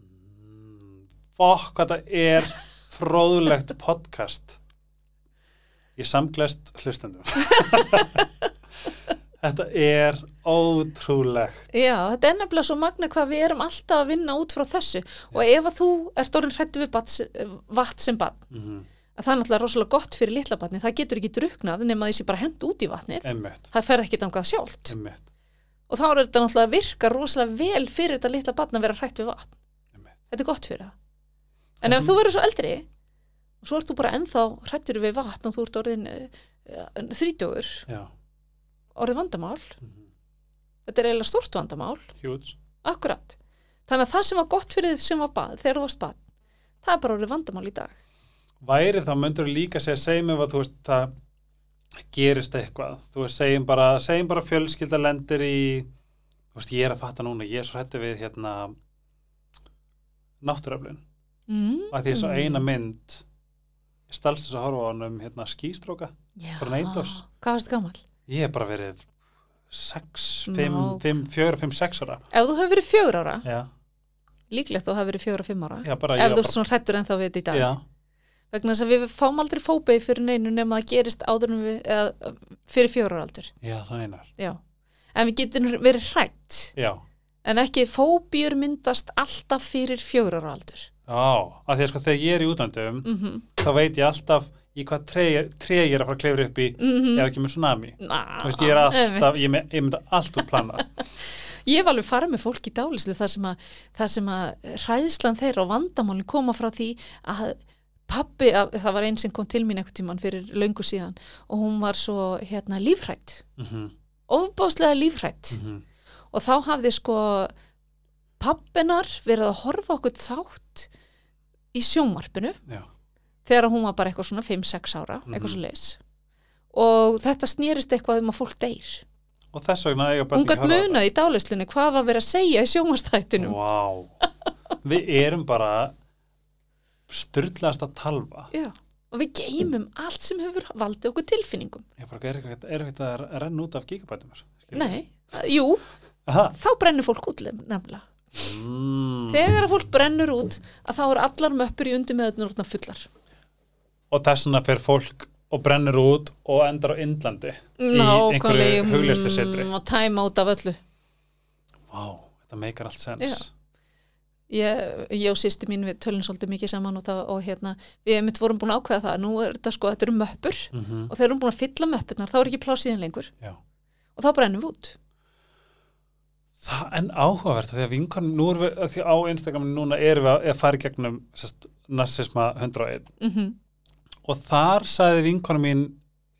S1: Mm, Fokk, hvað það er fróðlegt podcast. Ég samglæst hlustendum. Þetta er ótrúlegt.
S2: já, þetta er nefnilega svo magna hvað við erum alltaf að vinna út frá þessu og ef að þú ert orðin hrættu við bat, vatn sem batn,
S1: Mm
S2: að það er náttúrulega rosalega gott fyrir litla batni, það getur ekki druknað nema því sé bara hend út í vatnið,
S1: Einmitt,
S2: það fer ekki dangað sjálft.
S1: einmitt,
S2: Og þá er þetta náttúrulega að virka rosalega vel fyrir þetta litla batn að vera hrætt við vatn.
S1: einmitt.
S2: þetta er gott fyrir það en
S1: Það
S2: ef
S1: sem-
S2: þú verður svo eldri og svo ert þú bara ennþá hrættur við vatn og þú ert orðin þrítugur,
S1: Já.
S2: orðin vandamál
S1: Mm
S2: þetta er eiginlega stort vandamál,
S1: Hjúts.
S2: akkurat þannig að það sem var gott fyrir þið sem var bað þegar þú varst bað, það er bara orðin vandamál í dag
S1: Væri þá myndur líka segja, segjum ef að þú veist það gerist eitthvað. Þú veist, segjum bara, segjum bara fjölskylda lendir í, þú veist, ég er að fatta núna, ég er svo hrættu við hérna náttúröflun.
S2: mm.
S1: að því þessu eina mynd ég stalst þess að horfa á hann um hérna skýstróka
S2: Já.
S1: Tornadoes.
S2: Hvað varstu gammal?
S1: ég hef bara verið 6, 5,
S2: Vá.
S1: 5, 4, 5, 6 ára
S2: Ef þú hefur verið fjögur ára,
S1: já,
S2: líklegt þú hefur verið fjögur og fimm ára.
S1: já bara
S2: Ef
S1: ég
S2: þú
S1: var
S2: ert svona hrættur en þá við þetta í dag.
S1: bara, já,
S2: Vegna þess að við fáum aldrei fóbei fyrir neinu nema það gerist áður en við, eða, fyrir fjögur ára aldur.
S1: já, það einar
S2: Já. En við getum verið hrætt.
S1: já,
S2: En ekki fóbíur myndast alltaf fyrir fjögur ára aldur.
S1: á, af því að sko þegar ég er í útlandum
S2: Mm -hmm.
S1: þá veit ég alltaf í hvað tré tré ég er að fara að klefra upp í
S2: Mm. mhm.
S1: ef ekki með tsunami Þú veist, ég er alltaf, ég, me- ég myndi allt úr plana
S2: Ég hef alveg farið með fólk í dálislu þar sem að, þar sem að hræðslan þeirra og vandamálin koma frá því að pappi, að, það var einn sem kom til mín eitthvað tíman fyrir löngu síðan og hún var svo hérna lífrætt,
S1: mm
S2: ofbáslega lífrætt
S1: mhm.
S2: og þá hafði sko pappinar verið að horfa okkur þátt í sjónvarpinu
S1: Já.
S2: þegar hún var bara eitthvað svona 5-6 ára,
S1: Mhm.
S2: eitthvað svo leis og þetta snýrist eitthvað um að fólk deyr.
S1: og þess vegna eiga
S2: Hún
S1: börn
S2: gætt munað í dálislunni hvað var verið að segja í sjónvastættinum.
S1: wow. við erum bara styrlaðast að talva
S2: Já, og við geymum allt sem hefur valdið okkur tilfinningum.
S1: ég bara, er ekkert er ekkert að renna út af gigabætum
S2: Nei, að- jú,
S1: Aha.
S2: þá brennur fólk út lem- nefnilega.
S1: Mm.
S2: Þegar að fólk brennur út, að þá eru allar möppur í undir með öðnur fullar.
S1: og þess vegna fer fólk og brennur út og endar á Indlandi í einhverju
S2: Nákvæmlega,
S1: hugleistu setri
S2: mm, Og tæma út af öllu.
S1: wow, þetta meikar allt sens
S2: Já. Ég, ég og sýsti mín við tölum svolítið mikið saman og, það, og hérna, við einmitt vorum búin að ákveða það. Nú er þetta sko, þetta eru möppur
S1: Mhm.
S2: og þegar við erum búin að fylla möppurnar, þá er ekki plásiðin lengur
S1: Já.
S2: og þá brennum við út.
S1: Það en áhugavert því að vinkonum, nú erum við, af því á Instagram núna erum við að, að fara í gegnum sest, narsisma 101
S2: Mm
S1: og þar sagði vinkonum mín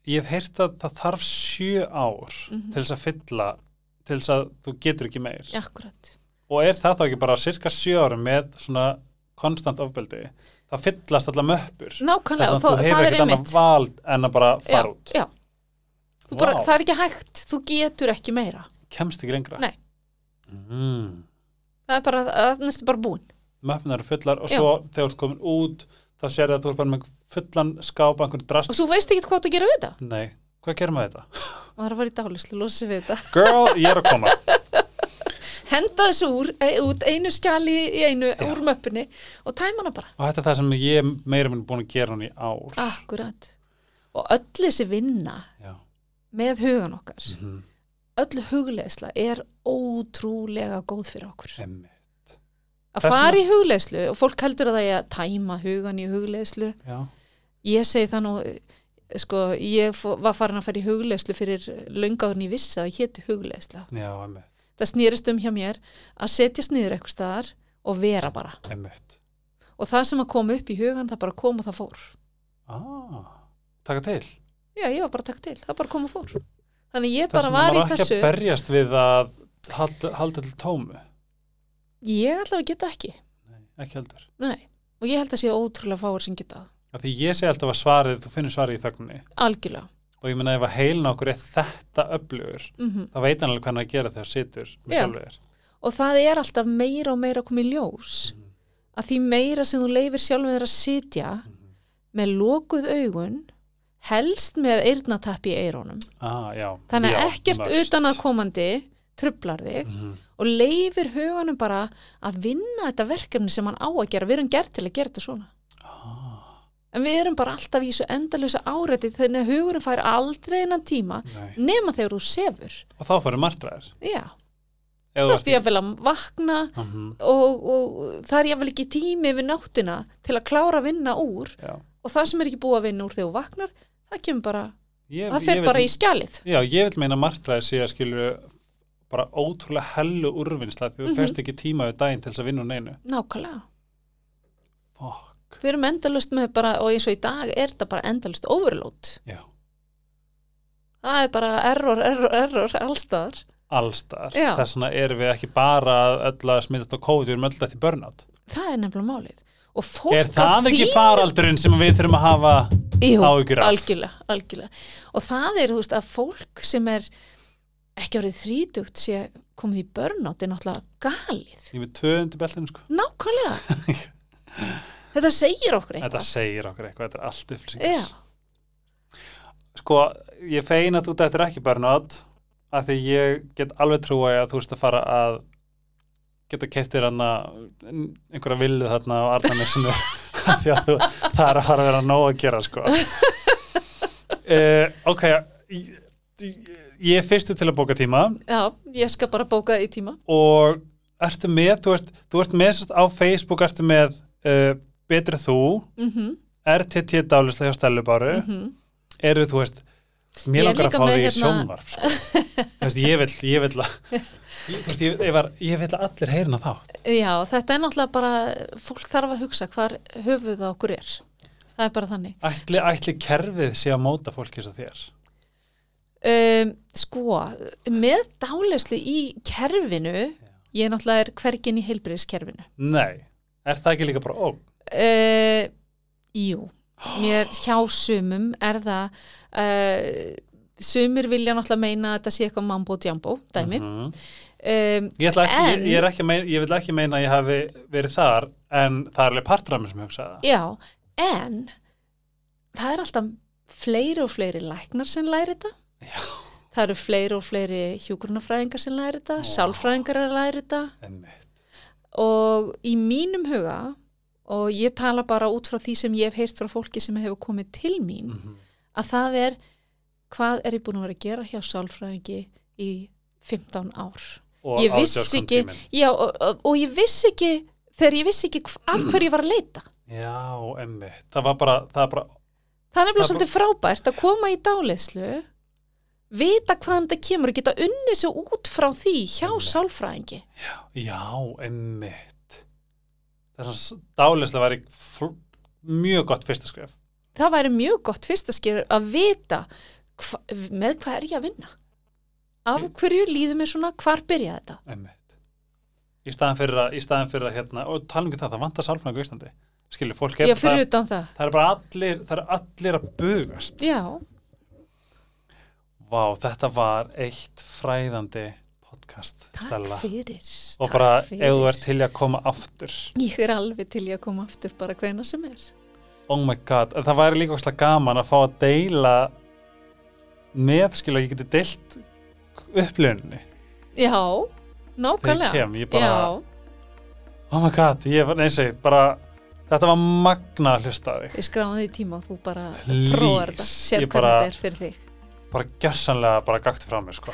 S1: ég hef heyrt að það þarf sjö ár
S2: Mhm.
S1: til þess að fylla til þess að þú getur ekki meir
S2: Akkurat.
S1: og er það þá ekki bara cirka sjö árum með svona konstant ofbeldi það fyllast allar möppur
S2: Nákvæmlega,
S1: að
S2: og þá-
S1: þú hefur
S2: Mm, það er
S1: ekkert annað
S2: einmitt.
S1: vald en að bara fara
S2: Já,
S1: út
S2: já. Þú bara,
S1: Vá.
S2: það er ekki hægt, þú getur ekki meira
S1: kemst ekki lengra
S2: Nei.
S1: mm.
S2: það er bara, það er bara búin
S1: möppunar eru fullar og
S2: Já.
S1: svo þegar þú ert komin út þá sér það að þú ert bara með fullan skáp einhvern drast
S2: og þú veist ekki hvað þú gerir við þetta
S1: Nei, hvað gerum við þetta?
S2: og það er að fara í dálislu, losa sig við þetta
S1: Girl, ég er að koma
S2: henda þessu úr, e, út einu skjali í einu,
S1: Já.
S2: úr möppinni og tæma hana bara
S1: og þetta er það sem ég er meira minn búin að gera hún í ár
S2: Ah. akkurat og öll þessi vinna
S1: Já.
S2: með hugan okkar
S1: Mhm.
S2: öll hugleðsla er ótrúlega góð fyrir okkur
S1: Emmi.
S2: að
S1: Þess
S2: fara í hugleðslu og fólk heldur að það er að tæma hugan í hugleðslu
S1: Já.
S2: Ég segi það nú, eh, sko, ég fó- var farin að fara í hugleðslu fyrir löngáðurinn ég vissi að það héti hugleðsla.
S1: Já, emmi,
S2: Það snýrist um hjá mér að setjast niður eitthvað staðar og vera bara.
S1: emmi
S2: Og það sem að koma upp í hugan, það bara kom og það fór.
S1: ah, Taka til
S2: Já, ég var bara að taka til, það bara kom og fór. Þannig ég
S1: Það
S2: bara
S1: sem
S2: var
S1: maður
S2: í
S1: á ekki
S2: þessu,
S1: að berjast við að halda, halda til tómu
S2: ég allavega geta ekki,
S1: Nei, ekki heldur
S2: nei. Og ég held að sé ótrúlega fáur sem geta það,
S1: Af Því ég segi alltaf að svarið, þú finnir svarið í þögninni
S2: algjörlega.
S1: og ég meina ef að heilin á okkur er þetta öflugur
S2: Mm
S1: þá veit hann alveg hvað hann á að gera þegar þú situr með
S2: Já.
S1: sjálfur þér
S2: Og það er alltaf meira og meira að koma í ljós.
S1: Mhm.
S2: Að því meira sem þú leifir sjálfum þér að sitja,
S1: Mhm.
S2: með lokuð augun helst með eyrnatapp í eirónum
S1: ah, já,
S2: þannig
S1: já,
S2: að ekkert
S1: must.
S2: utanaðkomandi trublar þig
S1: Mhm.
S2: og leifir huganum bara að vinna þetta verkefni sem hann á að gera við erum gert til að gera þetta svona
S1: ah,
S2: en við erum bara alltaf í þessu endalösa áreiti þannig að hugurinn fær aldrei innan tíma
S1: nei.
S2: nema þegar þú sefur
S1: og þá fórum martraðir
S2: já, þú ert ég að vilja vakna
S1: -hmm.
S2: og, og það er ég ekki tími við náttina til að klára að vinna úr
S1: Já.
S2: og það sem er ekki búið að vinna úr þegar þú vaknar það kemur bara,
S1: Ég,
S2: það fer
S1: ég
S2: bara
S1: vil,
S2: í skjalið
S1: Já, ég vil meina martraði sé að skilur bara ótrúlega hellu úrvinnsla því þú mm
S2: Mhm.
S1: fyrst ekki tíma við daginn til þess að vinna úr neinu.
S2: Nákvæmlega.
S1: Fuck.
S2: Við erum endalust með bara, og eins og í dag er þetta bara endalust overload.
S1: Já.
S2: Það er bara error, error, error, allstaðar.
S1: Allstar.
S2: Já.
S1: Þess vegna erum við ekki bara að öll að smittast á COVID, við erum öll eftir burnout.
S2: Það er nefnilega málið. Og fólk
S1: er það
S2: að
S1: ekki
S2: því-
S1: faraldurinn sem við þurfum að hafa
S2: Jú,
S1: áhyggjur af?
S2: algjörlega, algjörlega. Og það er, þú veist, að fólk sem er ekki árið þrítugt sé komið í burnout er náttúrulega galið.
S1: Ég er með tvö undir beltinu sko.
S2: Nákvæmlega. Þetta segir okkur
S1: Þetta
S2: eitthvað.
S1: segir okkur eitthvað, þetta er allt upplýsingar.
S2: Já,
S1: Sko, ég fein að þú dættir ekki burnout af því ég get alveg trúa að þú veist að fara að geta keftir hann einhverja villu þarna á Arnarnesinu af því að þú, það er að fara að vera nóg að gera sko uh, Ok, ég, ég er fyrstu til að bóka tíma
S2: já, ég skal bara bóka það í tíma.
S1: og ertu með, þú ert, þú ert með sérst á Facebook ertu með uh, Betri þú,
S2: Mm
S1: RTT dálislega hjá Stellubáru
S2: mhm.
S1: eru þú veist
S2: Ég
S1: mér
S2: er
S1: langar að
S2: líka
S1: fá
S2: með
S1: því í
S2: hérna-
S1: sjónvarp sko. þú veist, ég vil ég vil að ég, þú veist, ég, ég, var, ég vil að allir heyrna þá
S2: Já, þetta er náttúrulega bara, fólk þarf að hugsa hvar höfuð á okkur er. Það er bara þannig.
S1: ætli, ætli kerfið sé að móta fólki eins og þér
S2: Um, sko, með dálæslu í kerfinu, ég náttúrulega er hvergin í heilbriðiskerfinu.
S1: nei, er það ekki líka bara ó,
S2: Uh, jú, mér hjá sumum er það, uh, sumir vilja náttúrulega meina að þetta sé eitthvað mambo og djambo, dæmi.
S1: mhm.
S2: um,
S1: ég, ætla ekki, ég,
S2: En-
S1: ég, er ekki að meina, ég vil ekki meina að ég hafi verið þar en það er alveg partræmi sem ég hugsaði
S2: já, en það er alltaf fleiri og fleiri læknar sem læri þetta
S1: Já.
S2: það eru fleiri og fleiri hjúgrunafræðingar sem læri þetta,
S1: Vá.
S2: sálfræðingar að læri þetta
S1: Einmitt.
S2: og í mínum huga og ég tala bara út frá því sem ég hef heyrt frá fólki sem hefur komið til mín
S1: Mhm.
S2: að það er hvað er ég búin að vera að gera hjá sálfræðingi í 15 ár
S1: og
S2: Ég vissi
S1: átján kom
S2: ekki-
S1: tíminn.
S2: Já, og, og, og ég vissi ekki þegar ég vissi ekki hv- að hverju ég var að leita
S1: já, emmi, það var bara, það var bara
S2: Það er nefnilega
S1: Það er
S2: svolítið frábært að koma í dálislu, vita hvaðan þetta kemur og geta unnið sér út frá því hjá sálfræðingi.
S1: Já, emmitt. Þess að dálislega væri fl- mjög gott fyrsta skref.
S2: Það væri mjög gott fyrst að skera að vita hva, með hvað er ég að vinna. Af hverju líður mér svona, hvar byrja þetta?
S1: Emmitt. Í staðan fyrir að, í staðan fyrir að hérna, og talum ekki það, það vantar sálfræðingu í Íslandi. Skilju, fólk er,
S2: Já, fyrir
S1: það,
S2: utan það.
S1: það er Hérna bara allir, það er allir að bugast.
S2: Já,
S1: Vá, þetta var eitt fræðandi podcast,
S2: takk
S1: Stella.
S2: fyrir.
S1: Og
S2: takk
S1: bara,
S2: fyrir.
S1: ef þú er til í að koma aftur.
S2: Ég er alveg til ég að koma aftur bara hvena sem er.
S1: Oh my god, en það væri líka óslega gaman að fá að deila með, skilju, að ég geti deilt upplifunni.
S2: Já, nákvæmlega.
S1: kem, ég bara-
S2: Já.
S1: Oh my god, ég var neins að bara þetta var magna að hlusta á þig
S2: Ég skráði því tíma og þú bara
S1: Please,
S2: prófar þetta, sér
S1: ég
S2: hvernig
S1: bara-
S2: þetta er fyrir þig.
S1: bara gjörsanlega bara gakti frá mér sko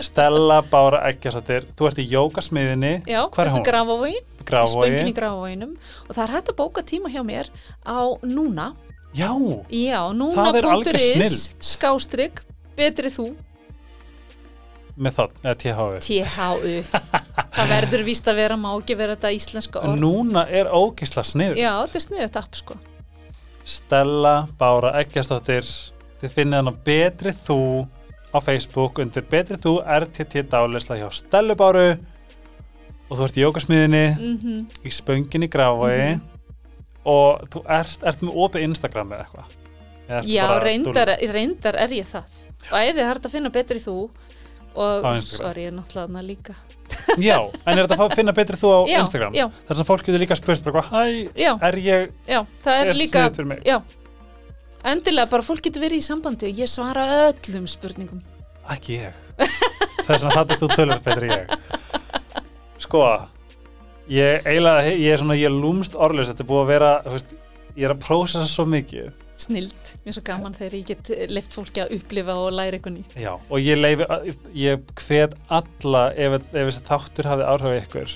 S1: Stella Bára Eggjarsdóttir þú ert í jókasmiðinni
S2: Já,
S1: Hvar er hún?
S2: Grafavogi, spöngin í
S1: Grafói
S2: Grafavoginum og það er hægt að bóka tíma hjá mér á núna,
S1: Já,
S2: já,
S1: Það er algjör
S2: núna.is
S1: snilld.
S2: skástrygg, betri þú,
S1: með þátt, eða THV
S2: THU. það verður víst að vera, má ekki vera þetta íslenska
S1: En
S2: orð.
S1: Núna er ógisla snið
S2: Já, þetta er sniðut app sko.
S1: Stella Bára Eggjarsdóttir þið finnið hann á Betri Þú á Facebook undir Betri Þú RTT dálisla hjá Stellu Báru og þú ert í jókasmiðinni
S2: Mm
S1: í spönginni gráfæi
S2: Mhm.
S1: og þú ert, ert með opið Instagram eða eitthvað Eða ertu
S2: Já,
S1: bara
S2: reyndar,
S1: dúll-
S2: reyndar er ég það. Bæði er hægt að finna betri þú og,
S1: Á Instagram.
S2: sorry, ég er náttúrulega þarna líka.
S1: Já, en er þetta að fá- finna betri þú á
S2: Já,
S1: Instagram?
S2: já.
S1: Þar sem fólk getur líka spurt bara hvað, hæ,
S2: Já,
S1: er ég
S2: já, það er
S1: er
S2: líka
S1: sniðugt fyrir mig?
S2: Já, endilega bara fólk getur verið í sambandi og ég svara öllum spurningum.
S1: Ekki ég Þess vegna það er þú tölur betri ég Sko ég eiginlega, ég er svona, ég er lúmst orðlis þetta er búið að vera, þú veist ég er að prósessa svo mikið
S2: Snild, mér er svo gaman þegar ég get leift fólki að upplifa og læra eitthvað nýtt.
S1: Já, og ég leifi, ég hvet alla ef, ef þessi þáttur hafið áhrif á ykkur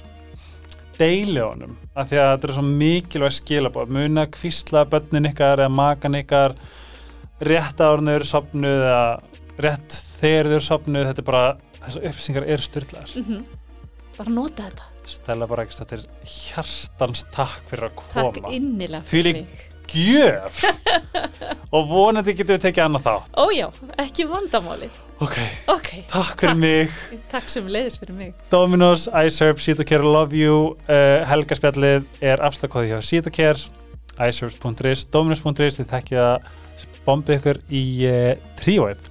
S1: deili honum af því að þetta er svo mikilvæg skilabóð muna kvísla börnin ykkar eða makan ykkar rétt árun þau eru sopnuð eða rétt þegar þau eru sopnuð þetta er bara, þessu upplýsingar eru styrlaðar
S2: Mm Bara nota þetta.
S1: Stella bara ekki stættir hjartans takk fyrir að
S2: Takk
S1: koma
S2: innilega
S1: Þvílík-
S2: mig.
S1: gjöf og vonandi getum við tekið annað þátt
S2: Ó já, ekki vandamáli.
S1: ok,
S2: Ok,
S1: takk fyrir mig
S2: takk sem leiðis fyrir mig.
S1: Dominos, iServe, Sitocare Love You uh, Helgaspjallið er afslagkóði hjá Sitocare iServe.is, Dominos.is þið þekkið að bombi ykkur í uh, tríóið.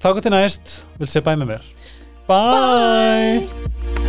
S1: Þá gott til næst vil segja bæ með mér. Bye!
S2: Bye!